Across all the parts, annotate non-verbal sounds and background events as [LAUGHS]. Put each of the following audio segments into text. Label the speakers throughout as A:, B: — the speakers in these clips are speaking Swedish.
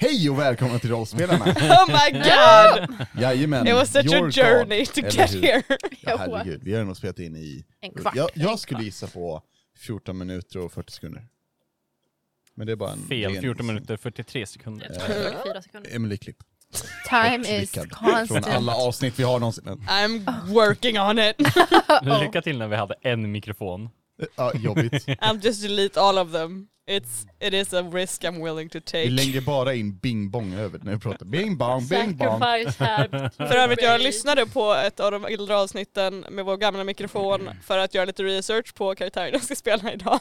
A: Hej och välkomna till Rollspelarna!
B: [LAUGHS]
A: [LAUGHS]
B: Oh my god!
A: Jajamän!
B: It was such
A: your
B: a journey
A: God,
B: to
A: eller
B: get
A: hur?
B: here.
A: Ja, herregud, vi har nog spelat in i...
C: En kvart.
A: Jag, jag skulle gissa på 14 minuter och 40 sekunder. Men det är bara en...
D: Fel,
A: ren
D: 14
A: gissning.
D: minuter 43
C: Jag
D: sekunder.
C: tror det var fyra
E: Eh,
C: sekunder.
A: Emily Klipp. Och
C: Time is
A: klickad. Från
B: Mm.
C: constant.
A: alla avsnitt vi har någonsin.
B: [LAUGHS] I'm working on [LAUGHS] it.
D: Lycka till när vi hade en mikrofon.
A: Ja, jobbigt.
B: I'll just delete all of them. It's, it is a risk I'm willing
A: [LAUGHS]
B: to
A: Vi
B: take.
A: lägger bara in bing bong över när vi pratar. Bing bong, bing bong.
C: Sacrifice här.
B: För övrigt, jag lyssnade på ett av de äldre avsnitten med vår gamla mikrofon
A: Mm.
B: för att göra lite research på karaktären jag ska spela idag.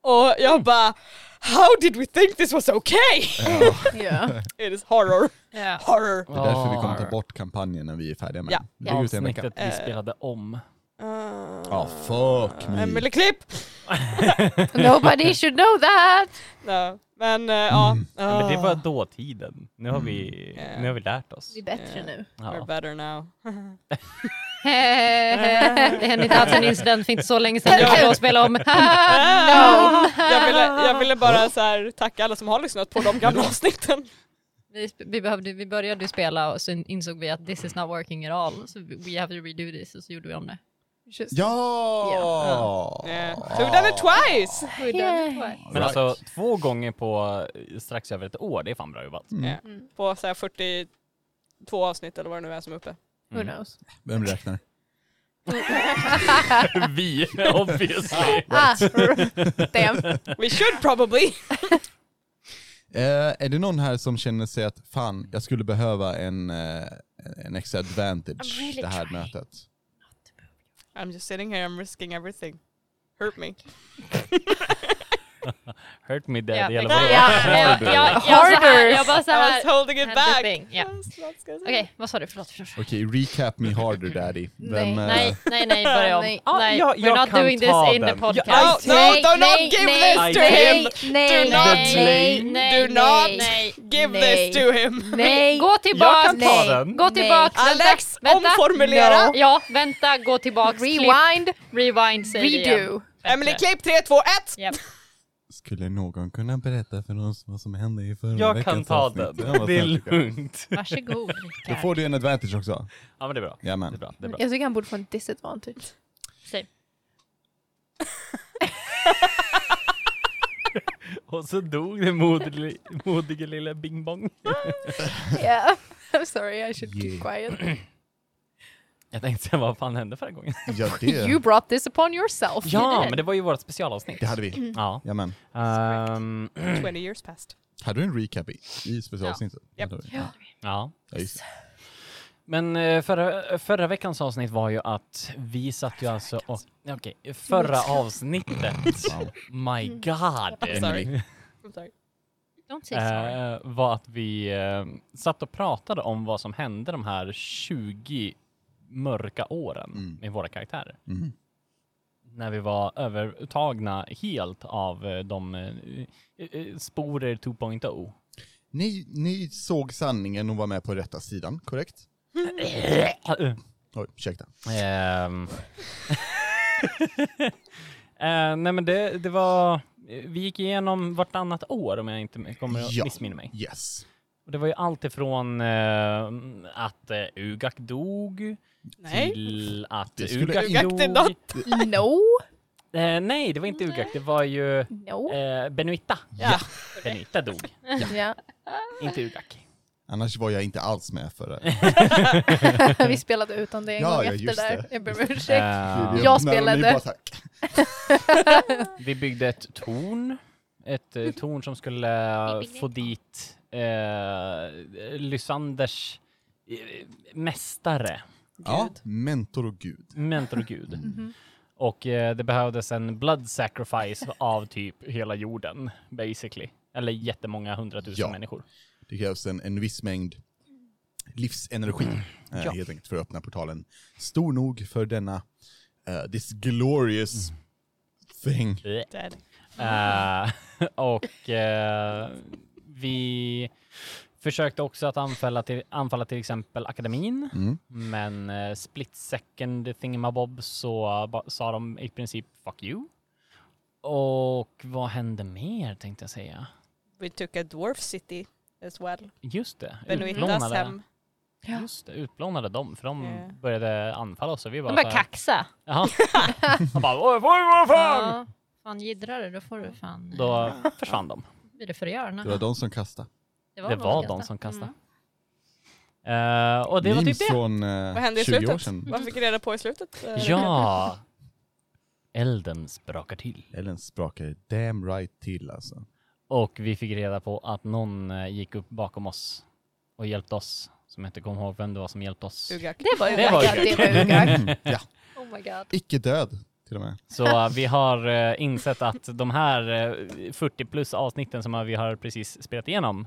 B: Och
A: Mm.
B: jag bara How did we think this
A: [LAUGHS]
B: was okay?
C: [LAUGHS] Ja.
B: It is horror,
C: Ja.
B: horror.
A: Det är därför vi kommer ta bort kampanjen när vi är färdiga med
B: Ja.
A: den. Lägg ut den en vecka.
D: Avsnittet vi
B: Eh.
D: spelade om.
B: Ah.
A: Ja, Ah, fuck me.
B: Emelie Klipp!
C: Nobody should know that!
B: No. Men eh, ja,
A: Mm.
D: Men det
B: Ah,
D: var dåtiden. Nu har vi,
B: Mm.
D: nu har vi lärt oss.
C: Vi är bättre nu.
B: we're
D: Ja.
B: better now.
E: Eh, det hände inte alls en incident för inte så länge sedan. Du var och
C: [LAUGHS]
E: spelade om.
B: Jag ville, jag ville bara så här, tacka alla som har lyssnat på de gamla avsnitten.
E: vi, sp- vi, behövde, vi började ju spela och så insåg vi att this is not working at all. So we have to redo this och så gjorde vi om det.
C: Just,
A: Ja!
B: Yeah. So we've done it twice!
C: we're done with what?
D: Men
A: Right.
D: alltså två gånger på eh, strax över ett år, det är fan bra jobbat.
B: Yeah. Eh, På så här 42 avsnitt eller vad det nu är som är uppe.
C: Who
E: Mm.
C: knows?
A: Vem räknar?
E: Ah.
D: [LAUGHS] vi, obviously.
C: Ah, [LAUGHS] damn.
B: We should probably! [LAUGHS]
A: Eh, är det någon här som känner sig att fan, jag skulle behöva en, eh, en extra advantage
C: I'm really
A: det här
C: trying.
A: mötet?
B: I'm just sitting here, I'm risking everything. Hurt me.
D: Hurt me
E: Ja,
D: dead i
E: men-
D: alla
E: ja,
D: fall.
E: ja, ja, ja, så här,
C: Harder.
E: Jag bara så
B: I
E: här.
B: was holding it
E: and
B: back!
E: dipping, yeah.
B: Yes, that's good.
E: Okej, vad sa du? Förlåt. förlåt.
A: Okej, recap me harder daddy. Vem, eh,
E: Nej, nej, nej, börja om.
C: Nej.
E: Nej,
D: jag- jag
E: we're not
D: kan
E: doing this
D: ta
E: in
D: den.
E: the
B: Ja,
E: podcast.
B: Oh, no,
C: Nej,
B: do not
C: nej,
B: give
C: nej,
B: this to
C: nej,
B: him. Do
C: Nej,
B: not.
E: Nej,
C: nej, nej,
B: Do not.
E: nej.
B: Give
C: Nej.
B: this to him!
C: Nej.
E: Gå
D: Jag
E: tillbaks.
D: kan ta
C: Nej.
D: den.
E: Gå tillbaks.
B: Alex,
E: vänta, vänta.
B: omformulera!
C: No.
E: Ja, vänta, gå tillbaks. Klipp.
C: Rewind.
E: Rewind säger vi igen.
C: Redo.
B: Emily Klipp, 3, 2, 1!
E: Japp.
A: Skulle någon kunna berätta för oss vad som hände i förra
D: Jag
A: veckans
D: kan ta
A: avsnitt?
D: den.
A: Ja, vad
D: Det är
A: snällt.
D: lugnt.
E: Varsågod
A: Då
E: Rickard.
A: får du en advantage också.
D: Ja men det är bra.
A: Jajamän.
D: Det är bra. Det är bra.
C: Jag tycker han borde få en disadvantage.
E: Säg.
D: Och så dog den modig, modige lilla Bing Bong.
C: Yeah. I'm sorry, I should keep
A: Yeah. [CLEARS THROAT]
C: quiet.
D: Jag tänkte säga, vad fan hände förra gången?
A: Ja,
C: You
A: det,
C: brought this upon yourself.
D: Ja, men det var ju vårt specialavsnitt.
A: det hade vi.
D: Ja.
A: Jajamän.
D: Ehm,
B: 20 years past.
A: Hade du en recap i, i specialavsnittet?
B: Ja.
A: Ja.
D: ja.
A: Ja, just det.
D: Men eh, förra, förra veckans avsnitt var ju att vi satt ju alltså och... Okej, förra avsnittet.
A: Wow.
D: My
B: I'm
D: God.
B: sorry. I'm sorry.
E: Don't say sorry.
D: Eh, var att vi eh, satt och pratade om vad som hände de här 20 mörka åren
A: Mm.
D: med våra karaktärer.
A: Mm.
D: När vi var övertagna helt av eh, de eh, eh, sporer oh. 2.0.
A: Ni, ni såg sanningen och var med på rätta sidan, korrekt?
D: Eh,
A: Oj, ursäkta.
D: Ehm. [LAUGHS] Eh, nej men det, det var, vi gick igenom vartannat år om jag inte kommer att
A: Ja.
D: missminna mig.
A: Yes.
D: Och det var ju allt ifrån eh, att eh, Ugak dog
B: Nej.
D: till att
A: Det skulle-
D: Ugak,
B: Ugak did
D: dog.
B: not-
C: No.
D: Eh, nej, det var inte Ugak, det var ju
C: No.
D: eh, Benuita.
B: Ja.
D: Benuita dog,
C: Ja.
D: inte Ugak.
A: Annars var jag inte alls med förra.
C: [LAUGHS] Vi spelade utan det en
A: Ja,
C: gång
A: ja,
C: efter
A: just
C: där.
A: det.
C: Jag ber om ursäkt.
D: Eh,
A: Vi-
C: Jag
A: när ni
C: spelade.
A: bara så här,
D: Vi byggde ett torn. Ett eh, torn som skulle få dit eh, Lysanders eh, mästare,
A: Ja, mentor och gud.
D: mentor och gud. Och eh, det behövdes en blood sacrifice av typ hela jorden, basically. Eller jättemånga hundratusen
A: Ja.
D: människor.
A: Det krävs en, en viss mängd livsenergi eh,
D: Ja.
A: helt enkelt för att öppna portalen. Stor nog för denna, eh, this glorious thing.
B: Dead.
D: Eh, [LAUGHS] och eh, vi försökte också att anfalla till, anfalla till exempel akademin,
A: Mm.
D: men eh, split second thingamabob så ba, sa de i princip fuck you. Och vad hände mer tänkte jag säga?
B: We took a dwarf city as well.
D: Just det.
B: Benuitas hem.
C: Ja.
D: Just det, utplånade dem för de
B: Ja.
D: började anfalla oss och vi bara...
E: De
D: så
E: börjar
D: här-
E: kaxa.
D: Ja. [LAUGHS] De bara oj, oj, vad fan!
E: Ja, fan jiddrar du, då får du fan...
D: Då försvann de.
E: blir det förgörarna.
A: Det var de som kastade.
D: Det
E: någon
D: var
E: ganska-
D: de som kastade.
E: Mm.
D: Eh, och det var typ
A: Memes
D: det.
A: från eh,
B: Vad hände i
A: 20 år
B: slutet?
A: sedan.
B: Vad fick vi reda på i slutet? Eh,
D: Ja! [LAUGHS] Elden sprakar till.
A: Ellen sprakade damn right till alltså.
D: Och vi fick reda på att någon eh, gick upp bakom oss och hjälpte oss. Som jag inte kommer ihåg vem det var som hjälpte oss.
B: Ugak.
C: Det var
D: Det var
C: ugagt. Det var ugagt.
A: Mm, ja.
C: Oh my god.
A: Icke död till och med.
D: Så eh, vi har eh, insett att de här eh, 40 plus avsnitten som vi har precis spelat igenom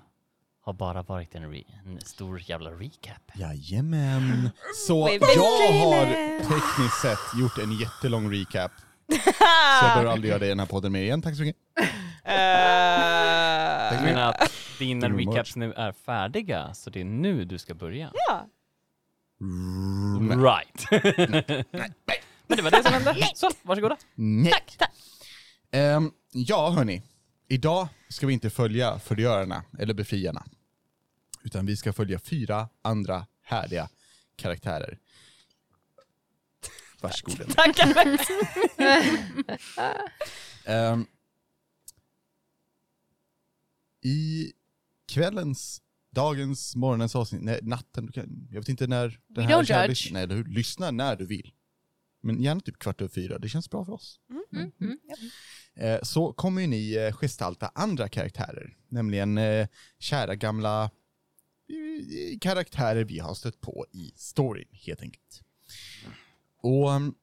D: har bara varit en, re- en stor jävla recap.
A: Jajamän. Så
B: We've been
A: jag har
B: dreaming.
A: tekniskt sett gjort en jättelång recap. Så jag
B: Ah!
A: behöver aldrig göra det i den här podden mer igen. Tack så mycket.
D: Jag
B: Eh,
D: menar att dina
A: Det blir
D: recaps nu är färdiga, så det är nu du ska börja.
B: ja.
D: Right. [LAUGHS] Men det var det som hände. Så, varsågoda.
A: Nej. Tack, tack. ja, hörni. Idag ska vi inte följa förgörarna eller befriarna. Utan vi ska följa fyra andra härliga karaktärer. Varsågod. Emil.
B: Tack [LAUGHS] Alex!
A: Ehm, I kvällens, dagens, morgonens avsnitt, nej, natten, du kan- jag vet inte när
C: We
A: här kan
C: don't
A: jag
C: judge.
A: lyssna- Nej, eller hur? Lyssna när du vill. Men gärna typ kvart över fyra, det känns bra för oss.
E: Mm. Mm.
A: Eh, så kommer ju ni eh, gestalta andra karaktärer, nämligen eh, kära gamla eh, karaktärer vi har stött på i storyn helt enkelt. Och mm,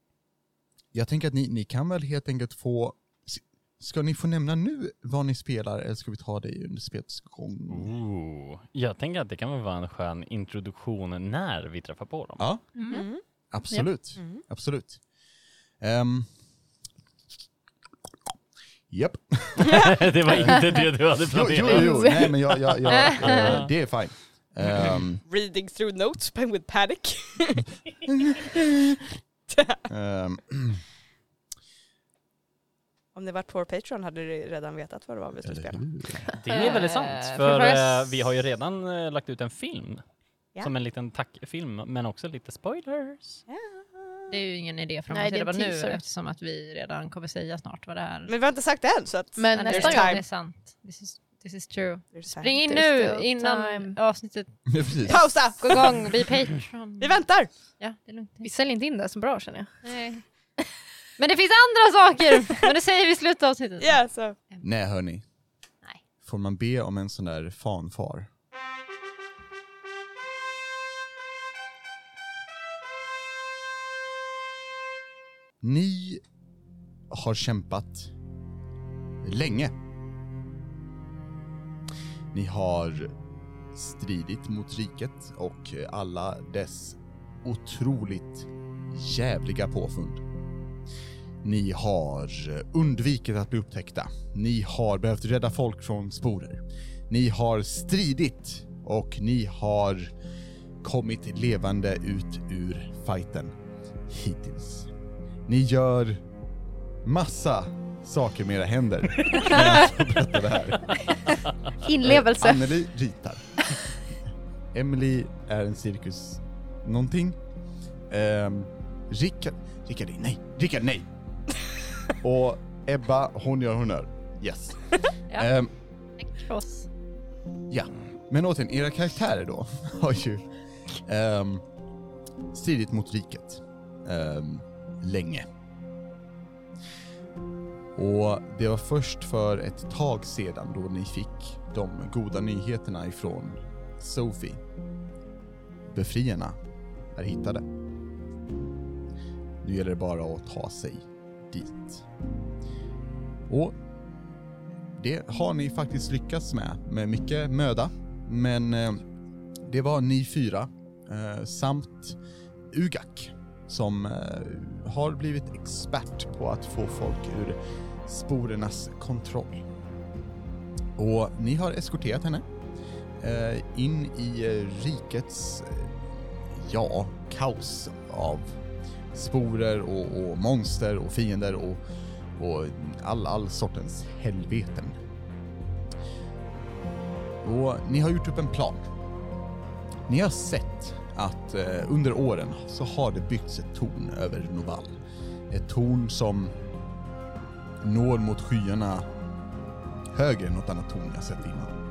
A: jag tänker att ni, ni kan väl helt enkelt få s- Ska ni få nämna nu vad ni spelar eller ska vi ta det under spelets
D: Mm.
A: gång?
D: Ooh. Jag tänker att det kan väl vara en skön introduktion när vi träffar på dem.
A: Ja,
B: Mm.
A: absolut. Absolut. Ehm. Japp.
D: [LAUGHS] det var inte det du hade
A: Jo, jo,
D: planerat.
A: jo. Nej, men jag, jag, jag, eh, det är fine. Ehm,
B: Reading through notes pen with panic.
A: ehm, [CLEARS THROAT]
B: Om ni varit på vår Patreon hade ni redan vetat vad det var vi skulle spela.
D: Det är väldigt sant,
E: Eh,
D: för
E: får jag
D: eh, vi har ju redan eh, lagt ut en film.
B: Ja.
D: Som en liten tackfilm, men också lite spoilers.
E: Det är ju ingen idé för
C: Nej,
E: att
C: det är
E: det
C: en
E: var nu
C: teaser.
E: eftersom att vi redan kommer säga snart vad det är.
B: Men vi har inte sagt det än så att...
C: Men
E: Men det
B: there's
E: är
C: nästa gång-
E: Det
B: time.
E: är sant. This is, this is true.
B: There's time.
E: Ring in
C: There's
E: nu
C: still
E: innan
C: time.
E: avsnittet
A: [LAUGHS] Ja, precis.
B: Pausa!
E: går igång. Bli Patreon.
B: Vi väntar!
E: Ja, det är lugnt.
C: Vi säljer inte in det så bra känner jag.
E: Nej. Men det finns andra saker! Men det säger vi i slutet av avsnittet.
B: Ja, så.
A: Nej, hörni.
E: Nej.
A: Får man be om en sån där fanfar? Ni har kämpat länge. Ni har stridit mot riket och alla dess otroligt jävliga påfund. Ni har undvikit att bli upptäckta. Ni har behövt rädda folk från sporer. Ni har stridit och ni har kommit levande ut ur fighten hittills. Ni gör massa saker med era händer. när jag ska berätta det här.
C: Inlevelse.
A: Anneli ritar. [LAUGHS] Emily är en cirkus någonting. Um, Rickard, Rickard, nej, Rickard, nej! Och Ebba, hon gör honnör. Yes.
E: Ja.
A: Ehm,
E: Cross.
A: Ja, men återigen, era karaktärer då [LAUGHS] har ju ehm, stridit mot riket ehm, länge. Och det var först för ett tag sedan då ni fick de goda nyheterna ifrån Sophie. Befriarna är hittade. Nu gäller det bara att ta sig dit. Och det har ni faktiskt lyckats med, med mycket möda. Men eh, det var ni fyra eh, samt Ugak som eh, har blivit expert på att få folk ur sporernas kontroll. Och ni har eskorterat henne eh, in i eh, rikets, eh, ja, kaos av sporer och, och monster och fiender och och all, all sortens helveten. Och ni har gjort upp en plan. Ni har sett att eh, under åren så har det byggts ett torn över Noval. Ett torn som når mot skyarna högre än något annat torn jag sett innan.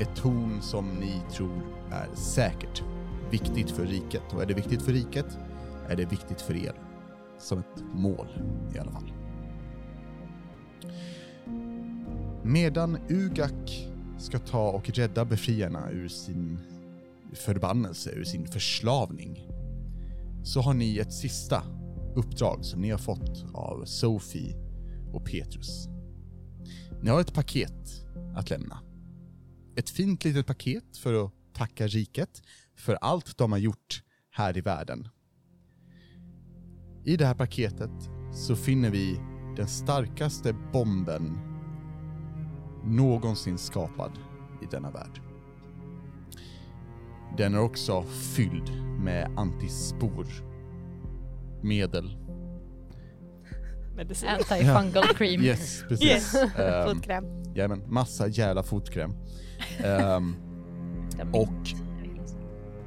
A: Ett torn som ni tror är säkert, viktigt för riket. Och är det viktigt för riket är det viktigt för er. Som ett mål i alla fall. Medan Ugak ska ta och rädda befriarna ur sin förbannelse, ur sin förslavning, så har ni ett sista uppdrag som ni har fått av Sophie och Petrus. Ni har ett paket att lämna. Ett fint litet paket för att tacka riket för allt de har gjort här i världen. I det här paketet så finner vi den starkaste bomben någonsin skapad i denna värld. Den är också fylld med antispor, medel.
B: Medicin.
E: Mm. Antifungal cream.
A: Yes, precis.
B: Yes.
A: Ehm,
C: Fotkräm.
A: Jajamän, massa jävla fotkräm. Ehm, och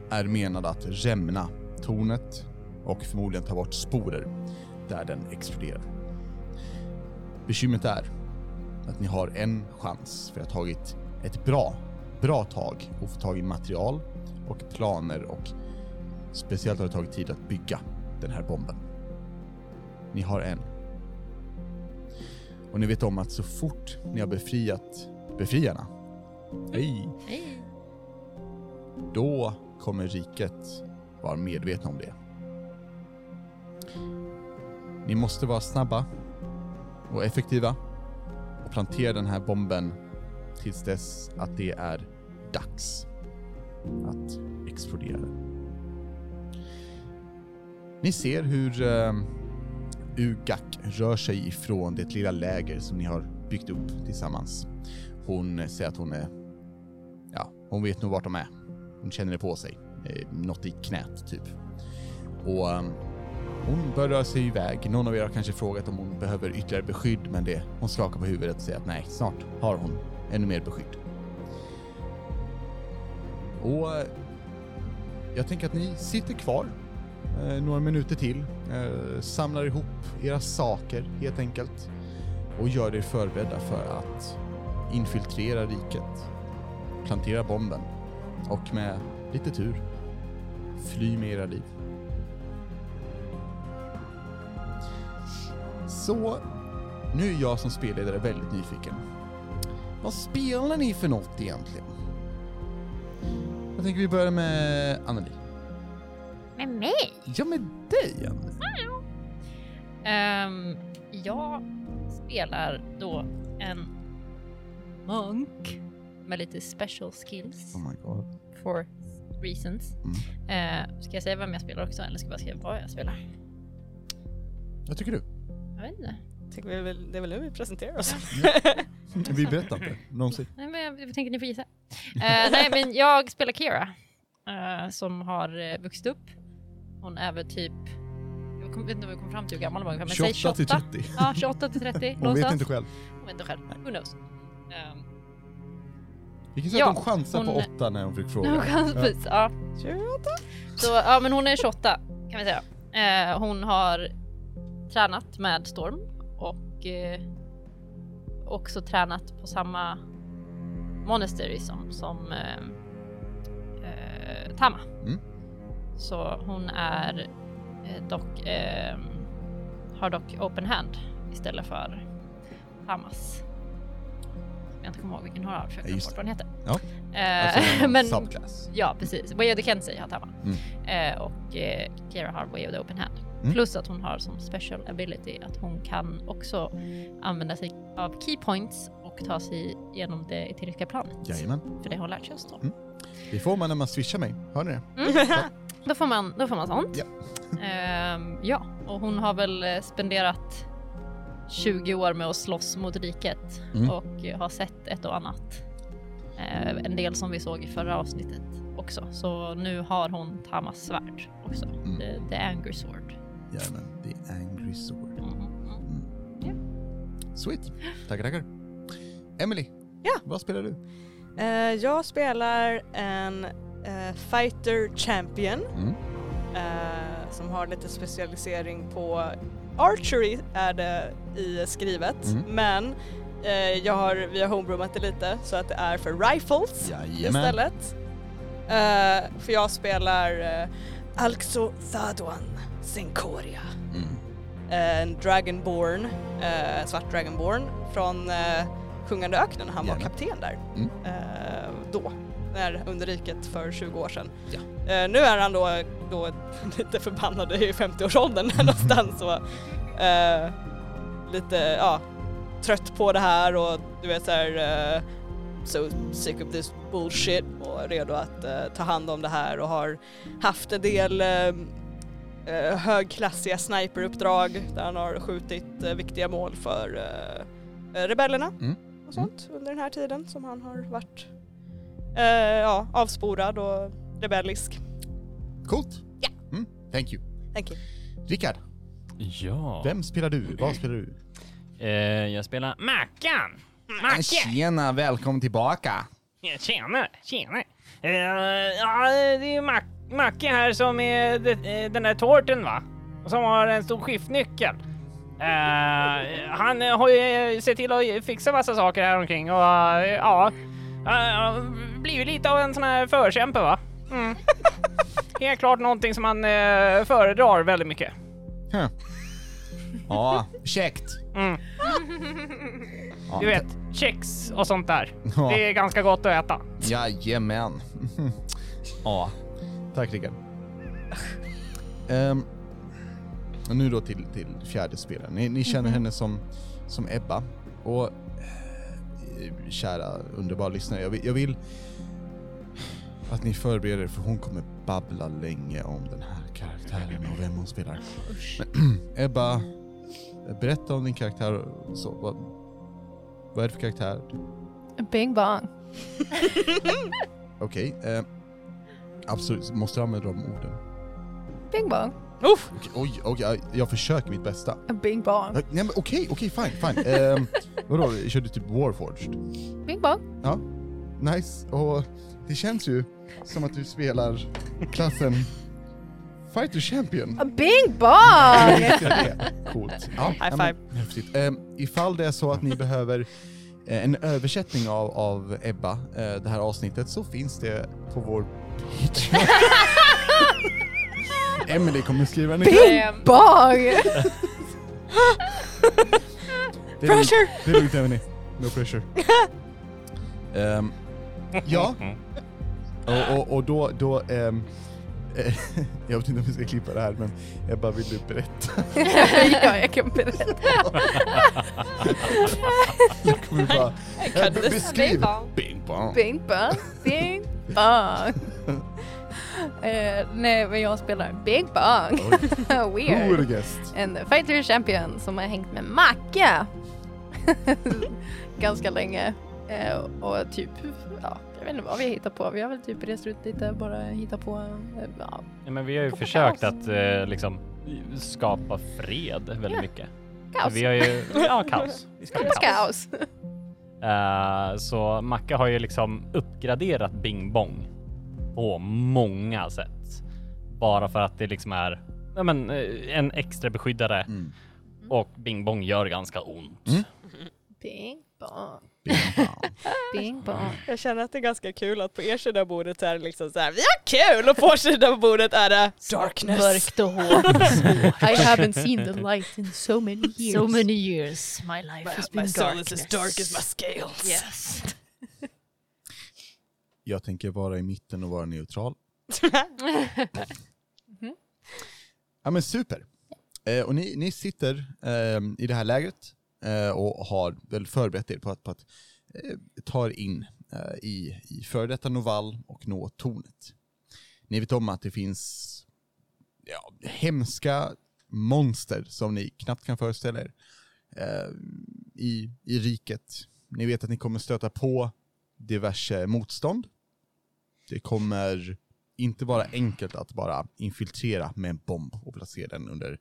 A: är menad att rämna tornet och förmodligen ta bort sporer där den exploderar. Bekymret är att ni har en chans för att ha tagit ett bra, bra tag och få tag i material och planer och speciellt har det tagit tid att bygga den här bomben. Ni har en. Och ni vet om att så fort ni har befriat befriarna, hej,
E: Hej.
A: då kommer riket vara medvetna om det. Ni måste vara snabba och effektiva och plantera den här bomben tills dess att det är dags att explodera. Ni ser hur eh, Ugak rör sig ifrån det lilla läger som ni har byggt upp tillsammans. Hon säger att hon är... Ja, hon vet nog vart de är. Hon känner det på sig. Eh, något i knät, typ. Och ehm, hon börjar röra sig iväg. Någon av er har kanske frågat om hon behöver ytterligare beskydd, men det, hon skakar på huvudet och säger att nej, snart har hon ännu mer beskydd. Och eh, jag tänker att ni sitter kvar eh, några minuter till, eh, samlar ihop era saker helt enkelt och gör er förberedda för att infiltrera riket, plantera bomben och med lite tur fly med era liv. Så nu är jag som spelledare väldigt nyfiken. Vad spelar ni för något egentligen? Jag tänker vi börjar med Anneli.
F: Med mig?
A: Ja, med dig Anneli.
E: Ehm, jag spelar då en munk med lite special skills
A: Oh my god.
E: for reasons. Ehm, ska jag säga vem jag spelar också eller ska jag bara skriva vad jag spelar?
A: Vad tycker du?
E: Jag vet inte.
B: Tycker vi väl, det är väl nu vi presenterar oss.
A: [LAUGHS] Vi berättar inte någonsin.
E: Nej, men jag, jag tänker ni får gissa. Eh, nej, men jag spelar Kira eh, som har eh, vuxit upp. Hon är väl typ, jag kom, vet inte vad vi kom fram till hur gammal hon var ungefär, men säg
A: 28 till
E: 28.
A: 30.
E: Ja, 28 till 30
A: Hon vet
E: någonstans.
A: inte själv.
E: Hon vet inte själv. Who
A: [LAUGHS]
E: knows? Ehm,
A: Vi kan säga
E: Ja,
A: att hon chansar på
E: hon-
A: åtta när hon fick
E: Nej,
A: frågan.
E: Hon kan,
A: Ja.
E: precis, ja. Så, ja, men hon är 28 kan vi säga. Eh, hon har tränat med Storm och eh, också tränat på samma monastery som, som eh, eh, Tama.
A: Mm.
E: Så hon är eh, dock, eh, har dock open hand istället för Tamas. Jag inte kommer ihåg vilken hon har,
A: Ja,
E: försöker komma
A: just
E: bort vad hon heter.
A: Ja.
E: Eh,
A: Alltså,
E: [LAUGHS] men,
A: subclass.
E: Ja, precis. Way of the Kensei har Tama.
A: Mm.
E: Eh, och eh, Kira har Way of the Open Hand.
A: Mm.
E: Plus att hon har som special ability att hon kan också använda sig av key points och ta sig genom det eteriska planet.
A: Jajamän.
E: För det har hon lärt sig oss då.
A: Det får man när man swishar mig. Hör ni det?
E: Då får man, då får man sånt.
A: Ja.
E: Ehm, ja, och hon har väl eh, spenderat 20 år med att slåss mot riket
A: Mm.
E: och eh, har sett ett och annat. Eh, en del som vi såg i förra avsnittet också. Så nu har hon Tamas svärd också.
A: Mm.
E: The, the anger sword.
A: Jajamän. The angry sword.
E: Mm, mm, mm.
A: Sweet. Tackar, tackar. Emily.
B: Ja.
A: Vad spelar du?
B: Eh, jag spelar en eh, fighter champion
A: Mm.
B: eh, som har lite specialisering på archery är det i skrivet
A: Mm.
B: men eh, jag har, vi har homebroomat det lite så att det är för rifles
A: Jajamän.
B: istället. Eh, för jag spelar uh, Alxo Thaduan Sincoria.
A: Mm.
B: Eh, en dragonborn, eh, en svart dragonborn från eh, Sjungande öknen. Han var
A: Gärna.
B: kapten där
A: Mm.
B: eh, då, när under riket för 20 år sedan.
A: Ja.
B: Eh, nu är han då, då [LAUGHS] lite förbannad i 50-årsåldern
A: Mm.
B: där någonstans och eh, lite ja, trött på det här och du vet såhär eh, so sick of this bullshit och redo att eh, ta hand om det här och har haft en del eh, eh, högklassiga sniperuppdrag där han har skjutit eh, viktiga mål för eh, eh, rebellerna
A: Mm.
B: och sånt under den här tiden som han har varit eh, ja, avsporad och rebellisk.
A: Coolt. Ja. Mm. Thank you.
B: Thank you.
A: Rickard,
G: Ja.
A: vem spelar du? Vad spelar du?
G: Eh, jag spelar Mackan! Macke!
A: Tjena, välkommen tillbaka.
G: Ja, Tjena, tjena. Eh, ja, det är ju Mac Macke här som är det, eh, den där tårten va? Som har en stor skiftnyckel. Eh, han eh, har ju eh, sett till att fixa massa saker här omkring och eh, ja, uh, blivit lite av en sån här förkämpe va? Mm. [LAUGHS] Helt klart någonting som han eh, föredrar väldigt mycket.
A: Huh. Ja, käckt.
G: Mm.
A: Ja,
G: Du vet, kex och sånt där.
A: Ja.
G: Det är ganska gott att äta.
A: Jajamän. [LAUGHS] ja. Tack Rickard. Ehm, och nu då till, till fjärde spelaren. Ni, ni känner henne som, som Ebba. Och eh, kära underbara lyssnare, jag vill, jag vill att ni förbereder er för hon kommer babbla länge om den här karaktären och vem hon spelar. Men, [CLEARS THROAT] Ebba, berätta om din karaktär. och Så, vad, vad är det för karaktär?
C: Bing bong.
A: Okej. eh, absolut, måste jag använda de orden?
C: Bing bong.
B: Uff,
A: Okej, oj, oj, jag, jag försöker mitt bästa. Eh,
C: Bing bong.
A: Nej men okej, okej, fine, fine. Eh, vadå, kör du typ Warforged?
C: Bing bong.
A: Ja. Nice, och det känns ju som att du spelar klassen Fighter Champion.
C: Bing
A: [LAUGHS]
C: bong!
A: Visst är det Coolt. Ja,
B: High
A: ja, men, Häftigt. Eh, ifall det är så att ni behöver eh, en översättning av, av Ebba, eh, det här avsnittet, så finns det på vår
B: [LAUGHS]
A: Patreon. Emily kommer skriva en
C: Bing bong!
A: Det är lugnt. Det är lugnt Emily. No
B: [LAUGHS]
A: pressure. Ehm, ja. Och, och, och då, då ehm, eh, [LAUGHS] jag vet inte om vi ska klippa det här men jag bara vill du berätta?
C: [LAUGHS] ja, jag kan berätta. [LAUGHS]
A: Jag kommer bara,
B: [LAUGHS] kan
A: eh,
B: inte
A: beskriv!
E: säga vad.
A: Bing bong.
C: Bing bong. Bing bong. Eh, nej, men jag spelar Bing bong. [LAUGHS] Weird.
A: Orgest.
C: En fighter champion som har hängt med
G: [LAUGHS]
C: Macke ganska länge. Eh, och typ, ja, jag vet inte vad vi hittar på. Vi har väl typ rest runt lite, bara hittat på. Eh, ja.
G: Ja, men vi har ju
C: Skapa
G: försökt
C: kaos.
G: att eh, liksom skapa fred väldigt
C: Ja,
G: mycket.
C: kaos.
G: Vi har ju, ja kaos. [LAUGHS] Vi skapar
C: Kaos. kaos.
G: Eh, så Macka har ju liksom uppgraderat Bing Bong på många sätt. Bara för att det liksom är ja, men, eh, en extra beskyddare
A: Mm.
G: och Bing Bong gör ganska ont.
A: Mm.
C: Bing bong.
A: Bing bong.
C: Bing bong.
B: jag känner att det är ganska kul att på er sida av bordet så är det liksom såhär vi har kul och på er sida av bordet är det darkness.
E: Mörkt och
B: [LAUGHS]
E: hårt.
C: I haven't seen the light in so many
E: [LAUGHS]
C: years.
E: so many years my life has
B: My
E: been
B: soul is as
E: darkness.
B: dark as my scales. [LAUGHS]
E: Yes. [LAUGHS]
A: Jag tänker vara i mitten och vara neutral. Ja men super. Eh, och ni, ni sitter ehm, i det här lägret eh, och har väl förberett er på att, på att eh, ta er in eh, i, i före detta Novall och nå tornet. Ni vet om att det finns ja, hemska monster som ni knappt kan föreställa er eh, i, i riket. Ni vet att ni kommer stöta på diverse motstånd. Det kommer inte vara enkelt att bara infiltrera med en bomb och placera den under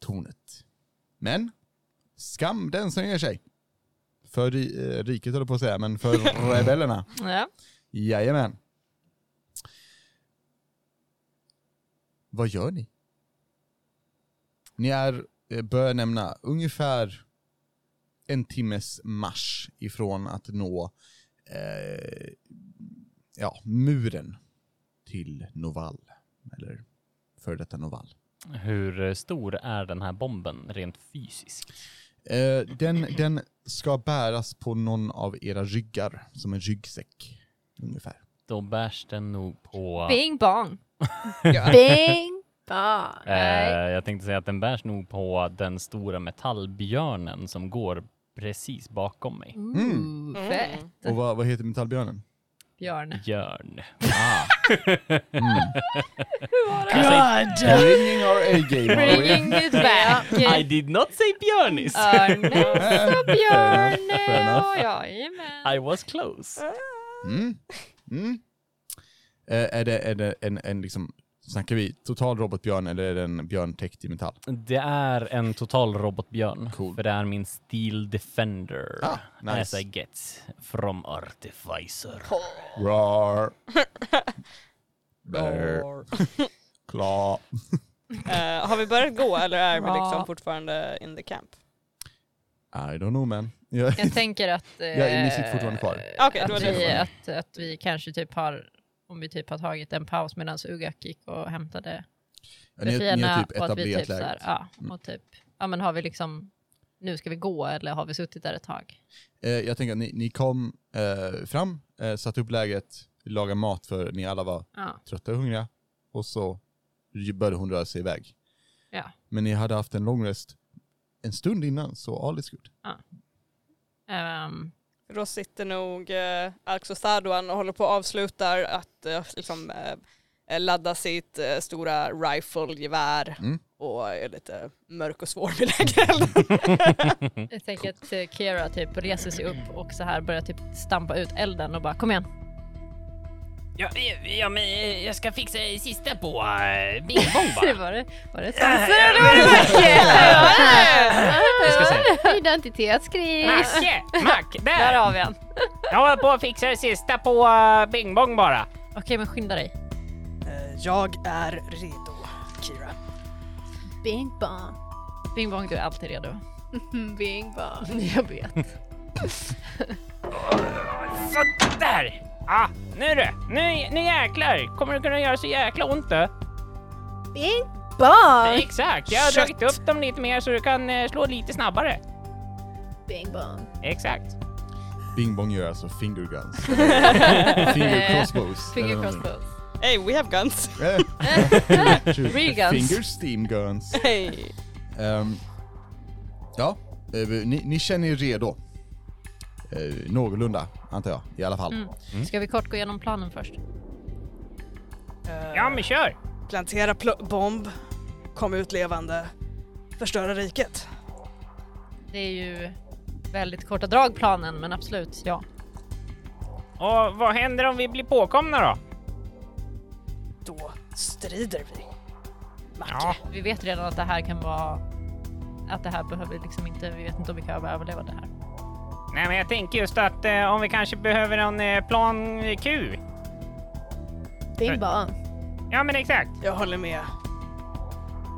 A: tornet. Men skam den som ger sig. För ri- eh, riket höll jag på att säga, men för rebellerna.
E: Ja.
A: Jajamän. Vad gör ni? Ni är, eh, bör jag nämna, ungefär en timmes marsch ifrån att nå eh, ja, muren till Noval. Eller före detta Noval.
D: Hur stor är den här bomben rent fysiskt?
A: Eh, den, den ska bäras på någon av era ryggar, som en ryggsäck ungefär.
D: Då bärs den nog på...
E: Bing bong.
C: Bing bong.
D: Eh, jag tänkte säga att den bärs nog på den stora metallbjörnen som går precis bakom mig.
A: Mm.
E: Ooh, Fett.
A: Och vad, vad heter metallbjörnen?
E: Björn.
D: Björn. Alltså,
E: [LAUGHS]
A: Bringing our A-game. [LAUGHS]
E: Bringing it back.
D: I did not say björnis!
E: Örnes
A: Fair [LAUGHS]
E: och Björn.
A: enough, fair enough.
E: Ja, jajamän.
D: [LAUGHS] I was close.
A: Mm. Mm. Eh, är det, är det en, en liksom, snackar vi total robotbjörn eller är det en björn täckt i metall?
D: Det är en total robotbjörn.
A: Cool.
D: För det är min Steel Defender.
A: Ah,
D: As I
A: nice.
D: get from Artificer.
E: [LAUGHS]
A: Rar. Brr. Kla.
B: Eh, har vi börjat gå eller är vi
E: Ja.
B: liksom fortfarande in the camp?
A: I don't know man. [LAUGHS] Jag,
E: Jag tänker att... Eh,
A: Ja, ni sitter fortfarande kvar.
B: Okej, det var
E: att,
B: det.
E: vi, att, att vi kanske typ har, om vi typ har tagit en paus medan Ugak gick och hämtade
A: ni, har- ni har
E: befriarna
A: typ
E: och att vi typ
A: etablerat Mm.
E: så här,
A: läget.
E: ja, och typ, ja men har vi liksom, nu ska vi gå eller har vi suttit där ett tag?
A: Eh, jag tänker att ni, ni kom eh, fram, eh, satte upp läget, lagade mat för ni alla var
E: Ja,
A: trötta och hungriga och så började hon röra sig iväg.
E: Ja.
A: Men ni hade haft en lång rest en stund innan, så all is good.
E: ehm,
B: Då sitter nog eh, Arx och Saduan och håller på och avslutar att eh, liksom, eh, ladda sitt eh, stora rifle-gevär
A: Mm.
B: och är lite mörk och svår vid lägerelden.
A: Mm.
E: jag tänker att eh, Kira typ reser sig upp och så här börjar typ stampa ut elden och bara kom igen.
G: Ja, ja, men eh, jag ska fixa det sista på eh, Bing Bong [LAUGHS]
E: Det
G: bara.
E: [LAUGHS] var det, var det
G: Ja,
E: sanser
G: ja,
E: eller var det
C: Ah, Identitetskris.
G: Macke! Mack,
E: Där
G: där!
E: har vi han.
G: Jag håller på att fixa det sista på eh, Bing Bong bara.
E: Okej men skynda dig.
B: Jag är redo, Kira.
C: Bing bong.
E: Bing bong, du är alltid redo.
C: Hmm, Bing bong.
E: [LAUGHS] Jag vet.
G: Sådär! Ja, nu du! Nu, nu jäklar kommer det kunna göra så jäkla ont du.
C: Bing bong.
G: Exakt, jag har
B: Kött.
G: dragit upp dem lite mer så du kan eh, slå lite snabbare.
C: Bing bong.
G: Exakt.
A: Bing Bong gör alltså finger
E: [LAUGHS]
A: guns. finger crossbows.
E: Finger
A: eller någonting.
E: crossbows.
B: [LAUGHS] Hey, we have guns!
E: [LAUGHS]
A: Eh, shoot.
E: Real guns.
A: Finger steam guns.
B: Hey.
A: Ehm, ja, eh, ni, ni känner er redo. Eh, någorlunda, antar jag. I alla fall.
E: Mm. Ska vi kort gå igenom planen först?
G: Ja men kör!
B: Plantera pl- bomb, kom ut levande, förstöra riket.
E: Det är ju väldigt korta drag planen, men absolut ja.
G: Och vad händer om vi blir påkomna då?
B: Då strider vi. Macke.
G: Ja,
E: Vi vet redan att det här kan vara att det här behöver liksom inte, vi vet inte om vi kan överleva det här.
G: nej men jag tänker just att eh, om vi kanske behöver någon eh, plan Q.
C: Bing bong.
G: Ja men exakt.
B: Jag håller med.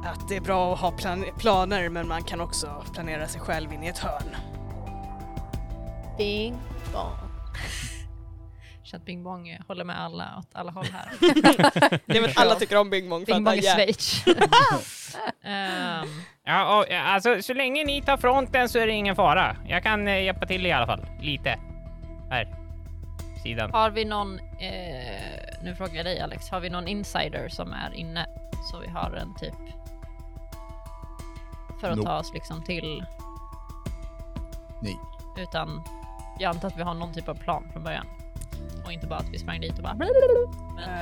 B: Att det är bra att ha plan- planer men man kan också planera sig själv in i ett hörn.
C: Bing bong.
E: Så att Bing Bong håller med alla åt alla håll här.
B: [LAUGHS] Jag vet alla tycker om Bing Bong för
E: Bing
B: att
E: Bong
B: han
E: i
B: är
E: Schweiz. Ehm,
G: Ja, och, eh, alltså så länge ni tar fronten så är det ingen fara. Jag kan eh, hjälpa till i alla fall. Lite. Här. Sidan.
E: har vi någon, eh, nu frågar jag dig Alex, har vi någon insider som är inne? Så vi har en typ för att
A: Nope.
E: ta oss liksom till,
A: Nej.
E: utan jag antar att vi har någon typ av plan från början. Och inte bara att vi sprang dit och bara Men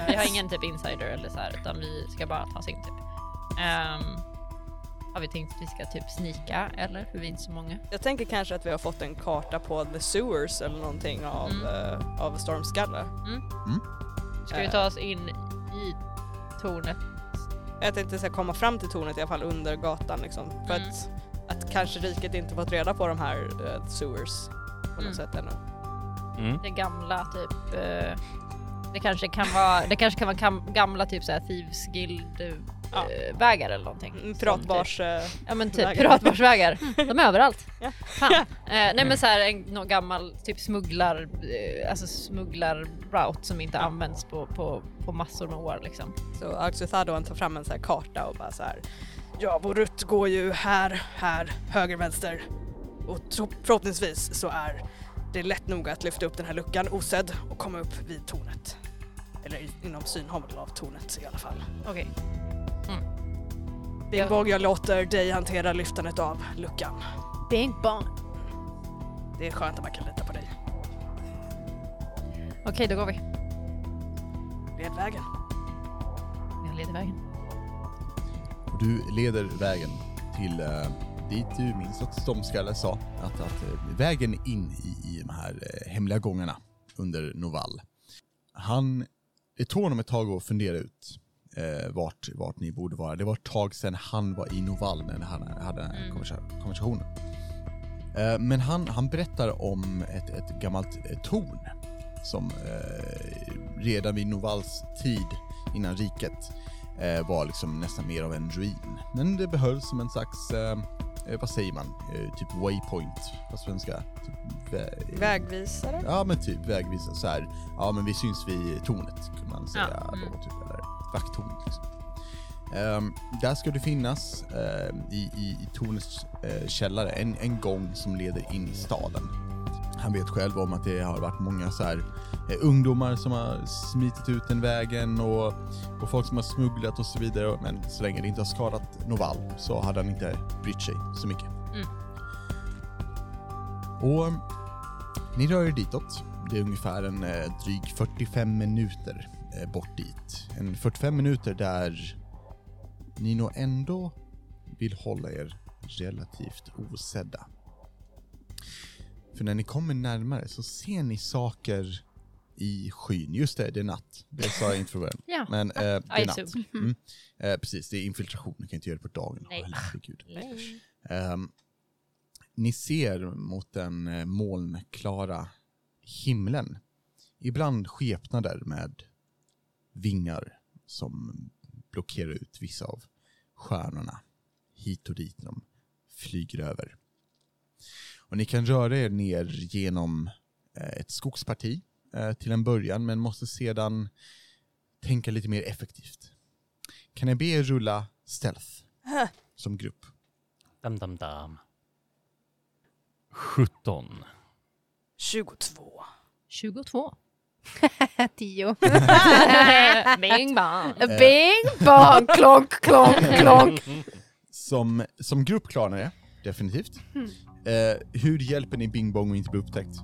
E: vi har ingen typ insider eller så här, utan vi ska bara ta oss in typ. Ehm, har vi tänkt att vi ska typ snika eller? För vi är inte så många.
B: Jag tänker kanske att vi har fått en karta på The Sewers eller någonting av,
E: Mm.
B: eh, av Stormskalle.
E: Ska vi ta oss in i tornet?
B: Jag tänkte så här, komma fram till tornet i alla fall under gatan liksom. För
E: Mm.
B: att, att kanske riket inte fått reda på de här eh, Sewers. på något sätt ännu.
D: Mm.
E: Det gamla typ... eh, Det kanske kan vara, det kanske kan vara kam- gamla typ såhär Thieves Guild eh,
B: Ja.
E: vägar eller någonting.
B: Mm,
E: Som typ-
B: Piratbars... eh,
E: Ja men typ
B: vägar.
E: piratbarsvägar. [LAUGHS] De är överallt.
B: Ja.
E: Fan. Eh, nej men såhär en någon gammal typ smugglar, eh, alltså smugglar-route som inte används på, på, på massor med år liksom.
B: Så Alcuthadoan tar fram en så här karta och bara så här. Ja, vår rutt går ju här, här, höger, vänster. Och tro- förhoppningsvis så är det lätt nog att lyfta upp den här luckan osedd och komma upp vid tornet. Eller i- inom synhåll av tornet i alla fall.
E: Okej.
B: Big Bog, jag låter dig hantera lyftandet av luckan.
C: Big bang.
B: Det är skönt att man kan lita på dig.
E: Okej då går vi.
B: Led vägen.
E: Jag leder vägen.
A: Och Du leder vägen till eh, dit du minns att Stormskalle sa att, att eh, vägen in i, i de här eh, hemliga gångarna under Novall. Han, det tog honom ett tag att fundera ut eh, vart, vart ni borde vara. Det var ett tag sedan han var i Novall när han hade den här konversa- konversationen. Eh, men han, han berättar om ett, ett gammalt eh, torn som eh, redan vid Novals tid innan riket eh, var liksom nästan mer av en ruin. Men det behölls som en slags, eh, eh, vad säger man, eh, typ waypoint på svenska. Typ, vä-
B: Vägvisare?
A: Ja men typ vägvisare så här. Ja men vi syns vid tornet kan man säga då typ. Eller vakttornet liksom. Ehm, där ska det finnas ehm, i, i, i tornets eh, källare en, en gång som leder in i staden. Han vet själv om att det har varit många så här eh, ungdomar som har smitit ut den vägen och, och folk som har smugglat och så vidare. Men så länge det inte har skadat Noval så hade han inte brytt sig så mycket. Och ni rör er ditåt. Det är ungefär en eh, dryg 45 minuter eh, bort dit. En 45 minuter där ni nog ändå vill hålla er relativt osedda. För när ni kommer närmare så ser ni saker i skyn. Just det, det är natt. Det sa jag inte från början.
E: [LAUGHS] Ja,
A: Men eh, det är
E: I
A: natt.
E: [LAUGHS]
A: Mm. Eh, precis, det är infiltration. Ni kan inte göra det på dagen.
E: Nej.
A: Åh, herregud. Ehm, ni ser mot den eh, molnklara himlen. Ibland skepnader med vingar som blockerar ut vissa av stjärnorna hit och dit när de flyger över. Och ni kan röra er ner genom eh, ett skogsparti eh, till en början men måste sedan tänka lite mer effektivt. Kan ni be er rulla stealth
C: [LAUGHS]
A: som grupp?
D: Dam, dam, dam. 17.
B: 22.
E: 22.
C: [LAUGHS]
B: [LAUGHS]
C: Tio.
E: Bing bang.
B: Eh.
C: Bing bang. Klonk,
B: [LAUGHS]
C: klonk, klonk.
A: Som, som grupp klarar ni det, definitivt.
C: Hmm.
A: Eh, hur hjälper ni Bing Bong att inte bli upptäckt?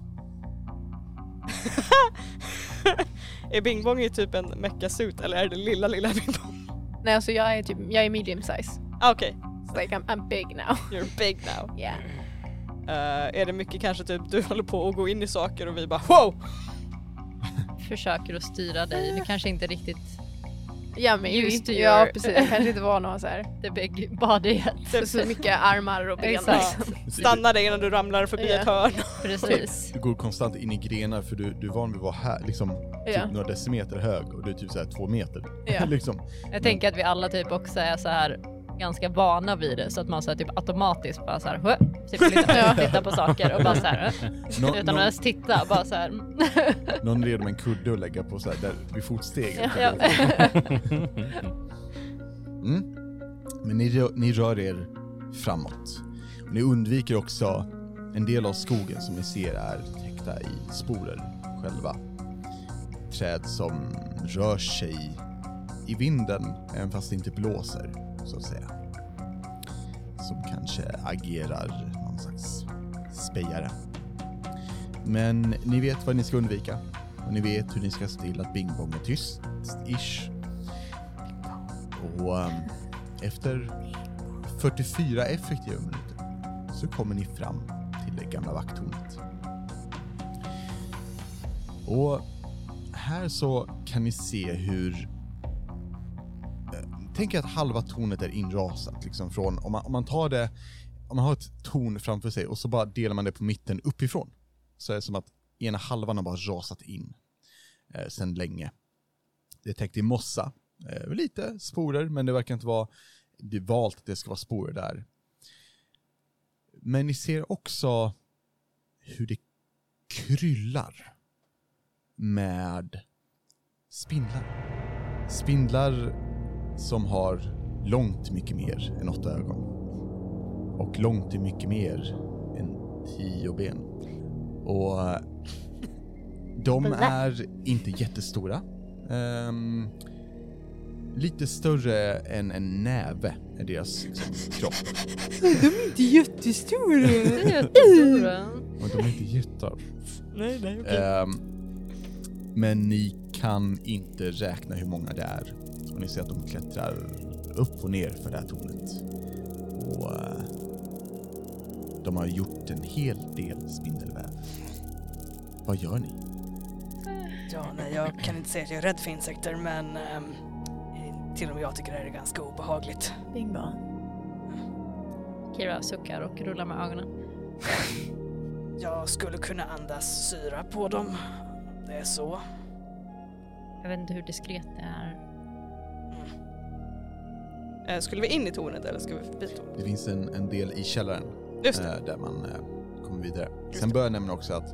B: Är Bing Bong i typ en meckasuit eller är det lilla, lilla Bing Bong?
C: Nej alltså jag är typ, jag är medium size.
B: Ah, Okej,
C: It's like I'm, I'm big now.
B: [LAUGHS] you're big now.
C: Yeah.
B: Eh, är det mycket kanske typ du [LAUGHS] håller på att gå in i saker och vi bara wow!
E: Försöker att styra dig. Du kanske inte riktigt
C: Ja men ju.
E: Used to
C: Ja
E: your-
C: precis, jag kanske inte var någon
E: [LAUGHS]
C: så här.
E: the big body yet.
C: Så, så mycket armar och ben.
E: Exakt.
C: liksom.
B: Stanna dig innan du ramlar förbi
C: Ja.
B: ett hörn.
E: Precis.
A: Du går konstant in i grenar för du, du är van vid att vara här, liksom, typ
C: Ja.
A: några decimeter hög och du är typ såhär två meter. [LAUGHS]
C: Ja.
A: liksom.
E: Jag tänker att vi alla typ också är så här ganska vana vid det så att man så här typ automatiskt bara så här "Hö", typ lite
C: Ja.
E: upp, titta på saker och bara så här "Hö",
A: Nå,
E: utan att
A: någon,
E: ens titta bara så här "Mm,
A: någon red med en kudde och lägga på såhär där vid fotsteget.
E: ja.
A: [LAUGHS] Mm. Men ni, rö- ni rör er framåt. Och ni undviker också en del av skogen som ni ser är täckta i sporer själva. Träd som rör sig i vinden även fast det inte blåser, så att säga. Som kanske agerar någon slags spejare. Men ni vet vad ni ska undvika och ni vet hur ni ska se till att Bing Bong är tyst-ish och ehm, efter 44 effektiva minuter så kommer ni fram till det gamla vakttornet. Och här så kan ni se hur... eh, Tänk er att halva tornet är inrasat. Liksom från, om, man, om man tar det... Om man har ett torn framför sig och så bara delar man det på mitten uppifrån så är det som att ena halvan har bara rasat in eh, sedan länge. Det är täckt i mossa, eh, lite sporer, men det verkar inte vara det är valt att det ska vara sporer där. Men ni ser också hur det kryllar med spindlar. Spindlar som har långt mycket mer än åtta ögon. Och långt mycket mer än tio ben. Och eh, de är inte jättestora. Ehm, lite större än en näve är deras liksom, kropp.
H: inte jättestora.
E: Det är jättestora.
A: Och de är inte jättar.
B: Nej, nej,
A: Ehm, men ni kan inte räkna hur många det är. Och ni ser att de klättrar upp och ner för det här tornet. Och eh, de har gjort en hel del spindelväv. Vad gör ni?
B: [LAUGHS] Ja, nej, jag kan inte säga att jag är rädd för insekter, men ehm, till och med jag tycker det här är ganska obehagligt.
H: Bing bong.
E: Kira suckar och rullar med ögonen.
B: Jag skulle kunna andas syra på dem. Det är så.
E: Jag vet inte hur diskret det är.
B: Eh, skulle vi in i tornet eller ska vi förbi tornet?
A: Det finns en, en del i källaren
B: Just det.
A: eh, där man eh, kommer vidare. Sen bör jag nämna också att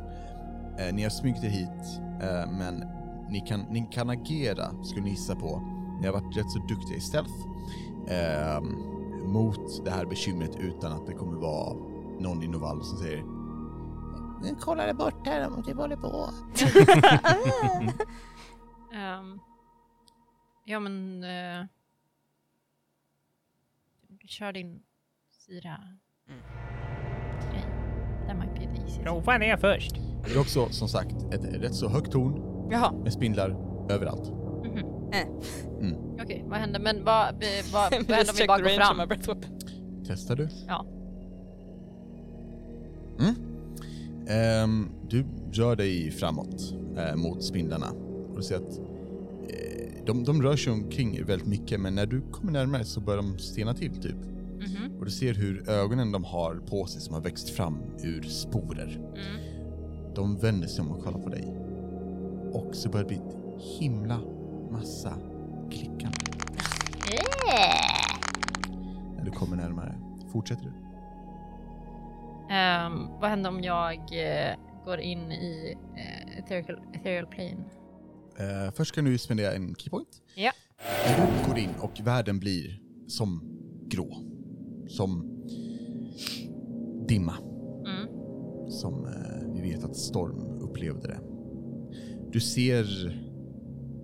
A: eh, ni har smugit er hit, eh, men ni kan, ni kan agera, skulle ni gissa på. Ni har varit rätt så duktiga i stealth eh, mot det här bekymret utan att det kommer vara någon i Novall som säger "Nu kollar det bort här om typ håller på.
E: Ehm, ja men... eh, kör din syra.
B: Mm.
E: Grej. That might be the easiest.
G: Prova det först.
A: Det är också som sagt ett rätt så högt torn
B: [LAUGHS] Jaha.
A: med spindlar överallt.
E: Mhm.
B: Äh.
A: Mm.
E: Okej, vad händer? Men vad, be-
B: [LAUGHS]
E: vad, vad händer om vi bara går fram?
A: Testar du?
E: Ja.
A: Mm. Ehm, du rör dig framåt eh, mot spindlarna och du ser att eh, de, de rör sig omkring er väldigt mycket men när du kommer närmare så börjar de stena till typ.
E: Mhm.
A: Och du ser hur ögonen de har på sig som har växt fram ur sporer.
E: Mm.
A: De vänder sig om och kollar på dig. Och så börjar det bli ett himla massa klickande. När du kommer närmare. Fortsätter du?
E: Ehm, vad händer om jag eh, går in i eh, ethereal, ethereal plane?
A: Eh, först ska du spendera en keypoint.
E: Ja.
A: Du går in och världen blir som grå. Som dimma.
E: Mm. [LAUGHS]
A: Som eh, vi vet att Storm upplevde det. Du ser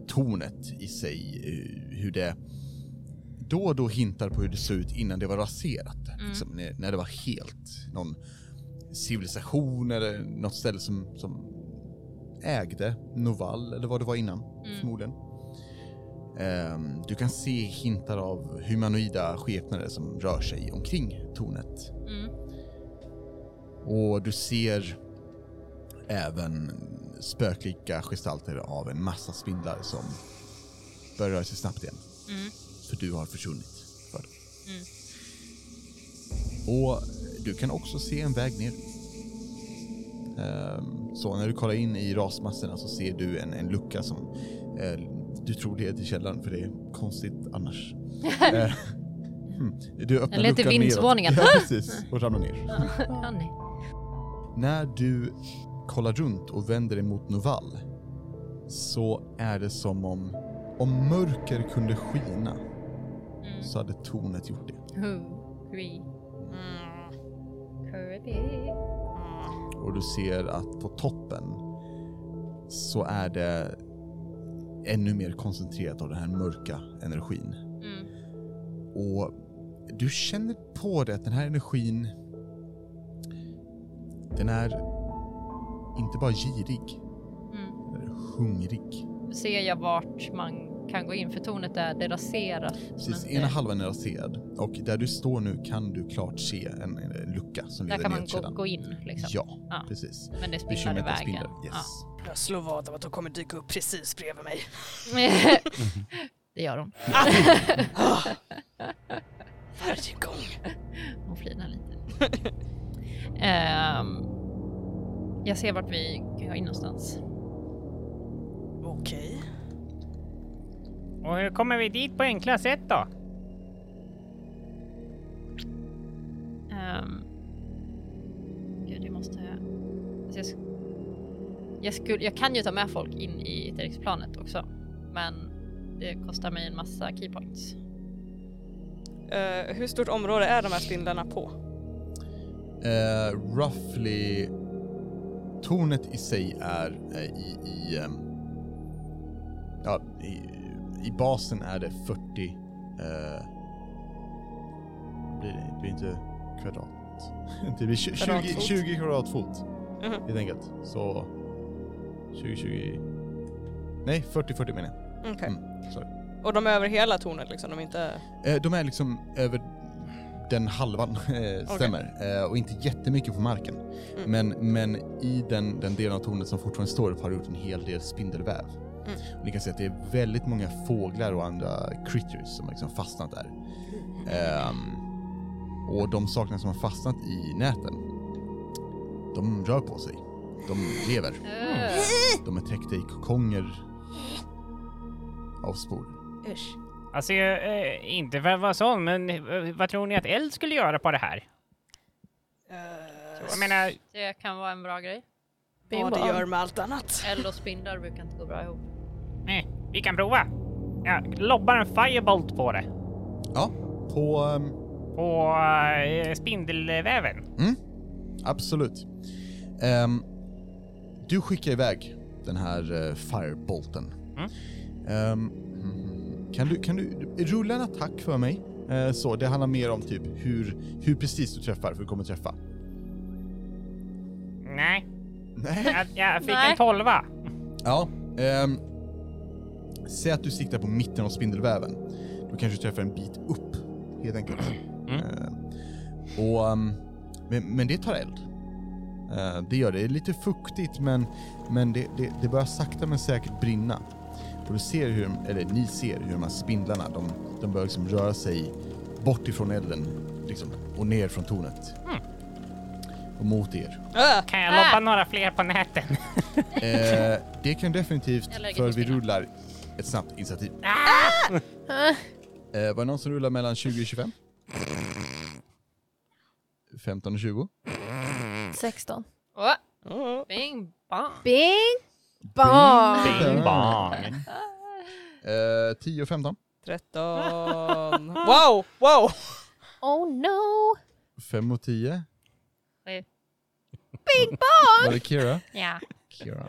A: tornet i sig, eh, hur det då och då hintar på hur det såg ut innan det var raserat. Liksom, när, när det var helt någon civilisation eller något ställe som, som ägde Novall eller vad det var innan, förmodligen. Ehm, du kan se hintar av humanoida skepnader som rör sig omkring tornet.
E: Mm.
A: Och du ser även spöklika gestalter av en massa spindlar som börjar röra sig snabbt igen.
E: Mm.
A: För du har försvunnit för dem.
E: Mm.
A: Och du kan också se en väg ner. Ehm, Så när du kollar in i rasmassorna så ser du en, en lucka som eh, du tror leder till källaren för det är konstigt
E: [LAUGHS]
A: annars. Eh, hmm. Du öppnar
E: Eller till
A: luckan neråt.
E: vindsvåningen. [LAUGHS]
A: Ja, precis. Och ramlar ner.
E: Ah, nej.
A: När du kollar runt och vänder dig mot Novall så är det som om, om mörker kunde skina
E: Mm.
A: så hade tornet gjort det.
E: Who? Three. Mm. Kirby.
A: Och du ser att på toppen så är det ännu mer koncentrerat av den här mörka energin.
E: Mm.
A: Och du känner på det att den här energin, den är inte bara girig,
E: Mm.
A: den är hungrig.
E: Ser jag vart man kan gå in? För tornet är det raserat.
A: Precis,
E: men
A: ena
E: det-
A: halvan är raserad och där du står nu kan du klart se en, en lucka som
E: Där
A: leder
E: kan
A: ner
E: man
A: till källan.
E: gå, gå in liksom.
A: Ja,
E: Ja.
A: precis.
E: Men det spindlar i
A: Bekymret är
E: vägen.
A: spindlar. Yes.
E: Ja.
B: Jag slår vad om att de kommer dyka upp precis bredvid mig.
E: [LAUGHS] det gör hon.
B: Varje gång.
A: [LAUGHS]
E: Hon flinar lite. Ehm, Jag ser vart vi går in någonstans.
B: Okej.
G: Och hur kommer vi dit på enkla sätt då?
E: Ehm, gud, jag måste... Alltså jag, sk- jag, skulle, jag kan ju ta med folk in i Eterix-planet också. Men det kostar mig en massa keypoints.
B: Eh, hur stort område är de här spindlarna på?
A: Eh, roughly... Tornet i sig är eh, i... i ehm, ja, i, i basen är det 40... Eh, blir det, det blir inte kvadrat. [LAUGHS] Det blir tju- 20,
B: Kvadratfot.
A: 20 kvadratfot.
B: Mhm.
A: Helt enkelt. Så... 20, 20... Nej, 40, 40 menar jag.
B: Okej.
A: Mm, sorry.
B: Och de är över hela tornet liksom? De är inte...
A: Eh, de är liksom över den halvan, eh, stämmer. Eh, och inte jättemycket på marken.
B: Mm.
A: Men, men i den, den delen av tornet som fortfarande står upp har det gjort en hel del spindelväv.
B: Mm.
A: Och ni kan se att det är väldigt många fåglar och andra critters som har liksom fastnat där. Ehm, och de sakerna som har fastnat i näten, de rör på sig. De lever.
E: Öh,
A: De är täckta i kokonger av sporer.
B: Usch.
G: Alltså, eh, inte för att vara sån, men eh, vad tror ni att eld skulle göra på det här? Jag menar,
E: det kan vara en bra grej.
B: Ja, det gör med allt annat.
E: Eld och spindlar brukar inte gå bra ihop.
G: nej, vi kan prova. Jag lobbar en firebolt på det.
A: Ja, på... ehm,
G: På eh, spindelväven.
A: Absolut. Ehm, du skickar iväg den här eh, firebolten.
G: Mm.
A: Ehm, mm, kan, du, kan du rulla en attack för mig? Eh, så, det handlar mer om typ hur, hur precis du träffar, för du kommer träffa.
G: Nej,
A: Nej.
G: jag, jag fick
E: Nej.
G: en tolva.
A: ja. ehm, säg att du siktar på mitten av spindelväven. Då kanske du träffar en bit upp, helt enkelt.
G: Mm.
A: Ehm, och, ehm, men, men det tar eld. Eh, det gör det. Det är lite fuktigt men, men det, det, det börjar sakta men säkert brinna. Och du ser hur, eller ni ser hur de här spindlarna, de, de börjar liksom röra sig bort ifrån elden liksom, och ner från tornet. Och mot er.
B: Äh,
G: Kan jag lobba några fler på näten?
A: Eh, det kan definitivt,
E: Jag lägger på Ah!
A: för vi
E: spindlar.
A: rullar ett snabbt initiativ. Eh, var det någon som rullar mellan 20 och 25? 15 och 20?
C: 16.
E: Åh,
B: oh.
E: bing bang!
C: Bing! Bang!
D: Bing bang!
A: Eh, 10 och 15?
B: 13. Wow, wow!
C: Oh no!
A: 5 och 10?
E: Oj.
A: Var det Kira?
E: Ja.
A: Kira.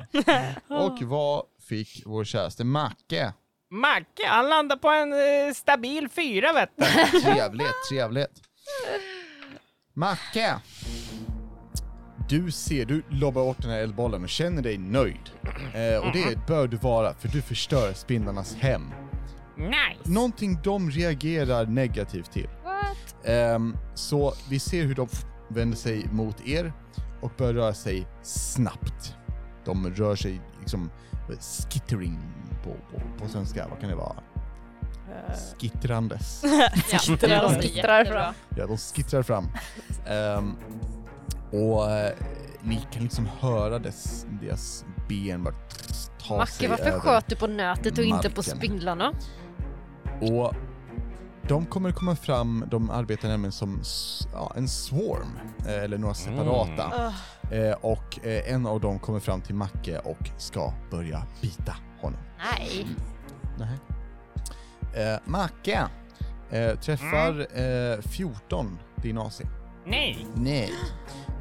A: Och vad fick vår käraste Macke?
G: Macke, han landar på en eh, stabil fyra vet du.
A: Trevligt, trevligt. Macke! Du ser, du lobbar bort den här eldbollen och känner dig nöjd. Eh, och det bör du vara, för du förstör spindlarnas hem.
G: Nice!
A: Någonting de reagerar negativt till. Ehm, så vi ser hur de vänder sig mot er och börjar röra sig snabbt. De rör sig liksom skittering på, på, på svenska, vad kan det vara? Skittrandes.
E: ja.
C: Skittrar.
E: det är
C: Skittrar
E: jättebra.
A: Ja, de skittrar fram. Ehm, och eh, ni kan liksom höra dess, deras ben bara ta sig
E: Macke, varför
A: över.
E: sköt du på nätet och inte på
A: marken.
E: spindlarna?
A: Och de kommer komma fram, de arbetar nämligen som s- ja, en swarm, eh, eller några separata.
E: Mm.
B: Ah.
A: Eh, och eh, en av dem kommer fram till Macke och ska börja bita honom.
E: Nej.
A: Nej. Eh, Macke! Eh, träffar
E: Mm.
A: eh, 14 din AC.
G: Nej!
B: [LAUGHS]
A: Nej.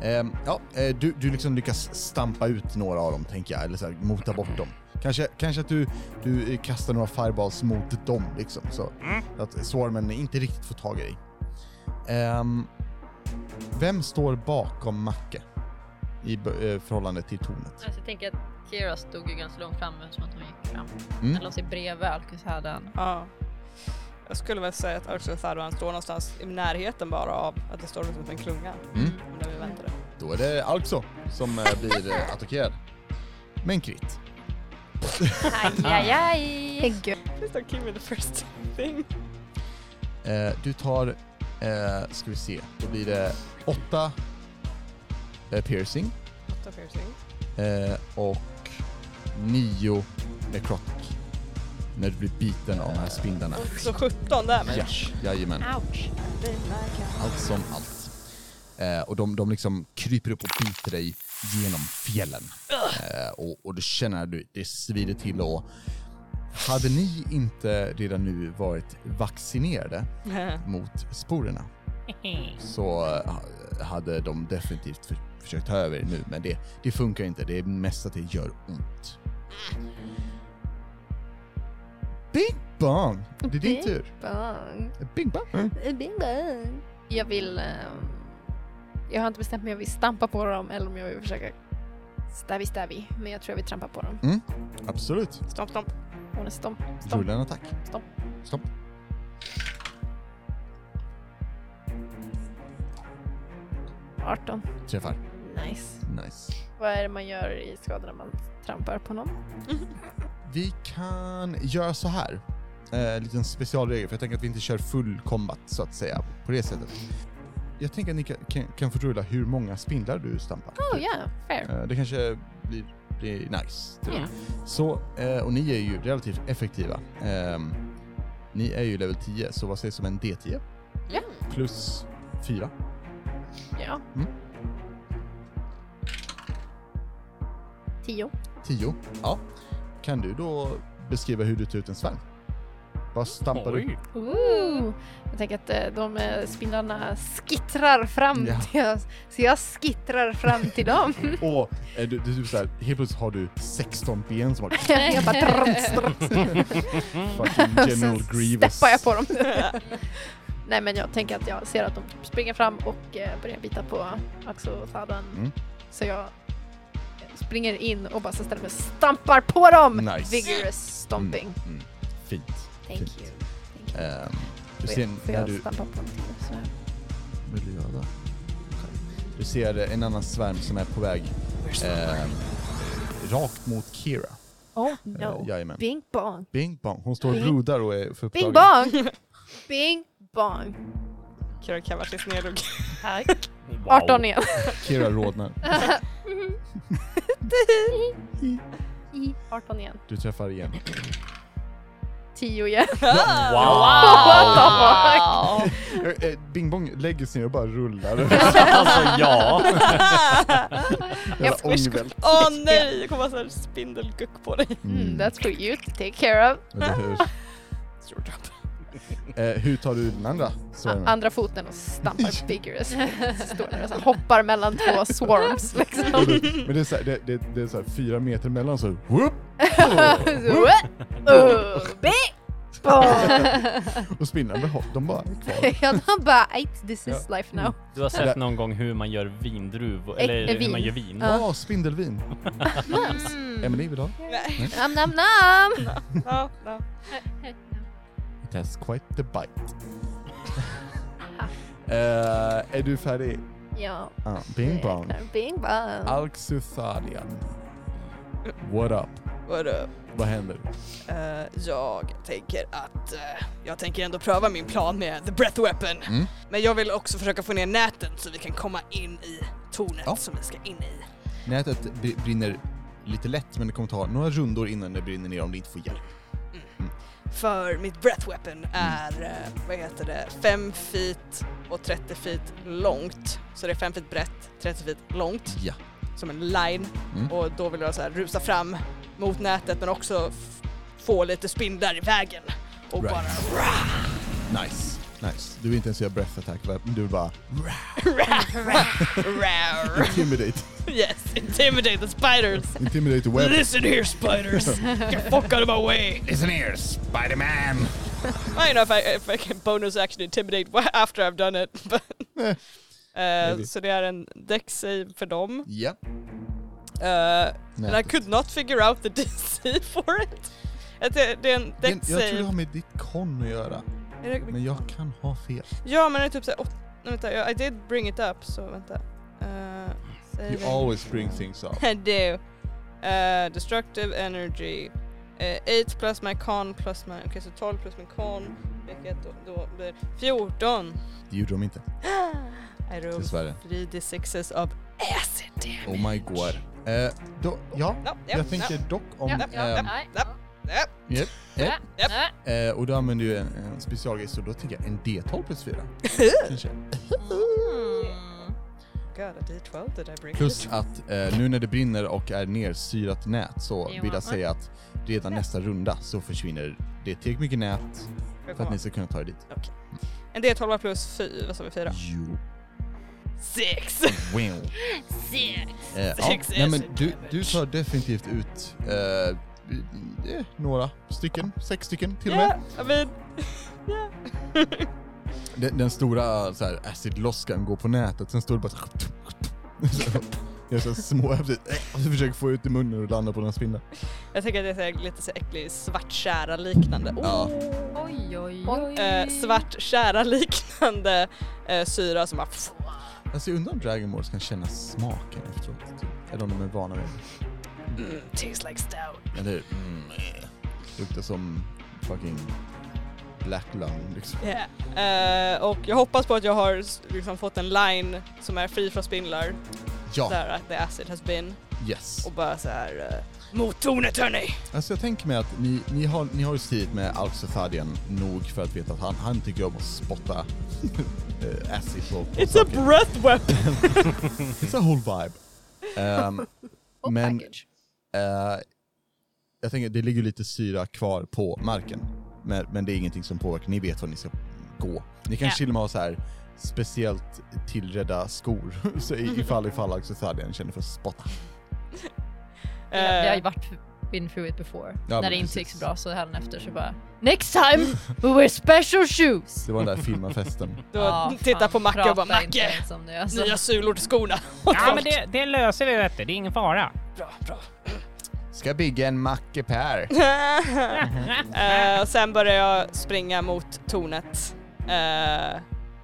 A: Ehm, ja, eh, du, du liksom lyckas stampa ut några av dem, tänker jag, eller så här, mota bort dem. Kanske, kanske att du, du eh, kastar några fireballs mot dem, liksom, så att swarmen inte riktigt får tag i dig. Ehm, vem står bakom Macke i b- eh, förhållande till tornet?
E: Alltså, jag tänker att Kira stod ju ganska långt fram eftersom att hon gick fram.
A: Mm.
E: Eller hon sig bredvid Alcushaden.
B: Ja. Jag skulle väl säga att Ursula Tharwan står någonstans i närheten bara av att det står liksom en klunga.
A: Mm.
B: Om det vi väntar.
A: Då är det Alxo som eh, blir eh, attackerad. Men krit.
E: Ajajaj!
C: Herregud.
B: Please don't give me the first thing.
A: Eh, du tar, eh, ska vi se, då blir det åtta eh, piercing.
B: Åtta piercing.
A: Eh, och nio necrotic. När du blir biten av de här spindlarna.
B: Så 17 damage.
A: Ja, jajamän.
F: Ouch.
A: Allt som allt. Eh, och de, de liksom kryper upp och biter dig genom fjällen. Eh, och, och du känner att du- det svider till och hade ni inte redan nu varit vaccinerade mot
C: [LAUGHS]
A: sporerna så eh, hade de definitivt för, försökt ta över er nu, men det, det funkar inte. Det är mest att det gör ont. Big Bang! Det är din
C: Big
A: tur.
C: Bang.
A: Big Bang!
C: Bing bang. Jag vill... ehm, jag har inte bestämt mig om jag vill stampa på dem eller om jag vill försöka stabby stabby. Men jag tror jag vill trampa på dem.
A: Absolut.
B: [LAUGHS] Stomp, stomp.
C: Hon är stomp. stomp.
A: Rulla en attack.
C: Stopp.
A: Stopp.
C: arton.
A: Träffar.
C: Nice.
A: Nice.
C: Vad är det man gör i skador när man trampar på någon?
A: Vi kan göra så här. Eh, liten specialregel, för jag tänker att vi inte kör full combat så att säga på det sättet. Jag tänker att ni kan, kan, kan få rulla hur många spindlar du stampar.
C: Oh yeah, fair.
A: Eh, Det kanske blir, blir nice. tror jag. Så, eh, och ni är ju relativt effektiva. Ehm, ni är ju level 10, så vad sägs om en D10?
C: Ja.
A: Plus 4.
C: Ja.
A: Mm.
C: Tio.
A: 10. Ja. Kan du då beskriva hur du tar ut en svärm? Vad stampar du?
D: Oj.
C: Ooh. Jag tänker att eh, de eh, spindlarna skittrar fram
A: Ja.
C: till oss. Så jag skittrar fram till [LAUGHS] dem.
A: Och eh, du, du, du så här, helt plötsligt har du 16 ben som
C: [LAUGHS]
A: bara...
C: jag bara drums, drums.
A: Fucking
C: [LAUGHS] Och
A: General
C: sen
A: Grievous.
C: steppar jag
A: [LAUGHS]
C: på dem. [LAUGHS] Nej men jag tänker att jag ser att de springer fram och eh, börjar bita på axofaden.
A: Mm.
C: Så jag springer in och bara så ställer mig och stampar på dem!
A: Nice.
C: Vigorous stomping.
A: Mm, mm. Fint.
C: Thank
A: Fint.
C: you. Thank you.
A: Ehm, du
C: Får
A: ser
C: jag- får
A: när
C: jag
A: du...
C: stampa på dem till? Så här.
A: Vill du göra det? Du ser eh, en annan svärm som är på väg
B: Eh,
A: ehm, rakt mot Kira.
C: Oh
A: Eh,
C: no.
A: jajamän.
C: Bing bong.
A: Bing bong. Hon står och
C: Bing-
A: rodar och är för
C: Bing
A: upptagen. [LAUGHS]
C: bong! Bing bong.
B: Kira kavar tills ner och
E: Tack.
C: 18 igen.
A: Kira rodnar.
C: 18 igen.
A: Du träffar
C: [LAUGHS]
A: igen.
C: 10 igen.
E: Wow!
A: Eh, eh, Bing bong lägger sig ner och bara
C: [LAUGHS]
A: rullar.
D: [LAUGHS] alltså ja.
A: Jävla ångvält.
B: Åh nej, [LAUGHS] det kommer vara så här spindelguck på dig.
C: Mm, that's for you to take care of.
A: Eller
C: [LAUGHS]
A: hur? Eh, hur tar du den andra svärmen?
C: A- andra foten
A: [LAUGHS]
C: och stampar vigorous. Så Står där och så här hoppar mellan två swarms
A: [LAUGHS]
C: liksom. [LAUGHS]
A: Och du- Men det är såhär, det, det, det är så här fyra meter mellan så whoop,
C: Så, what? Oh, bing
A: [LAUGHS]
C: bong!
A: och spindlarna de- de bara är
C: [LAUGHS]
A: kvar.
C: Ja, de bara "Ait, this is
A: [LAUGHS]
C: life now.
D: Du har
A: Där.
D: sett någon gång hur man gör vindruvor,
C: Ä-
D: eller
C: vin.
D: hur man gör vin.
A: Ja, spindelvin.
C: Mm.
E: Mm.
A: Emily vill du ha?
B: Nej.
C: Nam nam nam!
B: [LAUGHS] Ja, ja.
A: It has quite the bite.
B: [LAUGHS]
A: Eh, är du färdig?
C: Ja,
A: Ja, bing bong.
C: räknar. Bing bong.
A: Alxuthalian. What up?
B: Vadå?
A: Vad händer?
B: Eh, jag tänker att eh, jag tänker ändå pröva min plan med the breath weapon.
A: Mm.
B: Men jag vill också försöka få ner näten så vi kan komma in i tornet
A: Ja.
B: som vi ska in i.
A: Nätet br- brinner lite lätt men det kommer ta några rundor innan det brinner ner om du inte får hjälp.
B: För mitt breath
A: Mm.
B: weapon är, eh, vad heter det, 5 feet och 30 feet långt. Så det är 5 feet brett, 30 feet långt,
A: Ja.
B: som en line.
A: Mm.
B: Och då vill jag så här rusa fram mot nätet men också f- få lite spindlar i vägen. Och
A: Right.
B: bara... [LAUGHS]
A: Nice. Nice. Du vill inte ens göra breath attack va? Du vill
B: [LAUGHS]
A: bara
B: Rawr.
A: intimidate.
B: [LAUGHS] yes, intimidate the spiders!
A: intimidate web.
B: Listen
A: [LAUGHS]
B: here spiders! Get the fuck out of my way!
A: Listen here Spiderman!
B: [LAUGHS] I don't know if I, if I can bonus action intimidate wa- after I've done it. [LAUGHS]
A: [LAUGHS]
B: But Eh, så det är en deck save för dem.
A: Ja.
B: Eh, and I
A: Nätet.
B: could not figure out the [LAUGHS] DC for it. Att det, det är en
A: Jag,
B: deck
A: jag tror det
B: save.
A: har med ditt kon att göra.
B: Är det-
A: Men jag kan ha fel.
B: Ja men det är typ såhär, åt, nej, vänta, jag- I did bring it up så vänta. Uh,
A: You always bring things up.
B: [LAUGHS] I do. Uh, destructive energy. Uh, 8 plus my con plus my... Okej, så 12 plus min con. Vilket då, då blir 14.
A: Det gjorde de inte.
B: [GASPS] I roll
A: Dessvärre.
B: 3 d6s of acid damage.
A: Oh my god. Eh, då, ja,
B: Ja, ja,
A: jag tänker dock om...
E: Ja,
B: ja,
A: ehm,
E: Nej.
B: ja. ja.
A: japp, japp.
E: Nej. Nej.
A: Eh, och då använder jag en, en specialgrej, så då tänker jag en D12 plus 4. [LAUGHS] Kanske.
E: Mm.
B: God, a D12 did I bring?
A: Plus att eh, nu när det brinner och är nersyrat nät så
E: Ja.
A: vill jag säga att redan nästa runda så försvinner det tillräckligt mycket nät
B: Får jag
A: för att
B: komma?
A: ni ska kunna ta er dit.
B: En D12 plus 4, vad sa vi? 4?
A: Jo.
B: 6!
A: Wow.
E: Se.
A: Eh, ja,
B: Sex
A: nej,
B: is
A: men
B: it
A: du,
B: damage.
A: du tar definitivt ut eh, eh, några stycken, sex stycken till och
B: [LAUGHS]
A: med.
B: I mean,
A: Den, den stora så här, acidloskan går på nätet, sen står det bara så här- [LAUGHS] så Gör så här små och försöker få ut i munnen och landa på några spindlar.
B: jag tänker att det är lite så äcklig svartkära-liknande. Oh,
A: Ja,
E: Oj, oj, oj.
B: eh, svartkära-liknande eh, syra som bara... Pff,
A: alltså jag undrar om Dragon Balls kan känna smaken efteråt. typ. Eller om de är vana vid
B: mm, tastes like stout.
A: det. Eller mm, eh, luktar som fucking black lung liksom.
B: Yeah. Eh, och jag hoppas på att jag har s- liksom, fått en line som är fri från spindlar,
A: Ja,
B: där att the acid has been,
A: yes.
B: och bara så här... eh, mot tornet hörni!
A: Alltså jag tänker mig att ni, ni har ni har ju stridit med Alxefadian nog för att veta att han, han tycker om att spotta [LAUGHS] eh, acid på, på
B: It's a
A: saker.
B: breath weapon!
A: It's a whole vibe. Ehm,
C: Och
A: Men-
C: package.
A: eh, jag tänker, det ligger ju lite syra kvar på marken. Men, men det är ingenting som påverkar. Ni vet var ni ska gå. Ni kanske
E: Ja.
A: till och med har så här speciellt tillredda skor. [LAUGHS] så i- ifall ifall Alxefadian känner för att spotta.
B: Eh.
E: Vi har vi har ju varit been through it before.
A: men
E: När det inte gick
A: precis.
E: så bra så här efter så bara Next time we wear special shoes!
A: Det var den där filmafesten.
B: Då
E: Ja,
B: tittar
E: ah, fan,
B: på Macke och bara
E: prata inte
B: Macke!
E: ens om det, alltså.
B: Nya sulor till
E: [LAUGHS]
B: skorna!
G: Ja, men det, det löser vi vet du. Det är ingen fara.
B: Bra, bra.
A: Ska bygga en mackepär.
B: Eh, och sen börjar jag springa mot tornet eh,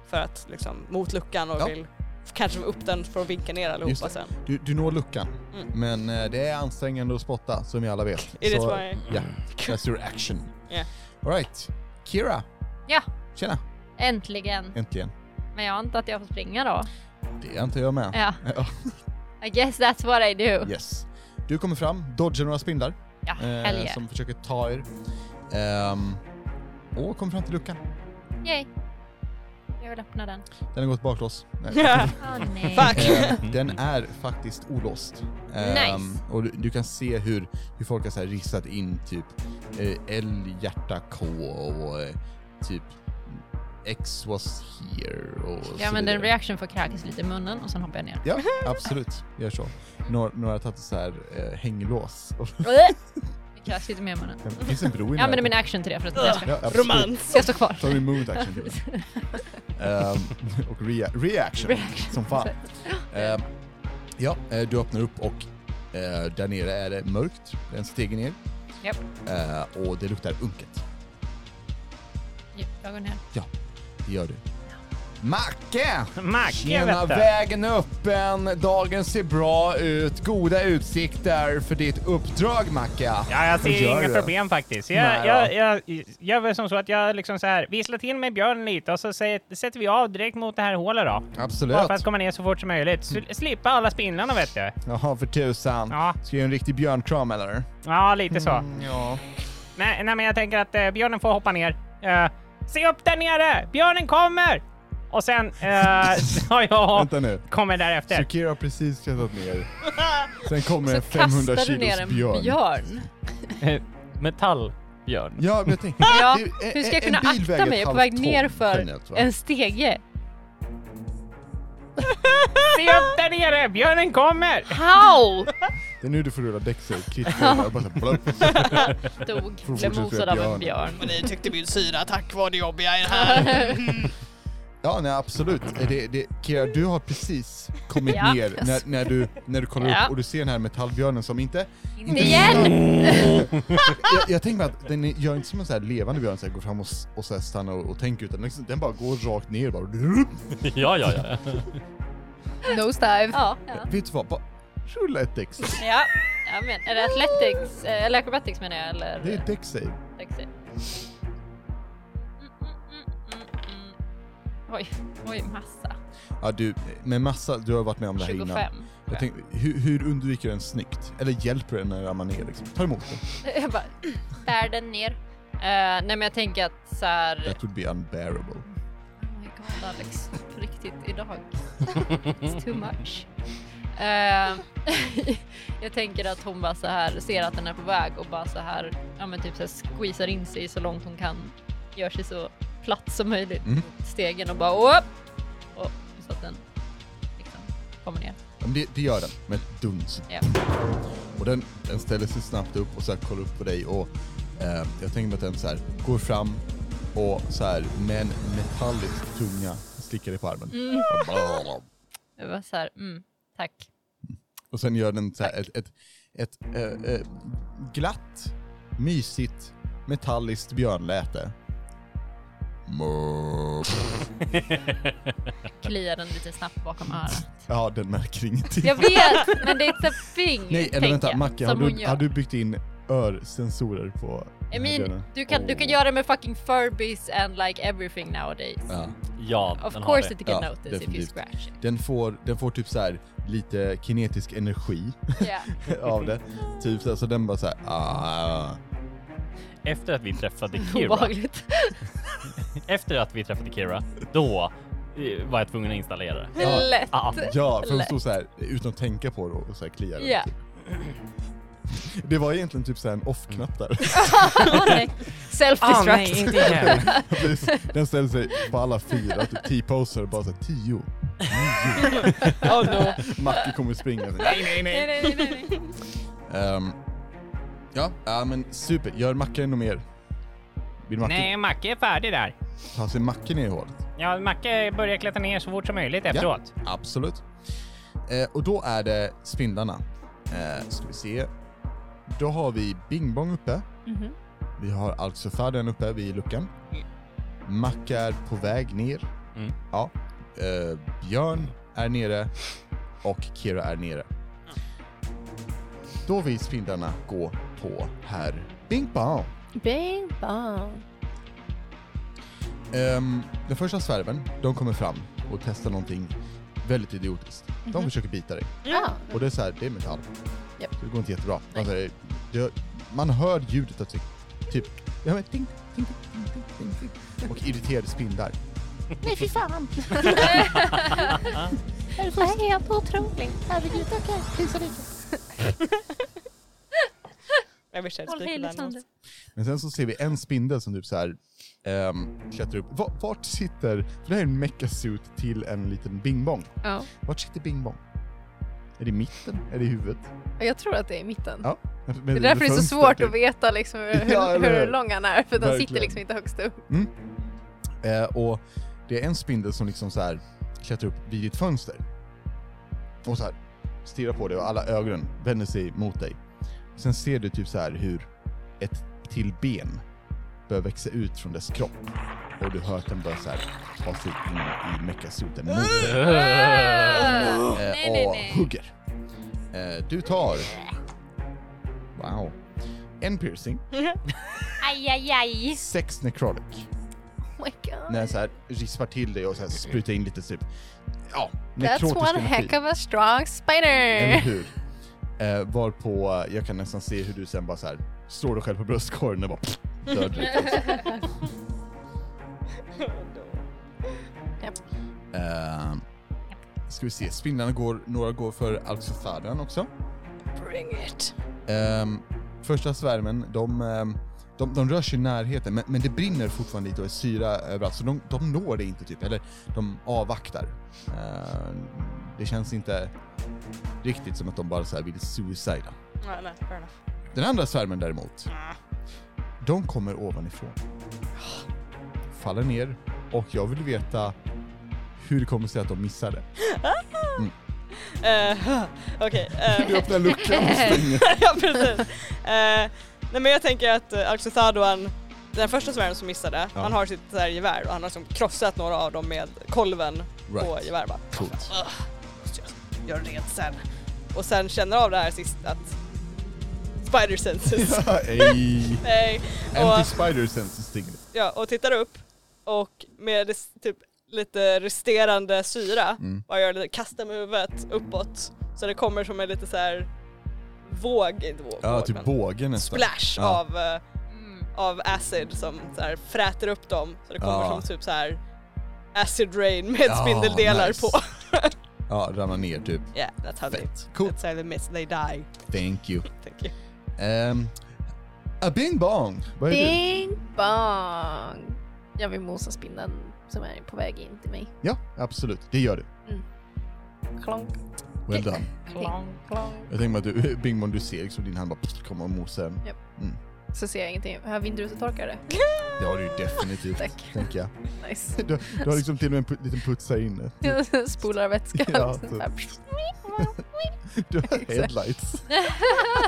B: för att liksom mot luckan och
A: Ja.
B: vill kanske få upp den för att vinka ner
A: Just
B: allihopa
A: det.
B: sen.
A: Du, du når luckan,
B: Mm.
A: men eh, det är ansträngande att spotta som vi alla vet.
B: It is
A: Så,
B: my...
A: Ja, that's your action.
B: Yeah.
A: Alright, Kira.
E: Ja.
A: Tjena,
E: Äntligen!
A: äntligen.
E: Men jag antar att jag får springa då.
A: Det antar jag med.
E: Ja,
A: Ja,
E: I guess that's what I do.
A: yes. Du kommer fram, dodgar några spindlar
E: Ja,
A: eh,
E: hell yeah.
A: som försöker ta er. Ehm, och kommer fram till luckan.
E: Yay! Jag vill öppna den.
A: Den har gått
E: [LAUGHS]
A: baklås. Nej.
F: Åh nej.
B: Fuck!
A: Eh, den är faktiskt olåst. Ehm,
E: Nice.
A: Och du, du kan se hur, hur folk har så här ristat in typ eh, L, hjärta, K och eh, typ X was here och
E: Jag
A: så
E: använder en
A: vidare.
E: reaction för att kräkas lite i munnen och sen hoppar jag ner.
A: Ja, absolut. Gör så. Några, några har tagit så här eh, hänglås. [LAUGHS] Och
E: Jag kräks lite mer i munnen.
A: det finns en bro i
E: Jag använder min action till det för att jag ska,
A: Ja, absolut.
B: Romans!
E: jag står kvar.
A: Tar min movement action till det. Ehm, och rea- reaction, som fan. Ehm, ja, eh, du öppnar upp och eh, där nere är det mörkt. Det är en stege ner.
E: Japp.
A: Eh, och det luktar unket.
E: Ja, Jag går ner.
A: Det gör du. Macke!
G: Macke
A: Tjena,
G: vet du.
A: vägen är öppen. Dagen ser bra ut. Goda utsikter för ditt uppdrag, Macka.
G: Ja, jag
A: Vad gör
G: ser
A: du?
G: inga problem faktiskt.
A: Nej,
G: Jag, jag, jag, jag gör väl som så att jag liksom så här visslar till med björnen lite och så säger, sätter vi av direkt mot det här hålet då.
A: Absolut.
G: Bara för att komma ner så fort som möjligt. Sl- Slippa alla spindlarna vet du.
A: Jaha, för tusan.
G: Ja,
A: Ska jag göra en riktig björnkram, eller?
G: ja lite så.
A: Ja.
G: Nej, nej, men jag tänker att eh, björnen får hoppa ner. Eh, se upp där nere! Björnen kommer! Och
A: [LAUGHS]
G: sen eh, så jag
A: Vänta nu.
G: kommer därefter.
A: Sukira har precis klättrat
E: [LAUGHS]
A: ner. Sen kommer en
E: Så
A: 500
E: kastar du ner
A: kilos
E: en
A: björn.
E: björn.
D: Eh, Metallbjörn.
A: Ja, men jag tänkte...
E: [LAUGHS] Ja,
A: det-
E: hur ska
A: en-
E: jag kunna
A: en bil väger
E: akta
A: ett
E: mig? Jag är
A: halvt
E: på väg
A: ton
E: ner för
A: generellt, va?
E: en stege.
G: Se upp där nere! Björnen kommer!
E: How?
A: Det är nu du får rulla däcksel. Krittrulla. Bara så här, blöpp.
E: Dog.
A: Får
E: Blev
A: fortsätta
E: mosad av en
A: björn.
E: björn.
B: Vad ni tyckte min syraattack var det jobbiga i det här.
A: Ja, nej absolut. Det, det, Kira, du har precis kommit
E: [LAUGHS] Ja.
A: ner när, när, du, när du kollar
E: Ja.
A: upp och du ser den här metallbjörnen som inte...
E: Inte igen!
A: Jag, jag tänker mig att den är- gör inte som en så här levande björn som går fram och, s- och så här stannar och, och tänker utan den liksom, den bara går rakt ner bara.
D: [LAUGHS] ja, ja, ja.
E: Nose dive. Ja, ja.
A: Vet du vad? Bara, rulla ett däcksel.
E: ja. ja men, är det athletics, eh, eller acrobatics menar jag? Eller?
A: Det är ett däcksel.
E: Taxi. Mm, mm, mm, mm, mm. Oj, oj massa.
A: Ja, du, med massa, du har varit med om det här innan.
E: 25.
A: Jag tänkte, hur, hur undviker du den snyggt? Eller hjälper du den när man är liksom? Ta emot den.
E: Jag bara [CLEARS THROAT] bär den ner. Eh, nej men jag tänker att så här.
A: That would be unbearable.
E: Oh my god Alex, på riktigt
A: [LAUGHS]
E: idag. It's too much. Eh, [LAUGHS] jag tänker att hon bara så här ser att den är på väg och bara så här, ja men typ så här squeezar in sig så långt hon kan. Gör sig så platt som möjligt.
A: Mm.
E: Stegen och bara upp! Och så att den liksom kommer ner.
A: Ja, men det, det gör den med ett duns.
E: Ja.
A: Och den, den ställer sig snabbt upp och så här kollar upp på dig och eh, jag tänker mig att den så här går fram och så här med en metallisk tunga slickar dig på armen.
E: Jag bara så här, mm, tack.
A: Och sen gör den så här ett, ett, ett eh, eh, glatt, mysigt, metalliskt björnläte. Mö.
E: Kliar den lite snabbt bakom örat.
A: Ja, den märker ingenting.
E: Jag vet, men det är ett sånt thing,
A: [LAUGHS] Nej, eller
E: tänker
A: vänta,
E: jag,
A: Macke, har
E: som hon
A: du,
E: gör.
A: har du byggt in örsensorer på den här
E: Emin,
A: björnen?
E: du kan, du kan göra det med fucking Furbies and like everything nowadays.
A: Ja.
D: Ja,
E: Of
D: den har
E: course
D: det.
E: it can
A: Ja,
E: notice if you
A: definitivt.
E: scratch it.
A: Den får, den får typ så här lite kinetisk energi [LAUGHS]
E: Ja.
A: av det. Typ så, här, så den bara så här, ah.
D: Efter att vi träffade Kira,
E: Obehagligt.
D: efter att vi träffade Kira, då eh, var jag tvungen att installera det.
A: Ja.
E: [LAUGHS] Lätt.
D: Ah,
A: Ja, för hon stod så här utan att tänka på det och så här kliade.
E: Ja.
A: Det var egentligen typ så här en off-knapp där.
E: [LAUGHS]
H: Ah, nej,
E: Self-destruct.
H: inte igen.
A: Den ställde sig på alla fyra, typ T-poser och bara så här tio.
B: Oh no.
A: Macke kommer springa.
E: nej, nej, nej,
D: [LAUGHS]
E: nej.
A: Ehm, ja, ja men super. Gör Macke ännu mer. Vill [LAUGHS] Macke
G: Nej, Macke är färdig där.
A: ta sig Macke ner i hålet?
G: Ja, Macke börjar klättra ner så fort som möjligt efteråt.
A: Absolut. Eh, och då är det spindlarna. Eh, ska vi se. Då har vi Bing Bong uppe. Vi har alltså färden uppe vid luckan. Macka är på väg ner.
D: Mm.
A: Ja. Eh, Björn är nere och Kira är nere. Då vill spindlarna gå på herr Bing Bong.
C: [LAUGHS] Bing bong.
A: Ehm, den första svärven, de kommer fram och testar någonting väldigt idiotiskt. De försöker bita dig.
C: Ja.
A: Och det är så här, det är metall.
C: Japp.
A: Det går inte jättebra. Man, säger, det, man hör ljudet av typ, typ ja, men ding, ding, ding, ding, ding, ding. och irriterade spindlar.
F: Nej fy fan. det här är helt otroligt. Herregud, okej. Tusen
B: Jag vill säga
E: Håll
B: skriker
E: hej,
B: den
E: Lysander.
B: åt.
A: Men sen så ser vi en spindel som typ så här ehm, klättrar upp. Va- Vart sitter, för det här är en mecha-suit till en liten bingbong.
C: ja.
A: Vart sitter bingbong? Är det i mitten? Är det i huvudet?
C: Jag tror att det är i mitten.
A: Ja. typ.
C: Det är därför det är så svårt att veta liksom hur, hur,
A: Ja, eller hur?
C: hur lång han är, för den sitter
A: Verkligen.
C: liksom inte högst upp.
A: Eh, och det är en spindel som liksom så här klättrar upp vid ditt fönster. Och så här stirrar på dig och alla ögonen vänder sig mot dig. Sen ser du typ så här hur ett till ben börjar växa ut från dess kropp. Och du hör att den börjar så här ta sig in i mekasuten mot dig.
E: Ah.
A: Eh,
E: Nej, nej,
A: och
E: nej.
A: hugger. Eh, du tar... Wow. En piercing,
F: [LAUGHS] Aj, aj, aj.
A: sex necrotic.
C: Oh my god.
A: när den så här rispar till dig och så här sprutar in lite typ, ja,
C: That's
A: nekrotisk
C: one
A: energi.
C: heck of a strong spider!
A: Eller hur? Eh, varpå jag kan nästan se hur du sen bara så här slår dig själv på bröstkorgen och bara pff, dör
B: [LAUGHS]
A: direkt.
C: Japp.
A: Eh, ska vi se, spindlarna går, några går för Alxotharden också.
B: Bring it.
A: Ehm, första svärmen, de, ehm, de, de rör sig i närheten, men, men det brinner fortfarande lite och är syra överallt, så de, de når dig inte typ, eller de avvaktar. Ehm, det känns inte riktigt som att de bara så här vill suicida.
B: Nej, nej, fair enough.
A: Den andra svärmen däremot, de kommer ovanifrån. Faller ner och jag vill veta hur det kommer sig att de missade.
B: Eh, [LAUGHS] Okej. eh,
A: Du öppnar luckan och stänger.
B: [LAUGHS] ja precis. Eh, nej men jag tänker att uh, Alxothadoan, den första svärden som missade,
A: Ja.
B: han har sitt så här gevär och han har liksom krossat några av dem med kolven på
A: Right.
B: gevär bara.
A: Coolt.
B: Måste jag göra rent sen. Och sen känner av det här sist att spider senses.
A: Ey.
B: [LAUGHS] Nej.
A: Empty spider senses stinger.
B: ja, och tittar upp och med
A: Mm.
B: det s- typ lite resterande syra bara gör lite, kastar med huvudet uppåt
F: Så det kommer som en lite så här våg, inte våg,
A: Ja,
F: våg,
A: typ
F: men
A: båge nästan.
F: splash
A: Ja.
F: av, eh, av acid som så här fräter upp dem. Så det kommer
A: Ja.
F: som typ så här acid rain med
A: Ja,
F: spindeldelar
A: nice.
F: på.
A: Ja, ramlar ner typ.
F: Yeah, [LAUGHS] that's how they,
A: Fett. Coolt.
F: that's how they miss, they die.
A: Thank you.
F: Thank you.
A: Ehm, a bing bong! Vad är du?
C: Bing bong! Jag vill mosa spindeln som är på väg in till mig.
A: Ja, absolut. Det gör du.
C: Mm. Klonk,
A: Well done.
C: ping, klonk.
A: Jag tänker mig att du, [LAUGHS] bing bong, du ser liksom din hand bara pst, komma och mosa den.
C: Så ser jag ingenting. Har jag vindrutetorkare?
A: Det har du ju definitivt,
C: Tack.
A: tänker jag.
C: Nice. [LAUGHS]
A: Du, du har liksom till och med en pu- liten puts här inne.
C: Spolar vätska.
A: Ja, typ.
C: Så här, [LAUGHS] pff,
A: [LAUGHS] Du har headlights.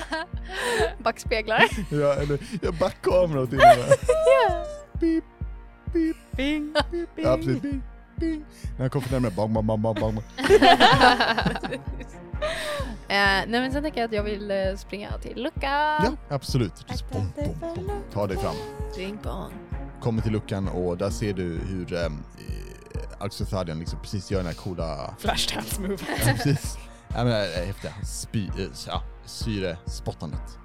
A: [LAUGHS]
C: Backspeglar.
A: Ja, eller ja, backkamera till och med. Beep, beep,
F: Bing!
A: beep. Ja, precis. Bing, bing. När han kommer närmare, bang, bang, bang, bang, bang.
C: Eh, nej men sen tänker jag att jag vill eh, springa till luckan.
A: Ja, absolut. Just bom, bom, bom. Ta dig fram.
C: Bing bong.
A: Kommer till luckan och där ser du hur um, Alcithadian liksom precis gör den här coola...
F: Flashdance move.
A: precis. [LAUGHS] Ja, men, eh, häftiga spy... eh, ja, syrespottandet.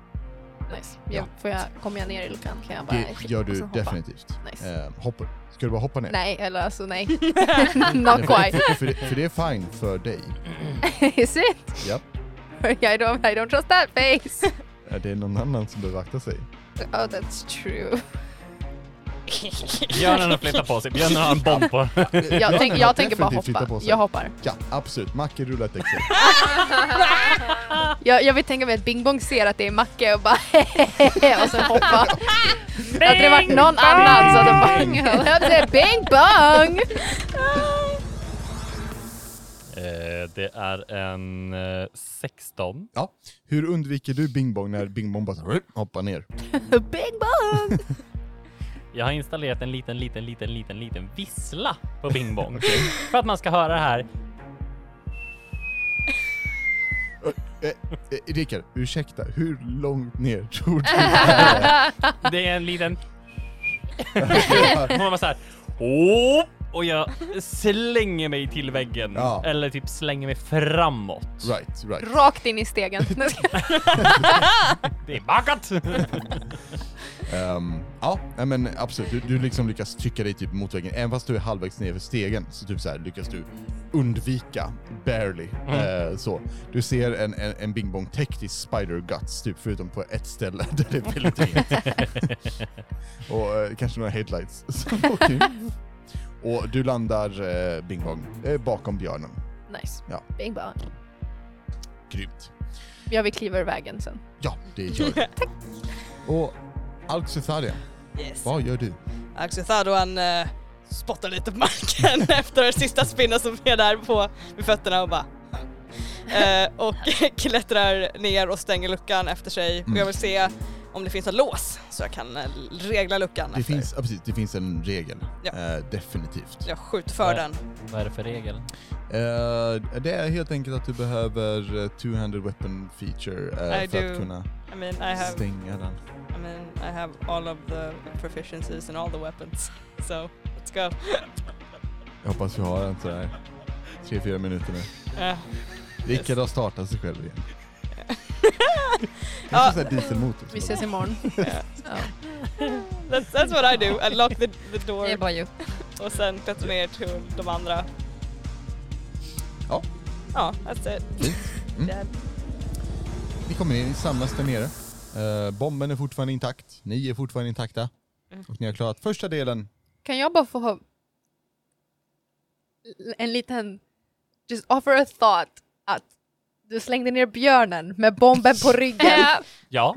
C: Nice. Jag, får jag, kommer jag ner i luckan kan jag bara...
A: Det gör
C: och
A: du
C: sen hoppa.
A: definitivt.
C: Nice.
A: Eh, hoppa. Ska du bara hoppa ner?
C: Nej, eller
A: [LAUGHS]
C: alltså nej. [LAUGHS]
A: Ja,
C: Not
A: för,
C: quite.
A: för, för, det, för det är fine för dig.
C: Mm. [LAUGHS] Is it?
A: Ja.
C: I don't, I don't trust that face.
A: Eh, Det är någon annan som behöver akta sig.
C: [LAUGHS] Oh,
A: [LAUGHS]
C: that's true.
D: Björnen har flyttat på sig, björnen har en bomb på
C: Jag, tänk, jag tänker bara
A: definitivt flytta på
C: hoppa.
A: sig.
C: Jag hoppar.
A: Ja, absolut. Macke rullar ett Excel.
C: Jag, jag vill tänka mig att Bing Bong ser att det är Macke och bara [LAUGHS] och sen hoppa.
A: [LAUGHS]
C: Hade det varit någon annan så hade de bara... [LAUGHS] Jag hade Bing
A: [LAUGHS]
C: Bong!
D: eh, Det är en eh, 16.
A: Ja. Hur undviker du Bing Bong när Bing Bong bara så här, hoppar ner?
C: Bing Bong!
D: Jag har installerat en liten, liten, liten, liten, liten vissla på Bing Bong. För att man ska höra det här.
A: Eh, eh, Rickard, ursäkta. Hur långt ner tror du
C: [LAUGHS]
A: att
D: Det är en [LAUGHS] liten...
A: det
D: Hon
A: är?
D: var så här... "Åh!" Och jag slänger mig till väggen.
A: Ja.
D: Eller typ slänger mig framåt.
A: Right, right.
C: Rakt in
A: [LAUGHS]
C: i stegen. [LAUGHS] Nu ska-
D: Det är bakat!
A: Ehm, ja, nej men absolut. Du, du liksom lyckas trycka dig typ mot väggen. Även fast du är halvvägs ner för stegen så typ så här lyckas du undvika, barely. Eh, så. Du ser en, en, en Bing Bong täckt i spider guts, typ förutom på ett ställe [LAUGHS] där det är väldigt inget. Och eh, kanske några headlights. [LAUGHS] som åker in. Och du landar eh, Bing Bong eh, bakom björnen.
C: Nice.
A: Ja.
C: Bing Bong.
A: Grymt.
C: Jag vill kliva ur vägen sen.
A: Ja, det gör du. Och Alcitharia,
F: Yes.
A: vad gör du?
F: Axel han eh, spottar lite
A: [LAUGHS]
F: på marken efter den sista spinnen som är där på med fötterna och bara eh, och [LAUGHS] klättrar ner och stänger luckan efter sig
A: Mm.
F: och jag vill se om det finns en lås så jag kan eh, regla luckan.
A: Det
F: efter.
A: finns, ja, precis, det finns en regel,
F: Ja.
A: eh, definitivt.
F: Jag skjuter för
D: Ja.
F: den.
D: Vad är det för regel?
A: Eh, det är helt enkelt att du behöver eh, two-handed weapon feature eh,
F: I
A: för att
F: do
A: kunna
F: I mean I have,
A: stänga den.
F: I mean I have all of the proficiencies and all the weapons. [LAUGHS] So let's go.
A: Jag hoppas vi har en sådär tre, fyra minuter nu.
F: Eh,
A: Rickard har startat sig själv
F: [LAUGHS]
A: igen. Kanske
F: Ja.
A: sån här dieselmotor.
C: Vi ses imorgon.
F: yeah. that's, that's what I do. I lock the, the door
E: Ah, Det är bara ju.
F: och sen klättrar ner till de andra.
A: Ja.
F: Ja, that's it.
A: Ni Mm. kommer in, ni samlas där nere. Eh, bomben är fortfarande intakt, ni är fortfarande intakta.
F: Mm.
A: Och ni har klarat första delen.
C: Kan jag bara få ha en liten... Just offer a thought att du slängde ner björnen med bomben
E: [LAUGHS]
C: på ryggen
D: Ja,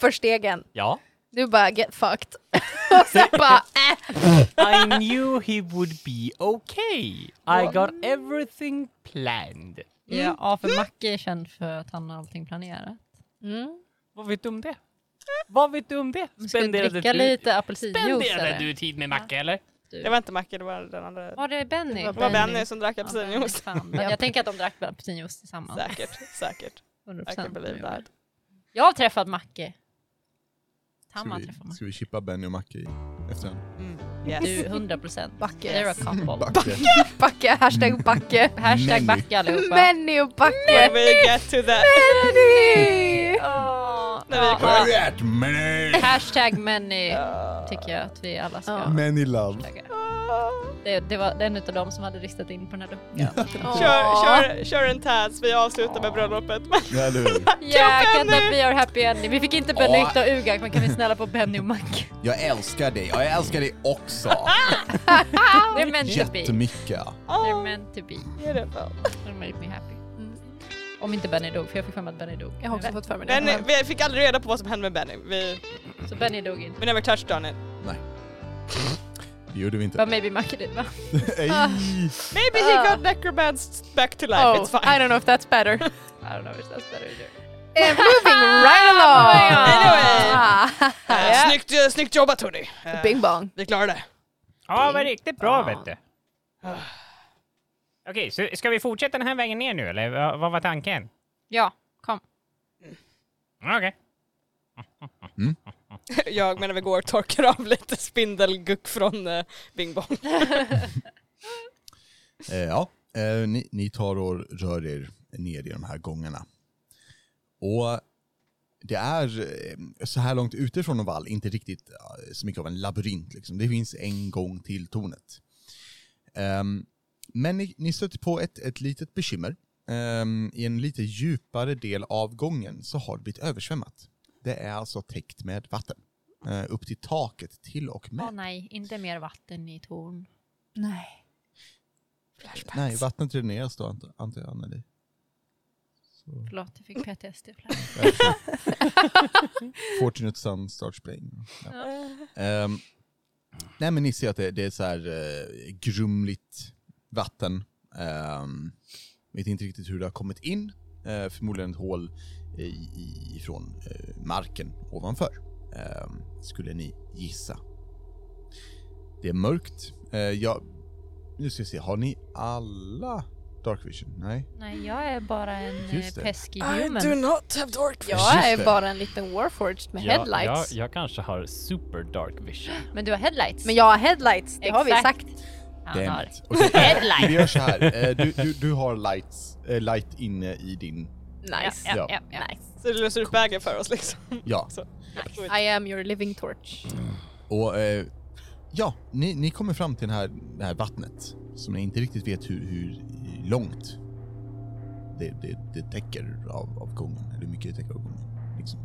C: för stegen.
D: ja.
C: Du bara get fucked. [LAUGHS] Och sen bara äh.
D: I knew he would be okay. I got everything planned.
E: Ja, för Macke är känd för att han har allting planerat.
D: Vad vet du om det? Vad vet du om det?
E: Ska vi dricka lite apelsinjuice
D: spenderade
E: eller?
D: du tid med Macke eller?
F: Det var inte Macke, det var den andra. Det
E: Var det Benny?
C: Det var
F: var Benny, som drack
E: Ja, Benny,
D: [LAUGHS]
F: apelsinjuice.
E: fan. Men Jag tänker att de drack apelsinjuice tillsammans.
F: Säkert, säkert. I
E: 100%.
F: can believe that.
E: Jag har träffat Macke. Hammar
A: vi,
E: träffar man.
A: ska vi chippa Benny och Macke i efterhand?
E: Du, 100 procent.
C: Backe.
E: They're a couple.
A: Backe.
C: Backe, hashtag backe.
E: Hashtag
A: Nelly.
E: backa allihopa.
C: Männy och
B: When
C: backe.
B: we get to
E: [LAUGHS]
B: that.
C: Männy!
B: När vi
E: Ja.
B: kommer.
A: Where at Manny?
E: Hashtag many tycker jag att vi alla ska
C: Ja.
A: Manny love.
E: hashtagga. Det, det var den utav dem som hade ristat in på den här [LAUGHS] luckan.
B: Kör, kör, kör en Taz, vi avslutar med bröllopet.
A: Ja, du.
C: [LAUGHS]
E: Yeah,
B: Klockan
E: can
B: är-
E: that be our happy ending? Vi fick inte Benny
A: Ja.
E: och Ugak, men kan vi snälla få Benny och Mac?
A: Jag älskar dig och jag älskar dig också.
C: [LAUGHS]
E: They're meant to be.
A: Jättemycket.
E: They're
B: Oh,
E: meant to be.
B: beautiful.
E: They make me happy. Mm. Om inte Benny dog, för jag fick för mig att Benny dog.
C: Jag har också fått för mig
B: Benny,
C: det.
B: vi fick aldrig reda på vad som hände med Benny. Vi,
E: Så Benny dog inte.
B: we never touched on it.
A: Det gjorde vi inte.
E: But maybe Mac did va?
A: [LAUGHS] Ej.
B: Maybe he
C: Ah.
B: got necromanced back to life,
C: Oh,
B: it's fine.
C: I don't know if that's better.
E: I don't know if that's better. either.
C: Eh, moving right along!
B: Anyway.
C: Ah,
B: Eh,
C: ja.
B: snyggt, eh, snyggt jobbat hörni! Eh,
C: Bing bong.
B: vi klarade det.
G: Ja, var riktigt bra vet du. Okej, så ska vi fortsätta den här vägen ner nu eller vad- vad var tanken? Mm,
E: Ja, kom.
G: Okej.
B: [LAUGHS] Jag menar vi går och torkar av lite spindelguck från eh, Bing Bong.
A: Eh, ja, eh, ni, ni tar och rör er ner i de här gångarna. Och det är eh, så här långt utifrån Oval inte riktigt eh, så mycket av en labyrint. Liksom. Det finns en gång till tornet. Ehm, men ni, ni stöter på ett, ett litet bekymmer. Ehm, I en lite djupare del av gången så har det blivit översvämmat. Det är alltså täckt med vatten. Eh, upp till taket till och med.
E: Åh nej, inte mer vatten i torn.
C: Nej.
A: Nej, vattnet dräneras då ant- antar jag, Anneli. Så.
E: Förlåt, jag fick PTSD.
A: Fortunate son starts playing. Ja. Ehm, nej men ni ser att det, det är så här eh, grumligt vatten. Ehm, vet inte riktigt hur det har kommit in. Eh, förmodligen ett hål i, i, ifrån eh, marken ovanför. Ehm, skulle ni gissa. Det är mörkt. Eh, ja, nu ska vi se, har ni alla Dark Vision? Nej.
E: nej, jag är bara en
A: Just
E: eh,
A: det.
E: pesky human.
B: not have dark
C: Jag
A: Just
C: är
A: det.
C: bara en liten warforged med
D: Jag,
C: headlights.
D: jag, jag kanske har super dark vision.
E: Men du har headlights.
C: Men jag har headlights, det har vi
E: Exakt.
C: sagt.
E: Han
A: Damn
E: har.
A: it. Okej, eh,
E: Headlight.
A: Vi gör så här. Eh, Du, du, du har lights, eh, light inne i din...
C: Nice.
E: Ja, ja,
A: Ja.
E: ja, ja.
B: Så du löser upp vägen för oss liksom.
A: Ja.
B: Så.
C: I am your living torch.
A: Och eh, ja, ni, ni kommer fram till den här, det här vattnet som ni inte riktigt vet hur, hur långt det, det, det täcker av, av gången. Eller hur mycket det täcker av gången. Liksom.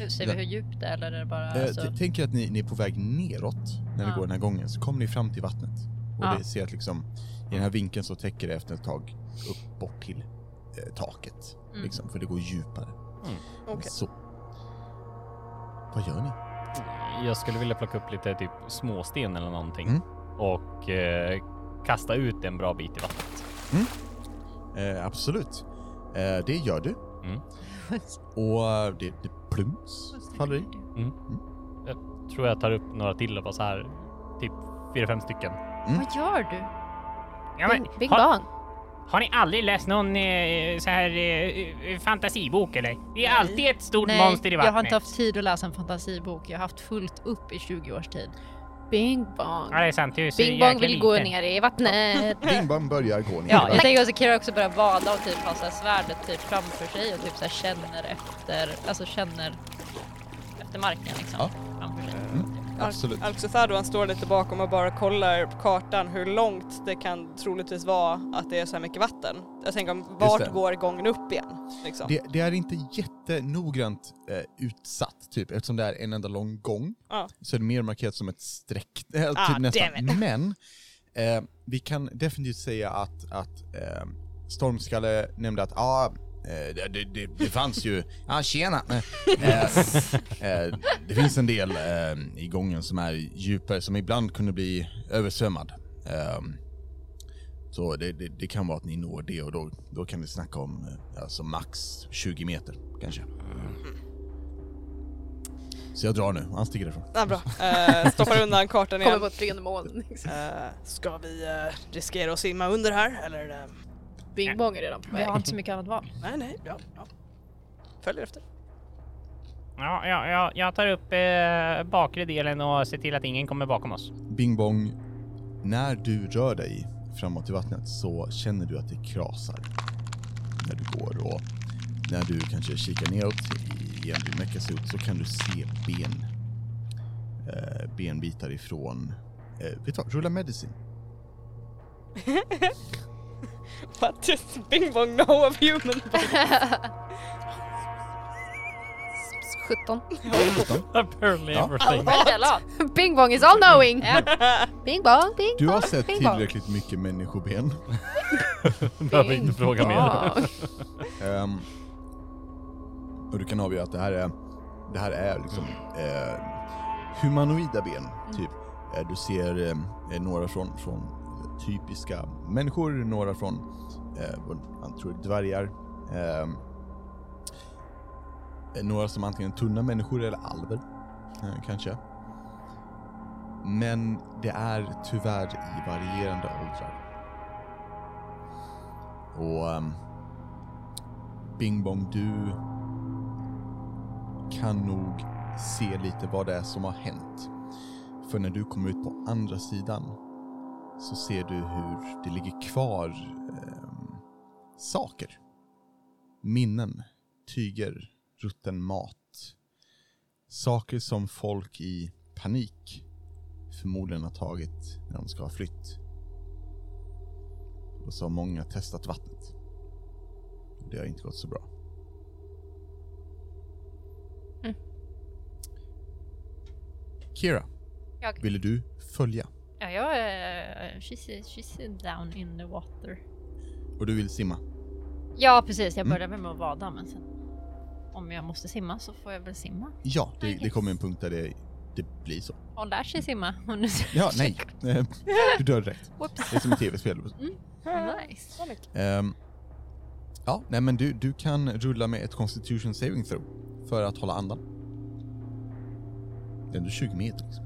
E: Hur- Ser vi hur djupt det är eller är det bara...
A: Eh,
E: Alltså,
A: t- Tänk er att ni, ni är på väg neråt när ni
E: Ja.
A: går den här gången, så kommer ni fram till vattnet. Och
E: Ja.
A: det ser att liksom, i den här vinkeln så täcker det efter ett tag upp bort till eh, taket.
E: Mm.
A: Liksom, för det går djupare.
B: Okej.
A: Så. Vad gör ni?
D: Jag skulle vilja plocka upp lite typ småsten eller någonting
A: Mm.
D: och eh, kasta ut en bra bit i vattnet.
A: Eh, absolut. Eh, det gör du.
D: Mm.
A: Och eh, det, det plums faller i.
D: Tror jag tar upp några till och bara så här, typ fyra, fem stycken.
A: Mm.
E: Vad gör du?
G: Ja, men,
C: Bing, bing
G: har,
C: bong.
G: har ni aldrig läst någon eh, så här eh, fantasibok eller? Det är alltid ett stort monster i vattnet.
E: jag har inte haft tid att läsa en fantasibok. Jag har haft fullt upp i 20 års tid.
C: Bing bong.
G: Ja, det är sant. Du är så
C: Bing bong
G: jäkla
C: vill gå
G: liten.
C: ner
E: [LAUGHS]
C: i vattnet.
A: Bingbang börjar gå ner.
E: Ja, jag tänker också Kira också börja vada och typ ha så här svärdet typ framför sig och typ så här känner efter, alltså känner efter marken liksom.
A: Ja.
E: Framför sig.
A: Absolut.
B: Alltså Thadoan står lite bakom och bara kollar på kartan hur långt det kan troligtvis vara att det är så här mycket vatten. Jag tänker om
A: Just
B: vart
A: det.
B: går gången upp igen? Liksom.
A: Det, det är inte jättenoggrant eh, utsatt, typ. eftersom det är en enda lång gång.
B: Ja.
A: Så är det mer markerat som ett streck. [LAUGHS] eh,
B: Ah,
A: typ nästan.
B: damn
A: Men eh, vi kan definitivt säga att, att eh, Stormskalle nämnde att ah, eh, det, det- det, det fanns
B: [LAUGHS]
A: ju... Ja, ah, tjena! Eh, eh, det finns en del eh, i gången som är djupare, som ibland kunde bli översvämmad. Ehm, så det, det, det kan vara att ni når det och då, då kan vi snacka om eh, alltså max 20 meter kanske.
B: Mm.
A: Så jag drar nu, han sticker därifrån.
B: Ja, bra. Eh, stoppar undan kartan
C: Kommer
B: igen.
C: på tionde månen.
B: Eh, ska vi eh, riskera att simma under här eller? eh,
C: [LAUGHS] Bing bong är redan på
E: Vi
C: väg.
E: har inte så mycket annat val.
B: nej, nej, ja, ja. Följer efter.
G: Ja, ja, ja, jag tar upp eh, bakre delen och ser till att ingen kommer bakom oss.
A: Bing bong, när du rör dig framåt i vattnet så känner du att det krasar när du går och när du kanske kikar neråt igen, du mäckas ut så kan du se ben. Eh, benbitar ifrån, eh, vet du vad, rulla medicine.
B: What is bing bong no of human body?
C: 17.
D: Apparently
A: Ja.
D: [LAUGHS] everything.
E: Jävlar.
C: [LAUGHS] Bing bong is all knowing! [LAUGHS] Bing bong, bing
A: Du har
C: bong,
A: sett
C: bing bong.
A: tillräckligt mycket människoben.
D: Behöver inte fråga mer.
C: Bong.
A: Ehm, och du kan avgöra att det här är, det här är liksom eh, humanoida ben, typ. Eh, du ser eh, några från, från typiska människor, några från, eh, vad han tror dvärgar. Ehm, eh, några som antingen är tunna människor eller alver, eh, kanske. Men det är tyvärr i varierande åldrar. Och ehm, Bing Bong, du kan nog se lite vad det är som har hänt. För när du kommer ut på andra sidan så ser du hur det ligger kvar ehm, saker. Minnen, tyger, rutten mat. Saker som folk i panik förmodligen har tagit när de ska ha flytt. Och så har många testat vattnet. Det har inte gått så bra.
C: Mm.
A: Kira,
E: Jag.
A: ville du följa?
E: Ja, jag är... She's, she's down in the water.
A: Och du vill simma?
E: Ja, precis. Jag
A: Mm.
E: började med att bada, men sen... Om jag måste simma så får jag väl simma.
A: Ja, det,
E: Okej.
A: det kommer en punkt där det, det blir så.
E: Hon lär sig simma. Hon är så-
A: Ja, nej. [LAUGHS] Eh, du dör direkt. Det är som ett tv-spel.
E: [LAUGHS] Mm. nice.
A: Ehm, ja, nej men du, du kan rulla med ett Constitution Saving Throw för att hålla andan. Det är ändå 20 meter. Liksom.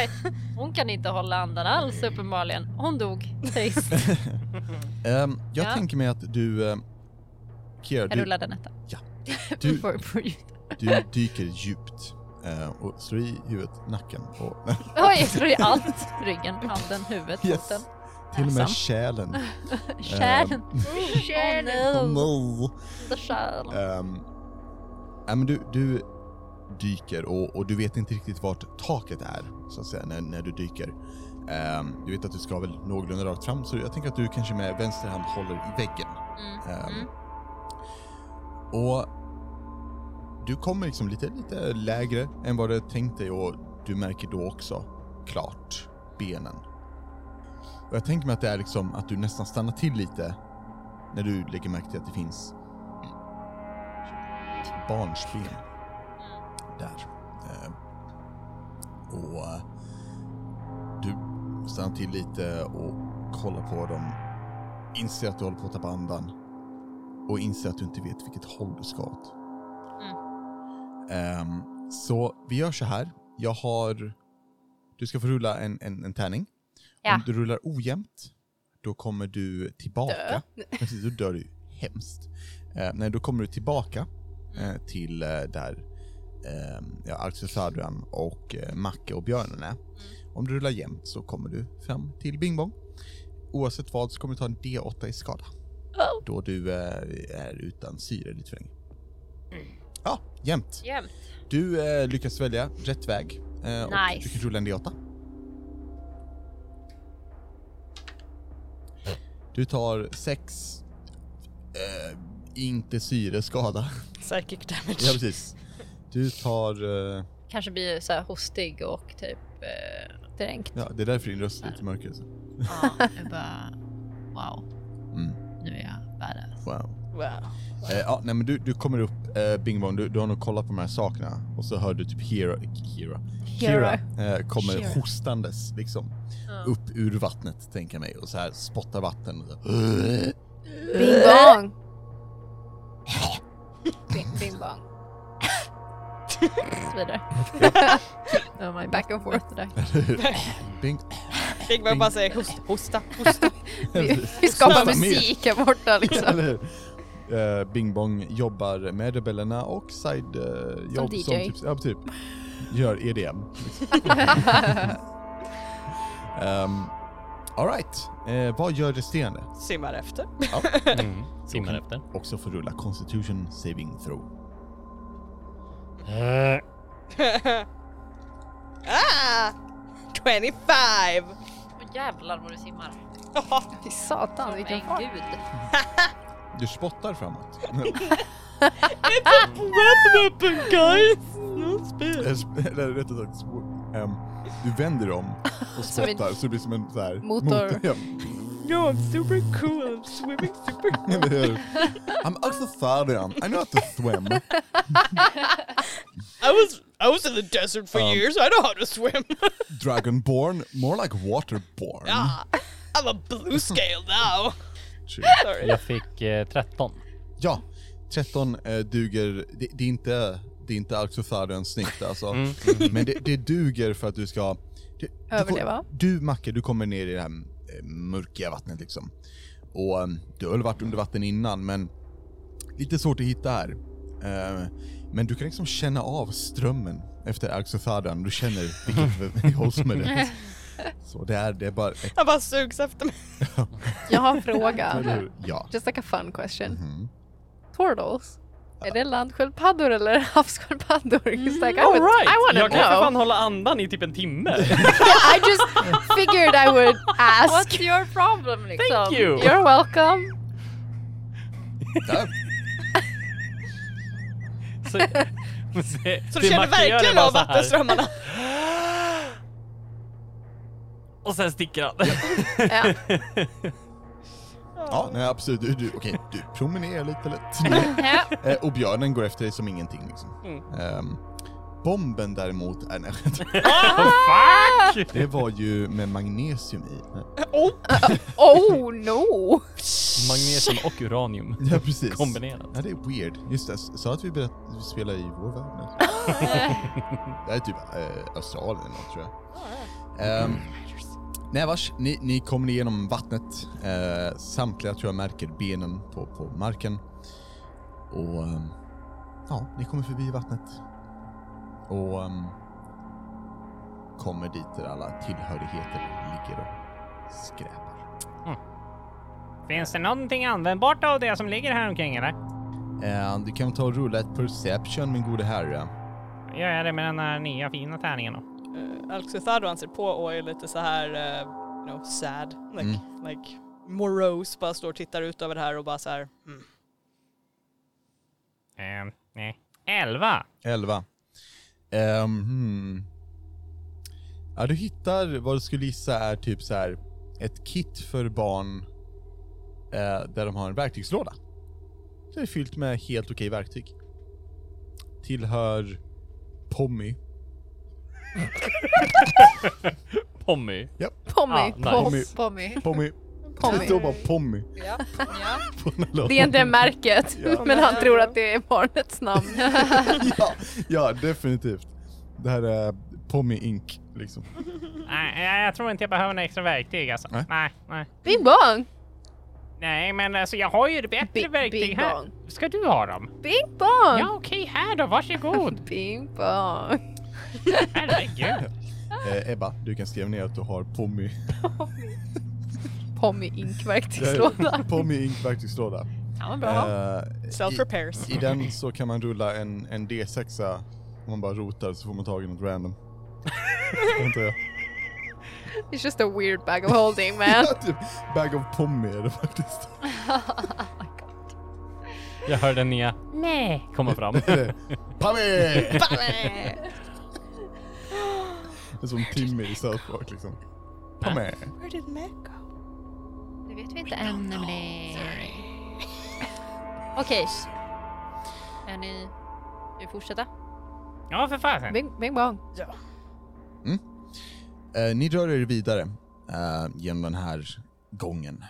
E: Oj, hon kan inte hålla andan alls uppenbarligen. Hon dog.
A: [LAUGHS]
E: Trist.
A: Ehm, jag
E: Ja.
A: tänker mig att du... Eh, Kira,
E: Jag
A: du,
E: rullade en etta.
A: du,
E: [LAUGHS] För, för ljud.
A: Du dyker djupt eh, och slår i huvudet, nacken och [LAUGHS]
E: Oj, jag slår i allt. Ryggen, handen, huvudet,
A: Yes. Eh,
E: foten,
A: till och med
E: Näsan.
A: kärlen.
E: kärlen. Kärlen.
A: Ehm, no.
E: Kärlen.
A: Ehm, nej, men du, du dyker och, och du vet inte riktigt vart taket är, så att säga, när, när du dyker. Ehm, du vet att du ska väl någorlunda rakt fram, så jag tänker att du kanske med vänster hand håller i väggen.
E: Mm.
A: Ehm,
E: Mm.
A: Och du kommer liksom lite, lite lägre än vad du tänkt dig och du märker då också klart benen. Och jag tänker mig att det är liksom att du nästan stannar till lite när du lägger märke till att det finns barnsben där. Eh, Och eh, du stannar till lite och kollar på dem, inser att du håller på att tappa andan och inser att du inte vet vilket håll du ska åt.
E: Mm.
A: Ehm, så vi gör så här. Jag har... Du ska få rulla en, en, en tärning.
E: Ja.
A: Om du rullar ojämnt, då kommer du tillbaka. [LAUGHS] Precis, då dör du hemskt. Eh, nej, då kommer du tillbaka eh,
E: Mm.
A: till eh, där eh, ja, Axel Sadran och eh, Macke och björnen är.
E: Mm.
A: Om du rullar jämnt så kommer du fram till Bing Bong. Oavsett vad så kommer du ta en D8 i skada då du eh, är utan syre lite för länge. Ja, jämnt.
E: Jämnt.
A: Du eh, lyckas välja rätt väg. eh, och
E: Nice.
A: Du kan rulla en D8. Du tar sex, eh, inte syreskada. [LAUGHS]
B: Psychic damage.
A: ja, precis. Du tar, eh,
E: Kanske blir så här hostig och typ eh, dränkt.
A: ja det är därför din röst är lite mörkare. så.
E: Ja, jag bara, wow,
A: Mm,
E: nu är jag badass.
A: wow.
B: Wow.
A: Eh, ja, nej men du, du kommer upp, eh, Bing Bong, du, du har nog kollat på de här sakerna och så hör du typ Hero, Hero, Kira eh, kommer
E: Kira.
A: hostandes liksom
E: Ja.
A: upp ur vattnet tänker jag mig och så här spottar vatten och så, "Äh?"
C: Bing bong! Bing, bing bong.
E: Och
A: [LAUGHS]
E: så vidare. [LAUGHS] oh my
C: Back and forth.
E: Där.
A: Bing.
B: Bing bong
A: [LAUGHS]
B: bara säger hosta, hosta, hosta.
C: Vi skapar musik här borta liksom.
A: Eller hur? eh, Bing Bong jobbar med rebellerna och side eh, jobb
C: DJ.
A: som typ, ja, typ gör [LAUGHS] EDM. liksom. um, Alright, eh, vad gör resterande?
B: Simmar efter.
D: Mm. Simmar efter.
A: Också får rulla Constitution Saving Throw.
B: ah! 25!
E: Åh jävlar vad du simmar.
C: Fy satan vilken
E: Men
C: fart.
E: gud.
A: Du spottar
B: [LAUGHS]
A: framåt.
B: Weapon guys! No spel.
A: Eller Eh, eller rättare sagt, spo- ehm, du vänder om och
C: Som en-
A: spottar så det blir som en så här
C: Motor.
A: ja.
B: No, I'm super cool, I'm swimming super cool.
A: [LAUGHS] Eller hur? I'm Alcazarian, I know how to
B: [LAUGHS]
A: swim.
B: I was, I was in the desert for
A: Um.
B: years, I know how to swim. [LAUGHS]
A: Dragonborn, more like waterborn.
B: ah, I'm a blue scale now.
A: Shit.
B: Sorry.
D: Jag fick eh, 13.
A: Ja, 13 eh, duger, det, det är inte, det är inte Alcazarians snitt alltså. Men det, det duger för att du ska... Du,
C: Överleva.
A: Du, får- du Macke, du kommer ner i det här eh, mörkiga vattnet liksom. Och eh, du har väl varit under vatten innan men lite svårt att hitta här. Eh, Men du kan liksom känna av strömmen efter Alcazarian, du känner vilket håll som är rätt. Så det är, det är bara...
B: Han bara sugs efter mig.
C: Jag har en fråga.
A: Eller hur? Ja.
C: Just like a fun question.
A: Mhm.
C: Turtles? Är det landsköldpaddor eller [LAUGHS] havssköldpaddor? Just like, I, would,
D: Alright!
C: I wanna
D: Jag kan för
C: know.
D: fan hålla andan i typ en [LAUGHS] timme.
C: I just [LAUGHS] figured I would ask.
E: What's your problem liksom?
D: Thank you!
C: You're welcome.
A: Där.
D: [LAUGHS] Så, [LAUGHS]
B: Så du känner verkligen av vattenströmmarna.
D: Och sen sticker han.
C: Ja.
A: Ja, nej absolut. Du, du, okej, du promenerar lite lätt.
E: Ja.
A: Eh, och björnen går efter dig som ingenting liksom. Ehm, bomben däremot, är, nej, [LAUGHS]
D: Fuck!
A: det var ju med magnesium i.
C: Oh no!
D: [LAUGHS] Magnesium och uranium
A: [LAUGHS] Ja precis.
D: kombinerat.
A: Ja det är weird. Just det, s- sa att vi berätt, vi spelar i vår värld nu? det är typ eh, Australien eller något, tror jag. Ehm, nej vars, ni, ni kommer igenom vattnet. Eh, samtliga tror jag märker benen på, på marken. Och ehm, ja, ni kommer förbi vattnet. Och ehm, kommer dit där alla tillhörigheter ligger och skräpar.
G: Finns det någonting användbart av det som ligger här omkring eller?
A: Eh, du kan ta och rulla ett perception min gode herre.
G: Gör jag det med den här nya fina tärningen då?
B: Uh, Alcuzardo ser på och är lite så här, eh, you know, sad. Like, like morose, bara står och tittar ut över det här och bara så här. Mm.
G: Ehm, nej. Elva!
A: 11. Ehm, hmm. Ja, du hittar vad du skulle gissa är typ så här ett kit för barn eh, där de har en verktygslåda. Det är fyllt med helt okej verktyg. Tillhör Pommy.
D: Pommy.
C: Pommy,
D: Ah, nice.
C: Pommy, Pommy,
A: Pommy. Det
C: Pommy.
A: står bara Pommy
E: Ja. Ja.
A: [LAUGHS] på den här lådan.
C: Det är inte märket,
A: Ja.
C: [LAUGHS] men han tror att det är barnets [LAUGHS] namn.
A: ja, ja, definitivt. Det här är Pommy Inc. liksom.
G: Nej, jag- jag tror inte jag behöver några extra verktyg alltså.
A: Nej.
G: Nej, nej.
C: Bing bong!
G: Nej, men alltså jag har ju bättre
C: Big-
G: verktyg
C: big
G: här.
C: bong.
G: Ska du ha dem?
C: Bing bong!
G: Ja, okej, här då, varsågod.
C: Bing bong.
G: Herregud.
A: Eh, Ebba, du kan skriva ner att du har Pommy.
C: Pommy Ink-verktygslåda.
A: Pommy Inc. verktygslåda.
E: Kan vara bra.
A: Eh,
B: Self repairs.
A: I den så kan man rulla en, en D6, om man bara rotar så får man tag i något random. Antar jag.
C: It's just a weird bag of holding man.
A: typ bag of pommy är det faktiskt.
D: Jag hör den nya nej
A: [LAUGHS]
D: komma fram.
A: Pommy! det är som Timmy i South Park liksom. Pommy!
B: Where did Mac go?
E: Det vet vi inte än nämligen. Okej. Är ni... Ska vi fortsätta?
G: Ja, för fasen.
C: Bing, bing bong.
A: Eh, ni rör er vidare eh, genom den här gången.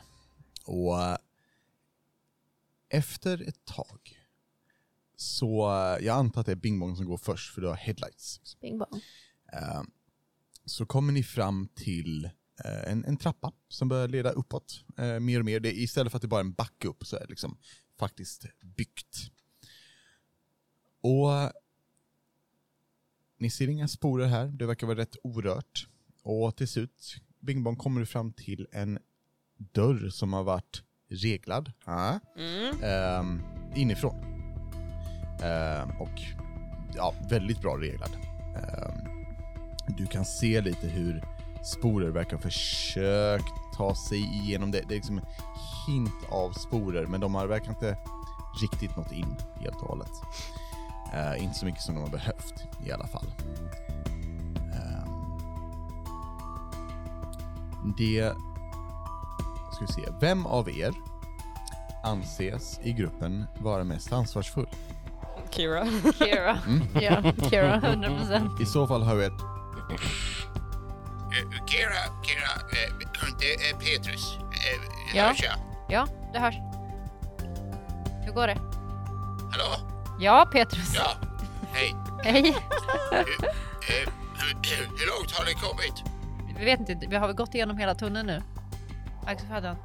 A: Och eh, efter ett tag så, eh, jag antar att det är Bing Bong som går först för du har headlights.
C: Bing bong.
A: Eh, så kommer ni fram till eh, en, en trappa som börjar leda uppåt eh, mer och mer. Det, istället för att det bara är en backe upp så är det liksom faktiskt byggt. Och eh, ni ser inga sporer här, det verkar vara rätt orört. Och till slut, Bing Bong, kommer du fram till en dörr som har varit reglad. Ah
B: Mm.
A: ehm, inifrån. Ehm, och ja, väldigt bra reglad. Ehm, du kan se lite hur sporer verkar ha försökt ta sig igenom det. Det är liksom en hint av sporer, men de har verkar inte riktigt nått in helt och hållet. Ehm, inte så mycket som de har behövt i alla fall. Ehm, det... Ska vi se. Vem av er anses i gruppen vara mest ansvarsfull.
B: Kira.
E: Kira.
I: Mm.
E: [LAUGHS] ja, Kira, 100 procent.
A: I så fall har vi ett...
I: Eh, Kira, Kira, eh, det är Petrus. Eh,
E: Ja.
I: Hörs jag?
E: Ja, det hörs. Hur går det?
I: Hallå?
E: Ja, Petrus.
I: Ja. Hej.
E: Hej.
I: Eh, hur långt har ni kommit?
E: Vi vet inte, vi har väl gått igenom hela tunneln nu? Axel Fadden.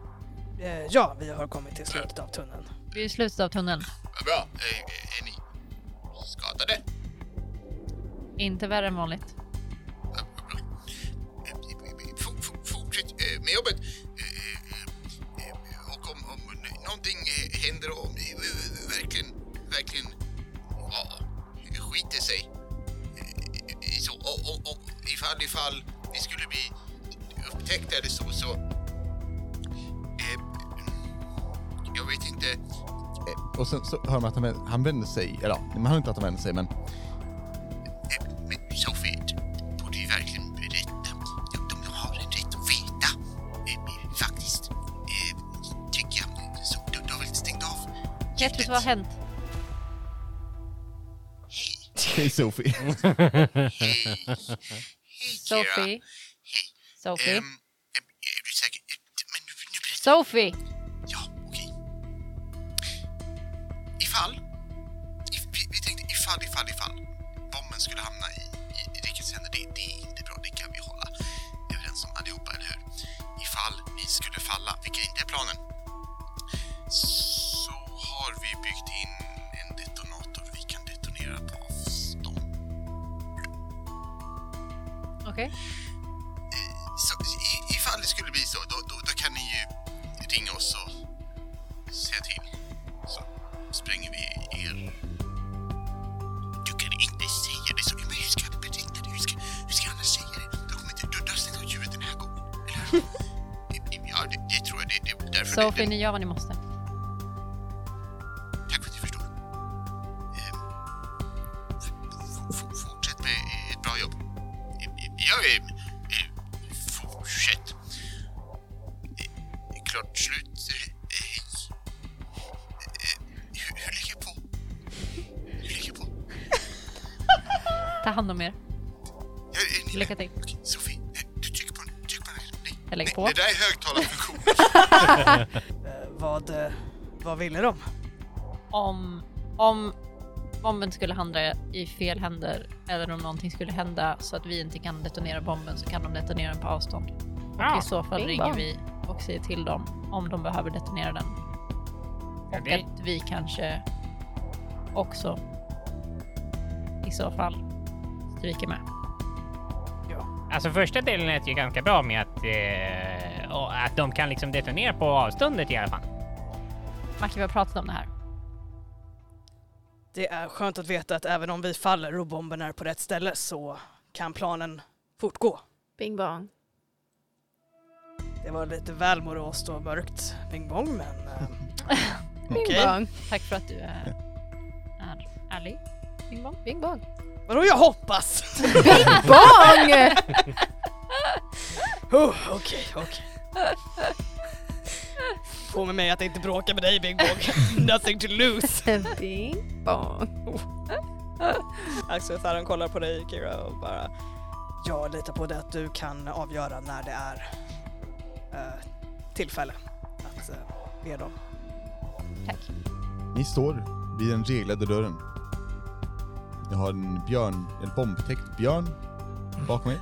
B: Eh, Ja, vi har kommit till slutet av tunneln.
E: Vi är i slutet av tunneln.
I: Vad bra. Eh, eh, är ni skadade?
E: Inte värre än vanligt.
I: Eh, eh, eh, for- for- Fortsätt eh, med jobbet. Eh, eh, eh, Och om, om någonting eh, händer och om ni eh, verkligen, verkligen ja, skiter sig. eh, eh, Så, och, och, och ifall, ifall ni skulle bli upptäckta eller så, så... eh, Jag vet inte.
A: eh, Och sen så hör man att han, vä- han vänder sig, eller ja, man hör inte att han vänder sig men
I: Men Sofie, du borde ju verkligen berätta. De, de har en rätt att veta. Eh, faktiskt. Eh, tycker jag. Så, du, du har väl stängt av?
E: Petrus, vad har hänt?
A: hej Sofie.
E: [LAUGHS]
I: Hej. Hej, Kira.
E: Sophie? Sophie?
I: Ehm, ehm, är du säker? Eh, Men nu, nu berättar
E: Sophie!
I: Ja, okej. Ifall... If, vi, vi tänkte ifall, ifall, ifall bomben skulle hamna i, i, i rikets händer. Det, det är inte bra, det kan vi hålla överens om allihopa, eller hur? Ifall vi skulle falla, vilket inte är planen, så har vi byggt in en detonator vi kan detonera på avstånd.
E: Okej.
I: Eh, Så, i, ifall det skulle bli så, då, då, då kan ni ju ringa oss och säga till. Så spränger vi er. Du kan inte säga det så. Men hur ska jag berätta det? Hur ska, hur ska jag annars säga det? Du kommer inte döda sig av djuret den här gången, eller hur? Ja, det, det tror jag. Det, det, därför det-
E: Sophie,
I: det,
E: ni gör vad ni måste.
I: Tack för att ni förstår. Ehm, f- f- f- Fortsätt med ett bra jobb. Ehm, Jag är... eh, Fortsätt. Eh, Klart slut. Eh, Hej. Eh, Hur hur lägger jag på? Hur lägger jag på?
E: Ta hand om er.
I: Ja, är ni med?
E: Lycka till.
I: Okej, Sofie, eh, du trycker på den. Tryck på den. Nej,
E: Jag lägger
I: nej,
E: på.
I: det där är högtalarfunktion.
B: Eh, Vad, eh, vad ville de?
E: Om, om bomben skulle hamna i fel händer eller om någonting skulle hända så att vi inte kan detonera bomben så kan de detonera den på avstånd.
G: Ja,
E: I så fall
C: bing
E: ringer
C: bong.
E: vi och säger till dem om de behöver detonera den.
G: ja,
E: Och
G: det,
E: att vi kanske också i så fall stryker med.
G: alltså första delen lät ju ganska bra med att, eh, och att de kan liksom detonera på avståndet i alla fall.
E: Macke, vi har pratat om det här.
B: Det är skönt att veta att även om vi faller och bomben är på rätt ställe så kan planen fortgå.
C: Bing bong.
B: Det var lite väl moroskt och mörkt Bing Bong, men... eh,
C: Bing
B: Okej.
C: bong.
E: Tack för att du är, är ärlig. Bing bong.
C: Bing bong.
B: Vadå jag hoppas? [LAUGHS]
C: [LAUGHS] Bong!
B: Oh, Okej, okej. Få med mig att inte bråka med dig Bing Bong. [LAUGHS] Nothing to lose.
C: Bing bong.
B: Axel Saran kollar på dig Kira och bara... Jag litar på det att du kan avgöra när det är eh, tillfälle att eh, be dem.
A: [LAUGHS] Ni står vid den reglade dörren. Ni har en björn, en bombtäckt björn bakom er.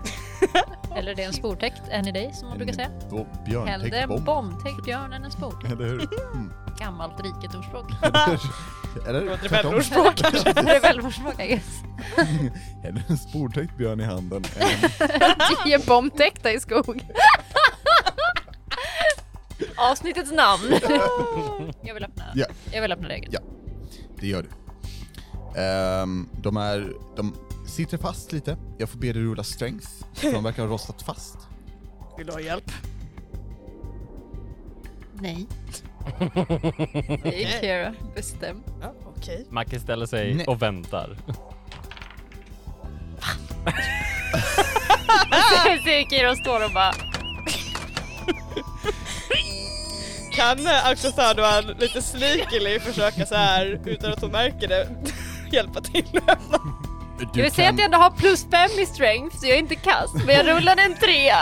E: Eller är det en sportäckt, en i dig som man brukar säga.
A: En bo-
E: Hellre
A: björntäckt
E: en
A: bomb.
E: bombtäckt björn än en sport. [LAUGHS]
A: Eller hur? Mm.
E: ett gammalt
A: [LAUGHS]
E: riket ordspråk.
A: Eller tvärtom.
B: Rebellordspråk kanske?
A: [LAUGHS]
E: Rebellordspråk, I guess.
A: Eller en spordtäckt björn i handen.
E: [LAUGHS]
C: Tio bombtäckta i skog.
E: Avsnittets namn. jag vill öppna.
A: Ja.
E: Jag vill öppna regeln.
A: Ja. Det gör du. Ehm, de är... De sitter fast lite. Jag får be dig rulla strength. för De verkar ha rostat fast.
B: Vill du ha hjälp?
A: [LAUGHS]
E: Nej.
C: Det är Kira, bestämt.
B: Ja, okej.
D: Macke ställer sig
A: Nej.
D: och väntar.
E: Ser Kira står och bara
B: Kan eh, Aksha Saduan lite sneakily försöka så här utan att hon märker det hjälpa till att öppna?
A: Du
E: jag vill säga att jag ändå har plus fem i strength så jag är inte kass men jag rullade en trea.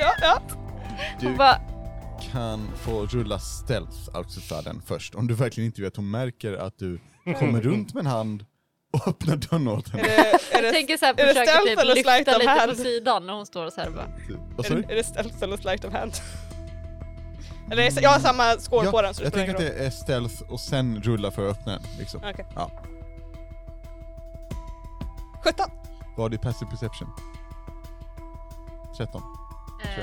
B: Ja, ja.
A: du
E: Hon bara,
A: kan få rulla stealth, Alcestaden, först. Om du verkligen inte vet att hon märker att du kommer runt med en hand och öppnar dörren åt
B: Är
A: henne.
B: det, är
E: jag
B: det,
E: tänker såhär
B: det
E: försöka
B: stealth
E: typ
B: eller sleight
E: lyfta
B: of
E: lite på
B: hand?
E: sidan och hon står och såhär och bara
A: Typ. Vad
B: är
A: sa du?
B: det, är det stealth eller sleight of hand? Eller är det, jag har samma score på den så det
A: jag
B: spelar
A: tänker
B: ingen
A: att
B: roll.
A: det är stealth och sen rulla för att öppna den. Liksom.
B: Okej.
A: Ja.
B: 17!
A: Vad har du i passive perception? 13. tror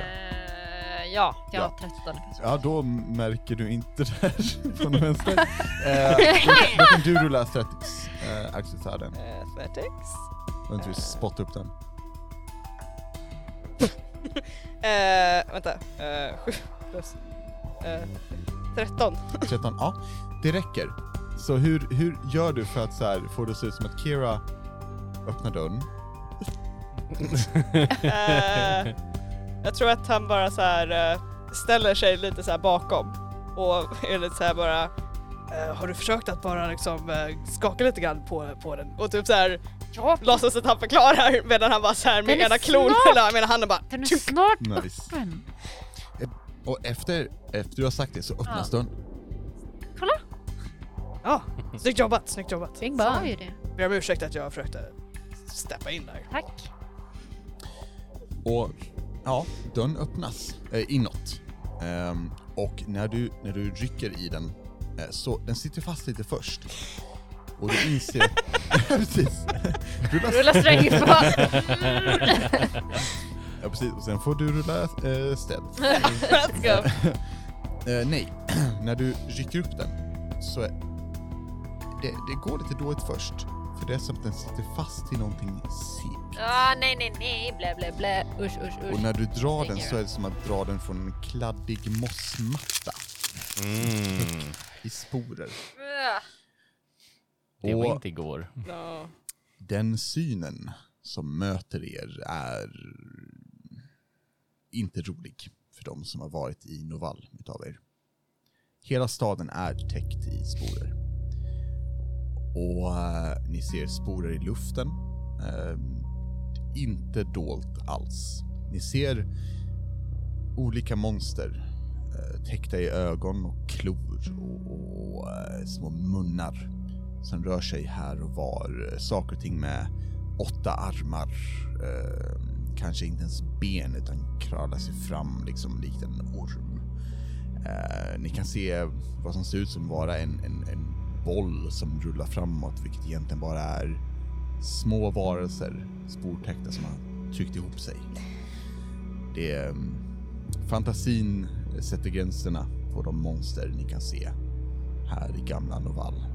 E: eh, ja, jag
A: Ja.
E: har 13 kanske.
A: Ja, då märker du inte det här [LAUGHS] från vänster.
B: [LAUGHS]
A: eh, då, då kan du rulla athletics, eh, Alcestaden.
B: Athletics.
A: Och inte du spottar upp den.
B: Eh, vänta. Eh, 7 plus... Eh, 13.
A: 13, ja. Det räcker. Så hur, hur gör du för att så här, få det att se ut som att Kira öppnar dörren? [LAUGHS]
B: Eh, jag tror att han bara så här eh, ställer sig lite så här bakom och [LAUGHS] är lite så här bara eh, har du försökt att bara liksom eh, skaka lite grann på, på den? Och typ såhär
E: Ja,
B: låtsas att han förklarar medan han bara såhär med
E: är
B: ena klon,
E: smart!
B: eller med ena handen bara [LAUGHS]
E: den är snart
A: Nice.
E: öppen.
A: Och efter, efter du har sagt det så öppnas dörren.
B: [LAUGHS] ja, snyggt jobbat, snyggt jobbat.
C: Bing
E: Sa
C: bang.
E: ju det.
B: Jag ber om ursäkt att jag försökte steppa in där.
E: Tack.
A: Och ja, dörren öppnas eh, inåt. Ehm, och när du, när du rycker i den, eh, så den sitter fast lite först. Och du inser... [LAUGHS] precis. Rulla
E: Rulla strängen på.
A: [LAUGHS] Ja precis, och sen får du rulla eh,
E: [LAUGHS]
A: stealth.
E: go.
A: [LAUGHS] Eh, nej, [CLEARS THROAT] när du rycker upp den så är det, det går lite dåligt först. För det är som att den sitter fast i någonting segt.
E: Ah, nej, nej, nej, blä, blä, blä. Usch, usch,
A: Och
E: usch.
A: när du drar den
E: Stänger
A: så är det som att dra den från en kladdig mossmatta
D: Mm.
A: [LAUGHS] i sporer.
D: Det var
A: Och-
D: inte igår.
B: No.
A: Den synen som möter er är inte rolig för de som har varit i Novall utav er. Hela staden är täckt i sporer. Och eh, ni ser sporer i luften. Eh, inte dolt alls. Ni ser olika monster eh, täckta i ögon och klor och, och eh, små munnar som rör sig här och var. Eh, Saker och ting med åtta armar. Eh, kanske inte ens ben utan kravlar sig fram liksom likt en orm. Eh, ni kan se vad som ser ut som vara en, en, en boll som rullar framåt vilket egentligen bara är små varelser, sportäckta som har tryckt ihop sig. Det är, eh, fantasin sätter gränserna på de monster ni kan se här i gamla Novall.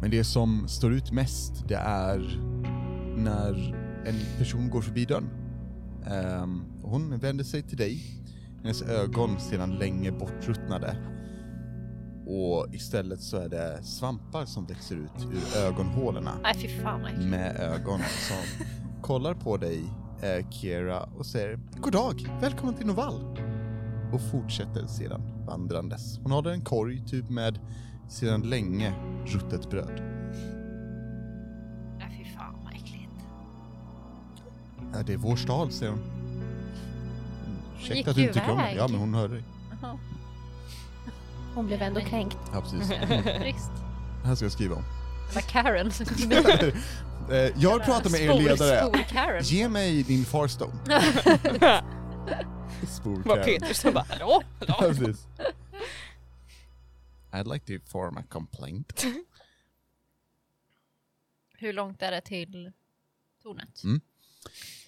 A: Men det som står ut mest, det är när en person går förbi dörren. Ehm, hon vänder sig till dig, hennes ögon sedan länge bortruttnade. Och istället så är det svampar som växer ut ur ögonhålorna
E: [LAUGHS] Nej, fy fan vad äckligt.
A: med ögon som kollar på dig, eh, Kiera, och säger God dag, välkommen till Novall! Och fortsätter sedan vandrandes. Hon håller en korg typ med sedan länge ruttet bröd.
E: Nej, fy fan vad äckligt.
A: Ja, det är vår stad, säger hon.
E: gick
A: Ursäkta att du
E: ju
A: inte kommer.
E: iväg.
A: Ja, men hon hörde dig.
C: Hon blev ändå kränkt.
A: Ja, precis.
E: Trist.
A: Det [LAUGHS] här ska jag skriva om. [LAUGHS]
E: Det var Karen som kom in.
A: Eh, jag pratar med er ledare.
E: Karen.
A: Ge mig din Farstone. Spor
B: typ Det var Peter som bara hallå?
A: Ja, precis. I'd like to form a complaint.
E: Hur långt är det till tornet?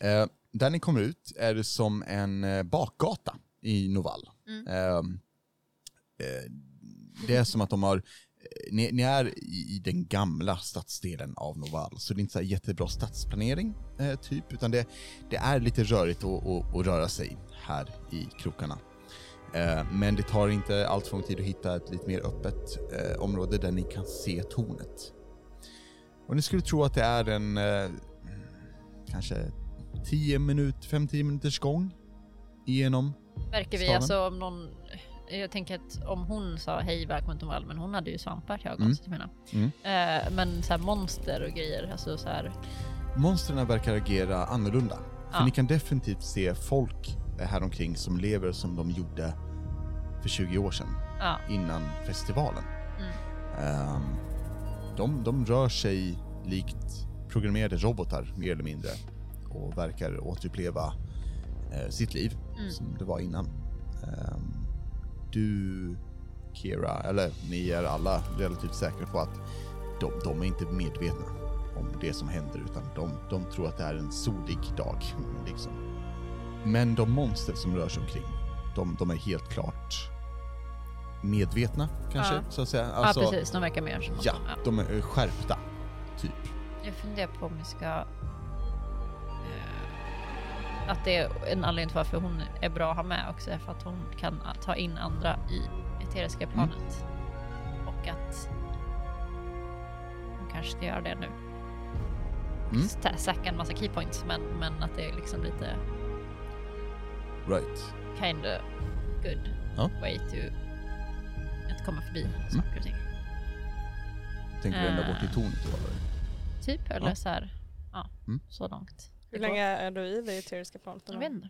A: Eh, där ni kommer ut är det som en eh, bakgata i Novall. Ehm, eh, det är som att de har, eh, ni, ni är i, i den gamla stadsdelen av Novall, så det är inte så här jättebra stadsplanering, eh, typ, utan det, det är lite rörigt att, att, att röra sig här i krokarna. Eh, men det tar inte allt för lång tid att hitta ett lite mer öppet eh, område där ni kan se tornet. Och ni skulle tro att det är en eh, kanske 10 minut, 5-10 minuters gång igenom.
E: Verkar vi
A: Mm. Staden?
E: alltså om någon... Jag tänker att om hon sa hej välkommen till Val, men hon hade ju svampar i ögonen
A: Mm.
E: så jag menar.
A: Mm.
E: Eh, men så här monster och grejer, alltså så här.
A: Monstren verkar agera annorlunda. För
E: Ja.
A: ni kan definitivt se folk eh, här omkring som lever som de gjorde för 20 år sedan,
E: Ja.
A: innan festivalen.
E: Mm.
A: Ehm, de, de rör sig likt programmerade robotar, mer eller mindre, och verkar återuppleva eh, sitt liv
E: Mm.
A: som det var innan. Ehm, du, Kira, eller ni är alla relativt säkra på att de, de är inte medvetna om det som händer utan de, de tror att det är en solig dag. [LAUGHS] Liksom. Men de monster som rör sig omkring, de, de är helt klart medvetna kanske,
E: Ja.
A: så att säga.
E: Ja
A: Alltså,
E: precis, de verkar mer som
A: ja,
E: Ja.
A: de är eh, skärpta, typ.
E: Jag funderar på om vi ska... eh, Att det är en anledning till varför hon är bra att ha med också är för att hon kan ta in andra i eteriska
A: Mm.
E: planet. Och att hon kanske ska göra det nu.
A: Mm.
E: Mm. Säkra en massa keypoints men, men att det är liksom lite
A: Right.
E: kinda good
A: Ja. Mm.
E: way to att komma förbi saker och ting.
A: Tänker du ända
E: Eh.
A: bort till tornet? då, eller?
E: Typ, eller så här, ja,
A: Mm.
E: så långt.
B: Hur länge är du i det eteriska planet?
E: Jag vet inte.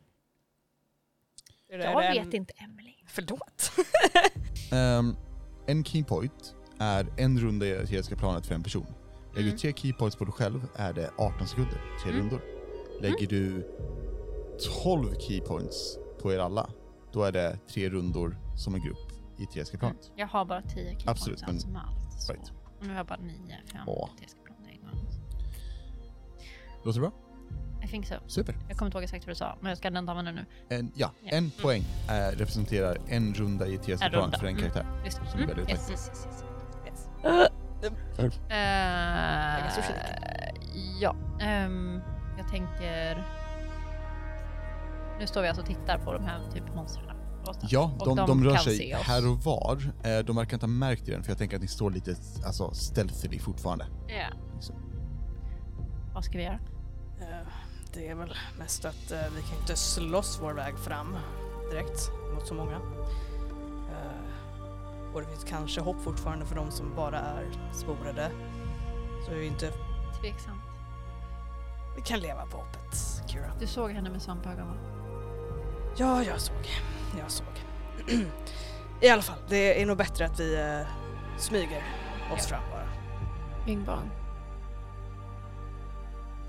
B: Är det- är
E: Jag
B: det en-
E: vet inte Emily.
B: Förlåt.
A: Ehm, en keypoint är en runda i det eteriska planet för en person. Lägger
E: Mm.
A: du tre keypoints på dig själv är det 18 sekunder, tre rundor.
E: Mm.
A: Lägger du 12 keypoints på er alla, då är det tre rundor som en grupp i
E: Mm.
A: eteriska planet.
E: Jag har bara 10 keypoints
A: Absolut, men-
E: allt som allt. Så.
A: Right.
E: Nu har jag bara 9 för jag
A: Ja.
E: använder TSK-planen en gång.
A: Låter bra?
E: I think so.
A: Super.
E: Jag kommer inte ihåg exakt vad du sa, men jag ska ändå använda det nu.
A: En, ja,
E: Ja. Mm.
A: en poäng eh, representerar en runda i eteriska
E: En
A: planet
E: runda.
A: för en
E: Mm.
A: karaktär.
E: Just
A: Som är väldigt
E: yes, yes, yes, yes.
B: Yes.
A: Äh.
E: Eh,
B: är ganska
E: ja, ehm, jag tänker... Nu står vi alltså och tittar på de här typ monstren. och så.
A: Ja, de,
E: Och
A: de, rör
E: kan
A: sig
E: se oss.
A: här och var. Eh, De verkar inte ha märkt er än, för jag tänker att ni står lite alltså, stealthily fortfarande.
E: Ja.
A: Liksom.
E: Vad ska vi göra?
B: Eh, Det är väl mest att eh, vi kan inte slåss vår väg fram direkt mot så många. Eh, Och det finns kanske hopp fortfarande för de som bara är sporade. Så vi, inte,
E: Tveksamt.
B: vi kan leva på hoppet, Kira.
E: Du såg henne med svampögon
A: Mm.
E: va?
B: Ja, jag såg. Jag såg. [CLEARS THROAT] I alla fall, det är nog bättre att vi eh, smyger oss fram bara.
C: Yngbarn.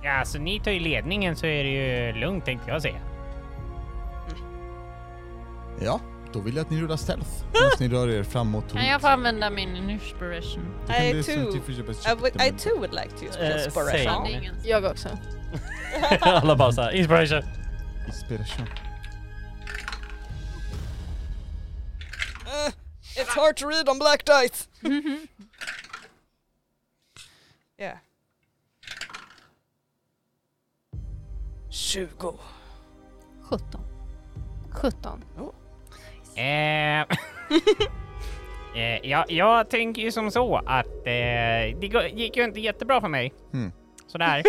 G: Ja, så ni tar ju ledningen så är det ju lugnt tänkte jag säga.
A: Ja, då vill jag att ni rullar stealth medan ni rör er framåt.
E: Kan jag få använda min inspiration?
A: Du kan
B: I
A: definitivt
B: too.
A: försöka
B: I,
A: sikta,
B: would, I
A: men-
B: too would like to use
D: Eh,
B: plus
D: same.
B: inspiration.
E: Det är ingen-
C: Jag också.
D: [LAUGHS] Alla bara såhär, inspiration.
A: Inspiration.
B: Eh, it's hard to read on black
E: [LAUGHS]
B: dice. yeah. 20.
E: 17.
C: 17.
G: Eh, [LAUGHS] eh, jag, jag tänker ju som så att eh, det gå- gick ju inte jättebra för mig.
A: Mm.
G: Sådär.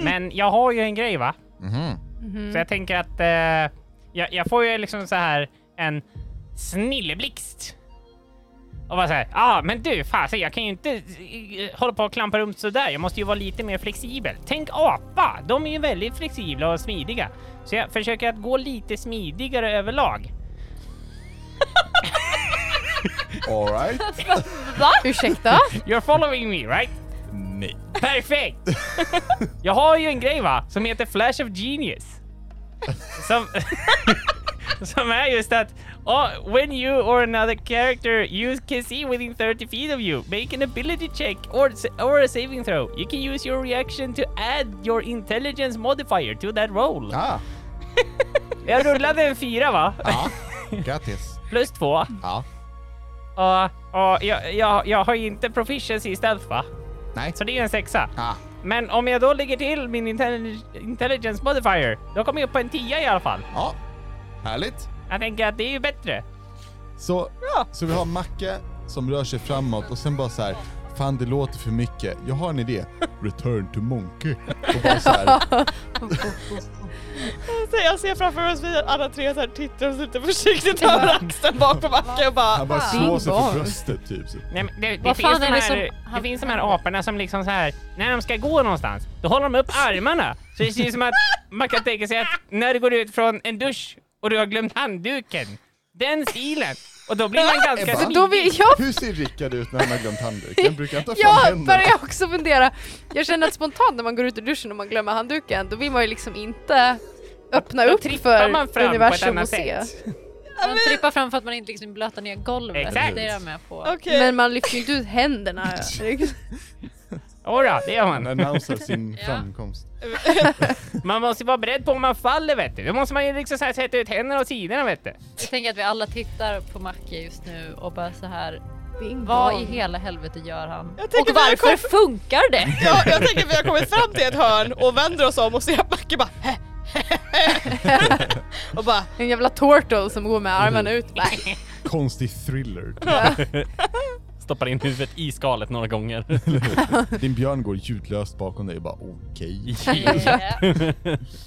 G: Mm. Men jag har ju en grej va?
A: Mhm.
G: Så jag tänker att eh, jag, jag får ju liksom så här en snilleblixt. Och bara såhär, ja ah, men du fasen jag kan ju inte eh, hålla på och klampa runt sådär. Jag måste ju vara lite mer flexibel. Tänk apa, de är ju väldigt flexibla och smidiga. Så jag försöker att gå lite smidigare överlag.
A: Alright.
C: Ursäkta?
G: You're following me right?
A: Nej.
G: Perfekt! [LAUGHS] Jag har ju en grej va, som heter Flash of Genius. Som, [LAUGHS] Som är just att oh, when you or another character you can see within 30 feet of you, make an ability check or, sa- or a saving throw. You can use your reaction to add your intelligence modifier to that roll.
A: Ah,
G: Jag rullade en fyra va?
A: ja. Grattis. Ah,
G: Plus två.
A: Ja.
G: Och, och jag, jag, jag har ju inte proficiency i stealth va?
A: Nej.
G: Så det är en sexa.
A: Ah.
G: Men om jag då lägger till min intelli- intelligence modifier, då kommer jag upp på en tia i alla fall.
A: Ja. Härligt.
G: Jag tänker att det är ju bättre.
A: Så, så vi har Macke som rör sig framåt och sen bara så här. Fan det låter för mycket. Jag har en idé. Return to Monkey. Och bara så här.
B: Så jag ser framför oss vi alla tre så här tittar oss lite försiktigt över axeln bak på backen och bara
A: Han
E: [LAUGHS]
A: bara slår sig för bröstet typ. Så.
G: Nej, men det, det,
E: Vad
G: finns
E: fan
G: de
E: är det
G: här,
E: som-
G: det
E: han-
G: finns de här aporna som liksom så här, när de ska gå någonstans, då håller de upp armarna. Så det ser ut som att man kan tänka sig att när du går ut från en dusch och du har glömt handduken, den stilen. Och då blir man ganska
A: Ebba?
C: Då vill jag,
A: Hur ser Rickard ut när han har glömt handduken? Brukar han ta fram
C: jag
A: händerna?
C: börjar också fundera. Jag känner att spontant när man går ut ur duschen och man glömmer handduken, då vill man ju liksom inte öppna
G: Då
C: upp
G: trippar
C: för
G: man fram på ett
C: universum och
G: annat
C: se.
G: sätt.
E: Man trippar fram för att man inte liksom blötar ner golvet.
G: Exakt.
E: Det är jag med på.
B: okej.
C: Men man lyfter ju inte ut händerna. [LAUGHS]
G: Jodå, det gör
A: Han
G: man.
A: annonserar sin framkomst.
G: Man måste ju vara beredd på om man faller vet du. Då måste man ju liksom så här sätta ut händerna åt sidorna vet du.
E: Jag tänker att vi alla tittar på Macke just nu och bara så här.
C: Bing
E: Vad
C: bong.
E: i hela helvete gör han?
B: tänker
E: Och
B: vi har
E: varför funkar det?
B: Ja, jag tänker att vi har kommit fram till ett hörn och vänder oss om och ser att Macke bara och bara
C: En jävla turtle som går med
A: Mm-hmm.
C: armarna ut. Bäh.
A: Konstig thriller.
D: Stoppar in huvudet i skalet några gånger.
A: Din björn går ljudlöst bakom dig och bara okej.
E: [LAUGHS]
A: [LAUGHS]
E: Yeah.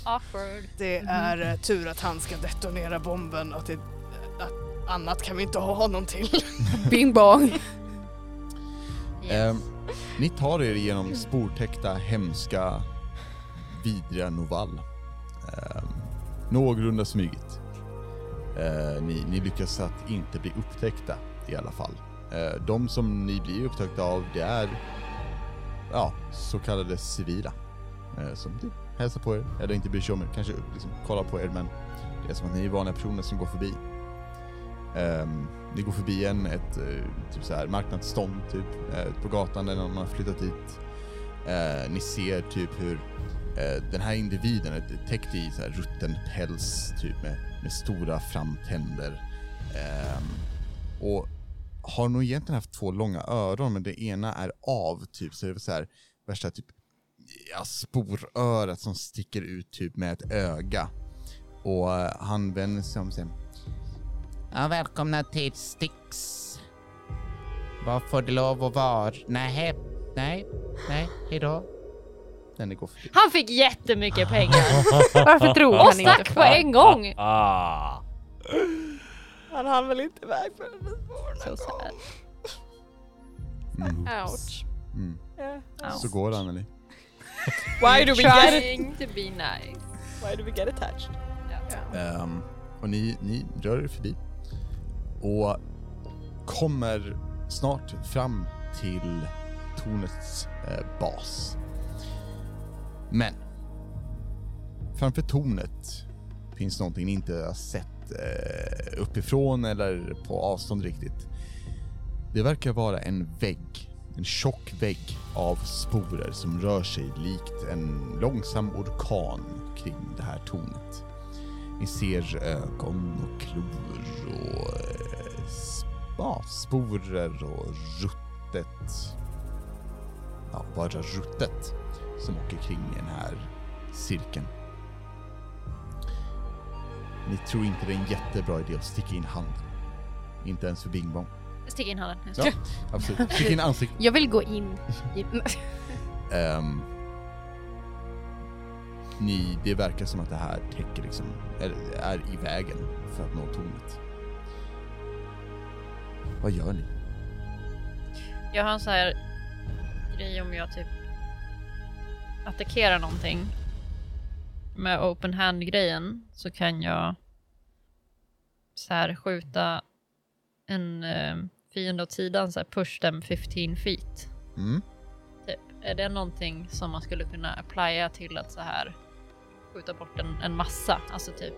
E: Awkward.
B: Det är eh, tur att han ska detonera bomben och det, att annat kan vi inte ha honom till.
A: [LAUGHS]
C: Bing bong.
A: Ehm, ni tar er genom spårtäckta, hemska, vidriga Novall. Ehm, någorlunda smygigt. Eh, ni, ni lyckas att inte bli upptäckta i alla fall. Eh, de som ni blir upptäckta av, det är ja, så kallade civila. Eh, som typ hälsar på er, eller inte bryr sig om er, kanske liksom kollar på er, men det är som att ni är vanliga personer som går förbi. Ehm, ni går förbi en, ett eh, typ så här, marknadsstånd typ, eh, på gatan där någon har flyttat dit. Eh, ni ser typ hur eh, den här individen är täckt i så här rutten päls typ med, med stora framtänder. Ehm, och har nog egentligen haft två långa öron men det ena är av typ så det är så här värsta typ ja, sporörat som sticker ut typ med ett öga. Och eh, han vänder sig om och säger
J: Ja, välkomna till Stix. Vad får det lov att vara? Nej, nej, nej, hejdå.
A: när ni går förbi.
E: Han fick jättemycket pengar
C: Varför tror
E: och
C: han inte?
A: Typ
E: stack på en gång.
D: Ah.
B: Han hann väl inte iväg för en
E: Så så här.
A: Mm.
C: Ouch.
A: Mm.
E: 啊
A: Så går det Anneli.
B: Why do we get it?
E: Trying to be nice.
B: Why do we get attached?
A: Ehm, och ni, ni rör er förbi. Och kommer snart fram till tornets eh, bas. Men framför tornet finns någonting ni inte har sett eh, uppifrån eller på avstånd riktigt. Det verkar vara en vägg, en tjock vägg av sporer som rör sig likt en långsam orkan kring det här tornet. Ni ser ögon och klor och eh, s- ja, sporer och ruttet. Ja, bara ruttet som åker kring i den här cirkeln. Ni tror inte det är en jättebra idé att sticka in handen. Inte ens för Bing Bong.
E: Stick in handen.
A: Ja, absolut. Sticka in ansiktet.
C: Jag vill gå in. [LAUGHS] i-
A: Ehm, ni, det verkar som att det här täcker liksom, eller är i vägen för att nå tornet. Vad gör ni?
E: Jag har en så här grej om jag typ attackerar någonting med open hand grejen så kan jag så här skjuta en eh, fiende åt sidan så här push them 15 feet.
A: Mm.
E: Typ. Är det någonting som man skulle kunna applya till att så här skjuta bort en, en massa? Alltså typ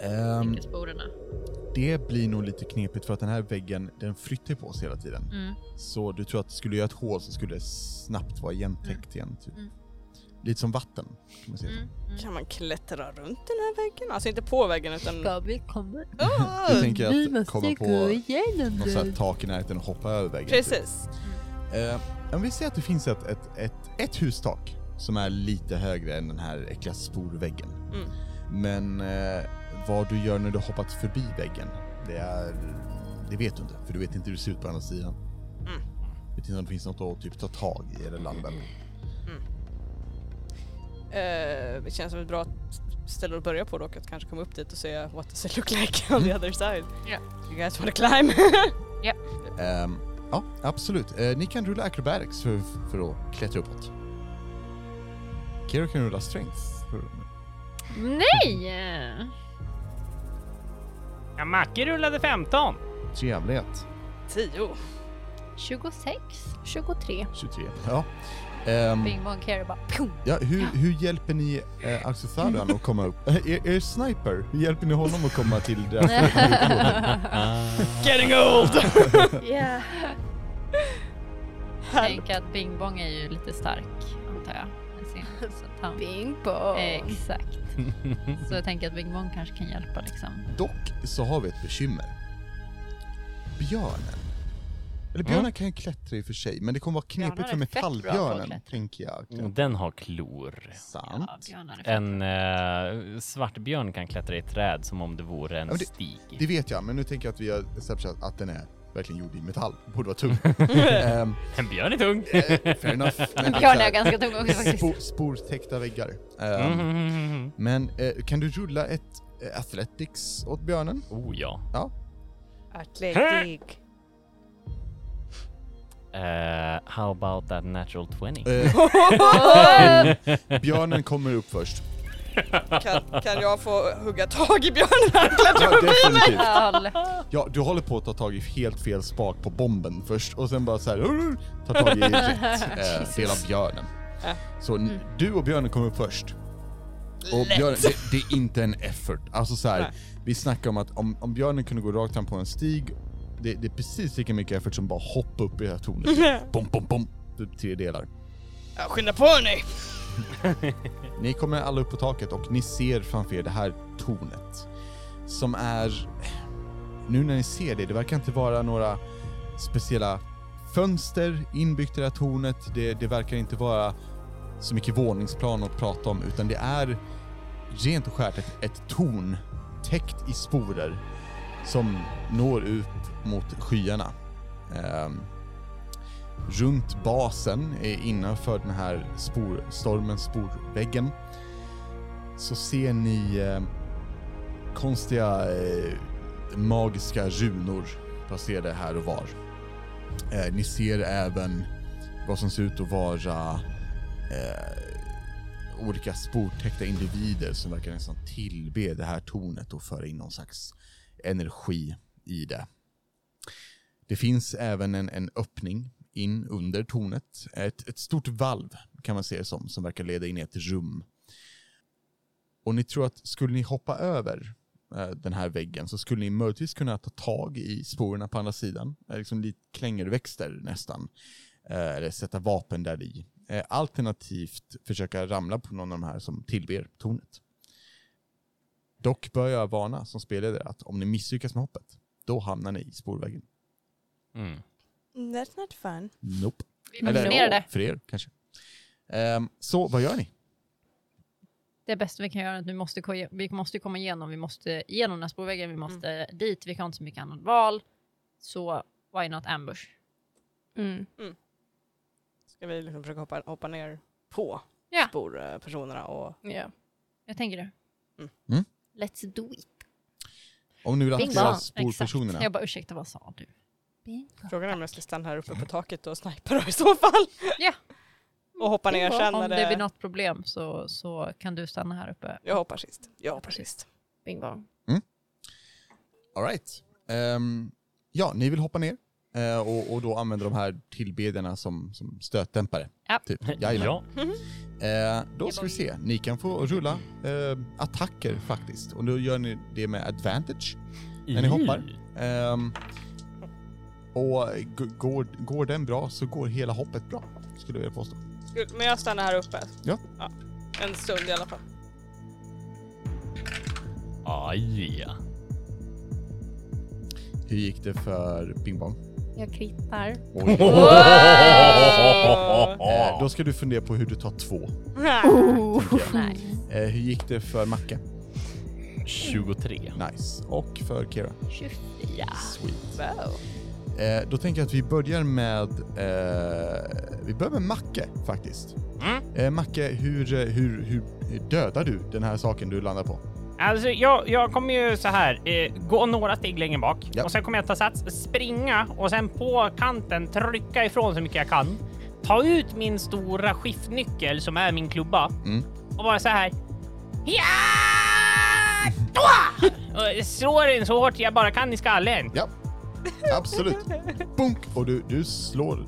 A: Ehm,
E: Yrkesborerna.
A: det blir nog lite knepigt för att den här väggen, den flyttar ju på sig hela tiden.
E: Mm.
A: Så du tror att skulle du göra ett hål så skulle det snabbt vara igentäckt igen. Typ.
E: Mm.
A: Lite som vatten, kan man säga.
B: Kan man klättra runt den här väggen? Alltså inte på väggen utan... Ska
C: vi komma?
B: Ah,
A: Du tänker
B: vi
A: att
B: måste
A: komma på
B: gå igenom
A: något sånt här
B: den.
A: tak i närheten och hoppa över väggen. typ.
B: Precis.
A: Eh, om vi säger att det finns ett, ett, ett, ett hustak som är lite högre än den här äckliga sporväggen.
B: Mm.
A: Men eh, vad du gör när du har hoppat förbi väggen, det är... Det vet du inte, för du vet inte hur det ser ut på andra sidan.
B: Mm.
A: Vet inte om det finns något att typ ta tag i eller landa med.
B: Eh, det känns som ett bra ställe att börja på dock, att kanske komma upp dit och se what does it look like on the other side.
E: Yeah.
B: You guys wanna climb?
A: Ehm, ja, absolut. Eh, ni kan rulla acrobatics för, för att klättra uppåt. Kero kan rulla strength.
E: Nej!
G: Ja, Macke rullade 15.
A: Trevligt.
B: 10.
E: 26, 23.
A: 23. Ja. Ehm,
E: Bing bong care bara pum.
A: Ja, hur, hur hjälper ni eh, Axotharion att komma upp? Eh, Er, er sniper, hur hjälper ni honom att komma till deras
B: Getting old!
E: Yeah. Tänk att Bing Bong är ju lite stark, antar jag. med sin- så att han-
C: Bing bong.
E: Exakt. Så jag tänker att Bing Bong kanske kan hjälpa liksom.
A: Dock så har vi ett bekymmer. Björnen. Eller björnen kan ju klättra i och för sig, men det kommer vara knepigt
E: Björnar
A: för
E: är fett bra på att
A: metallbjörnen,
E: klättra.
A: tänker jag.
D: Och Den har klor.
A: Sant.
E: Björnar är fett.
D: En eh, svartbjörn kan klättra i ett träd som om det vore en
A: Ja, men
D: stig.
A: Det vet jag, men nu tänker jag att vi har establishat att den är verkligen gjord i metall. Borde vara
D: [LAUGHS]
A: tung. Ehm,
D: En björn är tung!
A: eh, fair
E: [LAUGHS]
A: enough. Men det är
E: Björn
A: så här,
E: är ganska tung också faktiskt.
A: Spor, sportäckta väggar. Ehm,
D: Mm, mm, mm, mm.
A: Men eh, kan du rulla ett eh, athletics åt björnen?
D: Oh ja.
B: Atletic.
D: Eh, how about that natural 20?
A: Eh,
B: [LAUGHS]
A: Björnen kommer upp först.
B: Kan, kan jag få hugga tag i björnen när han klättrar
A: Ja,
B: upp?
A: definitivt.
E: Ja, lätt.
A: Ja, du håller på att ta tag i helt fel spak på bomben först och sen bara så här "Urr", tar
B: [LAUGHS]
A: tag i rätt eh, del av björnen.
B: Ja. Mm.
A: Så ni- du och björnen kommer upp först. Och björnen, det, det är inte en effort. Alltså så här,
B: Nej.
A: vi snackar om att om, om björnen kunde gå rakt fram på en stig, det, det är precis lika mycket effort som bara hoppa upp i det här tornet.
B: [LAUGHS]
A: Bom, bom, bom. Typ tre delar.
B: Ja, skynda på hörni!
A: Ni kommer alla upp på taket och ni ser framför er det här tornet. Som är... Nu när ni ser det, det verkar inte vara några speciella fönster inbyggt i det här tornet. Det, det verkar inte vara så mycket våningsplan att prata om, utan det är rent och skärt ett, ett torn täckt i sporer som når ut mot skyarna. Ehm, runt basen eh, innanför den här spor, stormens sporväggen så ser ni eh, konstiga eh, magiska runor placerade här och var. Eh, ni ser även vad som ser ut att vara eh, olika sportäckta individer som verkar nästan tillbe det här tornet och föra in någon slags energi i det. Det finns även en, en öppning in under tornet. Ett, ett stort valv kan man se det som, som verkar leda in i ett rum. Och ni tror att skulle ni hoppa över eh, den här väggen så skulle ni möjligtvis kunna ta tag i sporerna på andra sidan. Eh, liksom lite klängerväxter nästan. Eh, eller sätta vapen där i. Eh, alternativt försöka ramla på någon av de här som tillber tornet. Dock bör jag varna som spelledare att om ni misslyckas med hoppet, då hamnar ni i spårvägen.
D: Mm.
B: That's not fun.
A: Nope.
E: Vi motionerade.
A: För er kanske. Ehm, så vad gör ni?
E: Det bästa vi kan göra är att vi måste, ko- vi måste komma igenom, vi måste igenom den här spårvägen, vi måste dit, vi har inte så mycket annat val. Så why not ambush?
C: Mm.
B: Ska vi liksom försöka hoppa, hoppa ner på
E: Ja.
B: sporpersonerna och...
C: Ja.
E: Jag tänker det.
C: Let's do it.
A: Om ni vill
E: Bing
A: attackera
E: bong.
A: sporpersonerna.
E: Exakt. Jag bara ursäkta, vad sa du?
B: Frågan är om jag ska stanna här uppe
A: Mm.
B: på taket och snipa då i så fall.
E: Ja.
B: Och hoppa ner sen när
E: Om det blir
B: det...
E: något problem så, så kan du stanna här uppe.
B: Jag hoppar sist. Jag hoppar sist.
C: Bing bong.
A: All right. Ehm, ja, ni vill hoppa ner. Eh, och, och då använder de här tillbedjarna som, som stötdämpare.
E: Ja.
A: Typ. Jajamän. Eh, då ska vi se. Ni kan få rulla eh, attacker faktiskt. Och då gör ni det med advantage när ni
D: I.
A: hoppar. Ehm, och g- går, går den bra så går hela hoppet bra, skulle jag vilja påstå.
F: Men jag stannar här uppe.
A: Ja.
F: En stund i alla fall.
D: Aj. ja.
A: Hur gick det för Bing Bong?
C: Jag krittar.
A: Oj.
D: [LAUGHS]
A: Eh, då ska du fundera på hur du tar två.
E: Oh.
A: Eh, hur gick det för Macke?
D: 23.
A: Nice. Och för Kira?
E: 24.
A: Sweet.
F: Wow.
A: Eh, då tänker jag att vi börjar med... Eh, vi börjar med Macke faktiskt. Eh, Macke, hur, eh, hur, hur hur dödar du den här saken du landar på?
G: [LAUGHS] Alltså jag, jag kommer ju så här eh, gå några steg längre bak och sen kommer jag ta sats, springa och sen på kanten trycka ifrån så mycket jag kan. Ta ut min stora skiftnyckel som är min klubba
A: Mm.
G: och bara så här. Ja!
B: [LAUGHS]
G: Dua! Och slår den så hårt jag bara kan i skallen.
A: Ja, absolut. Bunk! Och du, du slår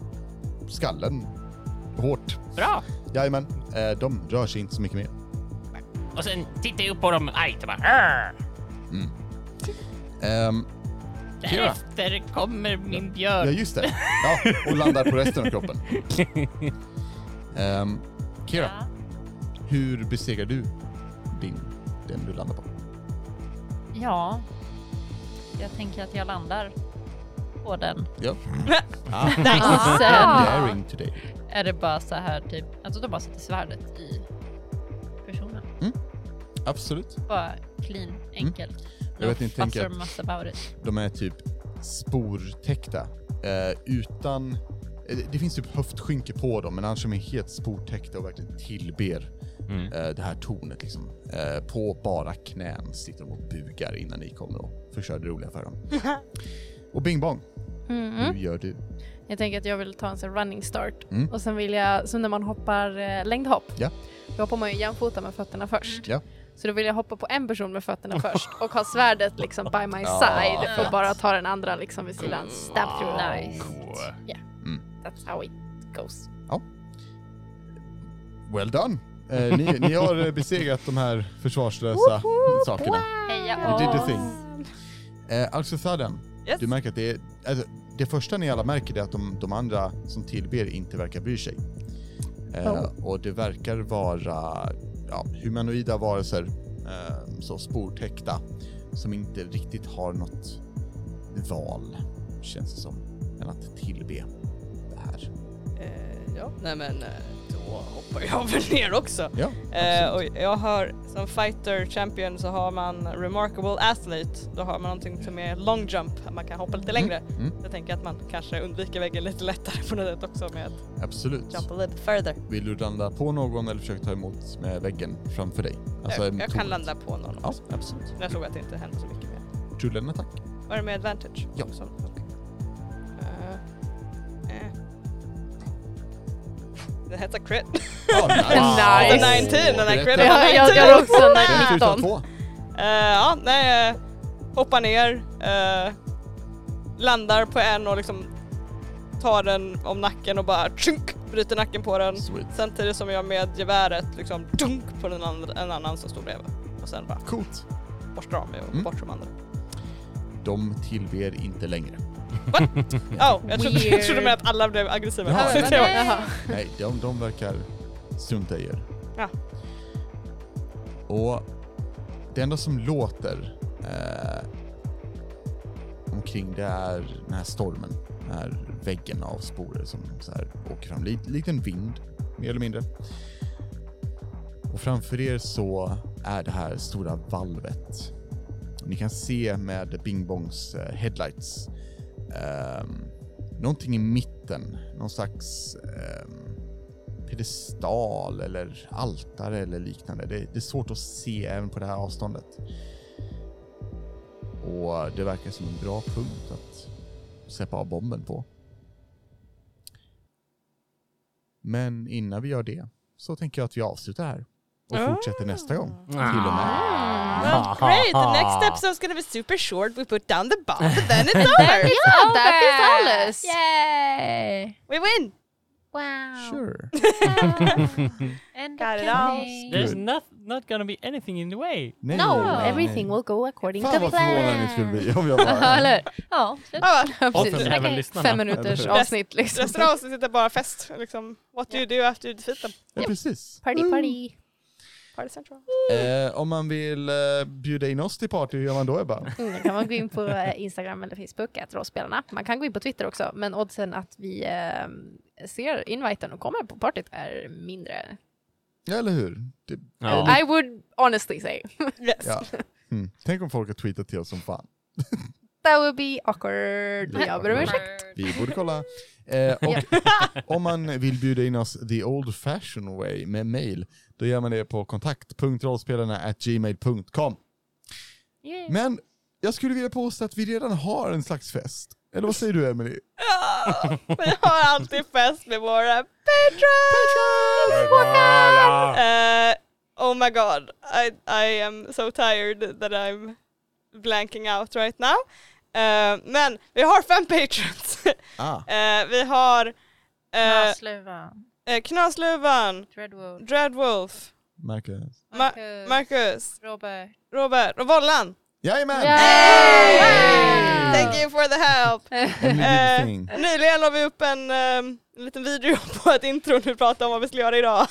A: skallen hårt.
G: Bra!
A: Jajamän. Eh, de rör sig inte så mycket mer.
G: Och sen tittar jag upp på dem argt och bara. "Arr!"
A: Mm. Ehm, Kira.
G: Därefter kommer min
A: Ja,
G: björn.
A: just det. Ja, och landar på resten av
G: [LAUGHS]
A: kroppen. Ehm, Kira, hur besegrar du din, den du landar på?
E: Ja, jag tänker att jag landar på den. [LAUGHS]
A: Ja.
E: Ah.
A: Ah.
E: Nice.
A: Daring today.
E: Är det bara så här typ, alltså de bara sätter svärdet i personen.
A: Mm. Absolut.
E: Bara clean, enkelt.
A: Mm. Jag vet inte, tänker
E: tänker
A: att-
E: much about it.
A: De är typ sportäckta. Eh, utan... eh, Det finns typ höftskynke på dem, men annars är de helt sportäckta och verkligen tillber
G: Mm.
A: eh, det här tornet. Liksom. Eh, på bara knän sitter de och bugar innan ni kommer och förstör det roliga för dem. Och bing bong,
C: Mm.
A: hur gör du?
C: Jag tänker att jag vill ta en sån här running start
A: Mm.
C: och sen vill jag, som när man hoppar eh, längdhopp,
A: Ja.
C: då hoppar man ju jämfota med fötterna först.
A: Ja.
C: Så då vill jag hoppa på en person
A: [LAUGHS]
C: med fötterna först och ha svärdet liksom by my
A: Ja,
C: side
A: fett.
C: och bara ta den andra liksom vid sidan. Stab through.
E: Nice.
C: Yeah,
A: Mm.
C: that's how it goes.
A: Ja. Well done! Eh, ni, [LAUGHS] ni har eh, besegrat de här försvarslösa sakerna.
E: Heja
A: You did the
E: oss!
A: thing. Eh, alltså Sadden,
F: Yes.
A: du märker att det är... Alltså, det första ni alla märker är att de, de andra som tillber inte verkar bry sig. Eh,
C: Oh.
A: Och det verkar vara ja, humanoida varelser, eh, så sportäckta, som inte riktigt har något val, känns det som, än att tillbe det här.
F: Eh, ja, nej men eh, då hoppar jag väl ner också.
A: Ja,
F: eh, och jag har, som fighter champion så har man remarkable athlete. Då har man någonting som är long jump, att man kan hoppa lite längre.
A: mm.
F: Jag tänker att man kanske undviker väggen lite lättare på något sätt också med att
A: Absolut.
F: jump a little further.
A: Vill du landa på någon eller försöka ta emot med väggen framför dig? Alltså,
F: jag jag kan
A: tornet.
F: landa på någon
A: Ja,
F: också.
A: absolut.
F: Men Jag tror att det inte händer så mycket mer.
A: Rulla en
F: [LAUGHS]
A: attack.
F: Var det med advantage?
A: Ja.
F: Också? Okej. Eh, eh. Det hette crit.
A: Oh,
F: nice. The 19, den här crit.
C: Ja, jag- jag har också en 19.
F: Eh, ja, nej, eh, hoppar ner, eh, landar på en och liksom tar den om nacken och bara tjunk, bryter nacken på den.
A: Sweet.
F: Samtidigt som jag med geväret liksom dunk på den andra, en annan som stod bredvid. Och sen bara
A: Coolt.
F: borstar av mig och
A: Mm.
F: bort de andra.
A: De tillber inte längre.
F: Oh, jag trodde, jag
C: Weird.
F: trodde med att alla blev
A: [LAUGHS]
F: aggressiva.
A: Jaha.
F: Så det var-
C: Jaha.
A: Nej, de, de verkar strunta i er.
F: Ja.
A: Och det enda som låter eh, omkring det är den här stormen. Den här väggen av sporer som så här åker fram. Lite, liten vind, mer eller mindre. Och framför er så är det här stora valvet. Ni kan se med Bing Bongs eh, headlights ehm, någonting i mitten, någon slags ehm, pedestal eller altare eller liknande. Det, det är svårt att se även på det här avståndet. Och det verkar som en bra punkt att släppa av bomben på. Men innan vi gör det så tänker jag att vi avslutar här. och fortsätter nästa gång. Till och
E: Ah. Mm.
A: med.
F: Well,
A: [LAUGHS]
F: great! The next episode is gonna be super short. We put down the bomb and then [LAUGHS] it's
C: That
F: over.
C: is, all, that is alles.
K: Yay!
F: We win!
K: Wow.
A: [LAUGHS] Sure.
K: End
F: Got
K: of
F: it all.
K: campaign.
D: There's
A: Good.
D: not, not gonna be anything in the way.
A: Nej,
C: No,
A: nej, nej.
C: everything will go according to
A: Fan vad förvånad ni
C: plan.
A: skulle bli om jag
C: [LAUGHS] Ja,
A: bara...
C: eller hur? Ja, slut.
F: Ja,
C: Ja,
D: Och
C: precis.
D: för även
C: Okej.
D: lyssnarna.
C: Fem minuters
A: Eller
F: hur?
C: avsnitt liksom.
F: Resten av avsnittet är bara fest. Liksom, what do you do after you defeat them?
A: Ja, precis.
C: Party party.
F: Party central.
A: Eh, om man vill eh, bjuda in oss till party, hur gör man då Ebba?
C: Mm, då kan man gå in på eh, Instagram eller Facebook, att rollspelarna. Man kan gå in på Twitter också, men oddsen att vi eh, ser inviten och kommer på partyt är mindre.
A: Ja, eller hur? Det,
D: Ja.
C: I would honestly say
F: Yes.
C: [LAUGHS]
A: ja. Mm. Tänk om folk har tweetat till oss som fan.
C: that would be awkward.
A: Ja.
C: Jag ber om ursäkt.
A: Vi borde
C: [LAUGHS]
A: kolla. Eh, och om man vill bjuda in oss the old fashioned way med mail, då gör man det på kontakt.rollspelarna.gmail.com. Men jag skulle vilja påstå att vi redan har en slags fest. Eller vad säger du Emily?
F: Ja, Vi har alltid fest med våra patrons! Eh, oh my god, I, I am so tired that I'm blanking out right now. Eh, men vi har fem patrons. [LAUGHS]
A: Ah,
F: Eh, vi har uh,
E: Naslöva,
F: Knasluvan,
E: Dreadwood,
F: Dreadwolf,
A: Marcus.
F: Ma-
E: Marcus,
F: Marcus,
E: Robert.
F: Robert och Vollan.
A: Jajamän!
F: Hey!
E: Mm.
F: Thank you for the help!
A: Emily did the
F: Eh,
A: thing.
F: Nyligen la vi upp en, ehm, en liten video [LAUGHS] på ett intro när vi pratade om vad vi skulle göra idag.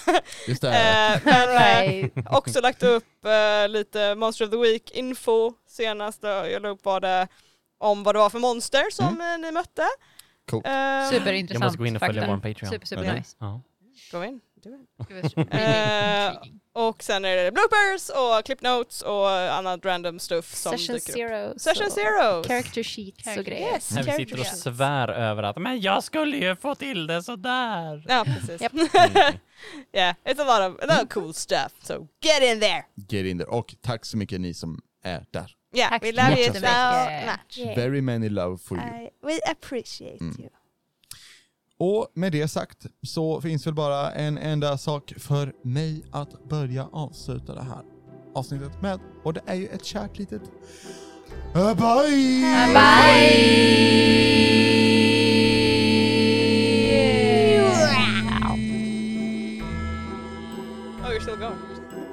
A: Just det.
F: Eh, men eh,
C: Right.
F: också lagt upp eh, lite Monster of the Week info senast. eh, Jag la upp vad det, om vad det var för monster som eh, ni mötte.
A: Coolt.
F: Eh,
D: Jag
E: Superintressant.
D: måste gå in och följa
E: fakta.
D: vår Patreon.
E: Super, super
A: Eller?
E: nice.
D: Ja.
F: Go in. Do it.
E: Gud, vad super-
F: Eh, Och sen är det bloopers och clip notes och annat random stuff som
C: Session
F: dyker upp.
C: zero.
F: Session
C: så-
F: zero.
C: Character sheets och
E: Character-
C: grejer.
F: Yes,
D: När vi sitter
F: character
D: och
F: sheets.
D: svär över att men jag skulle ju få till det sådär.
F: Ja, precis.
C: Japp.
F: [LAUGHS] yeah, it's a lot of, a lot of cool stuff. So get in there!
A: Get in there. Och tack så mycket ni som är där.
F: Yeah,
E: Tack
F: we
E: så
F: love you so
A: jättemycket.
F: much.
A: Very many love for you.
F: I- we appreciate
A: Mm.
F: you.
A: Och med det sagt så finns väl bara en enda sak för mig att börja avsluta det här avsnittet med. Och det är ju ett kärt litet... eh, Bye!
F: Oh, you're still going.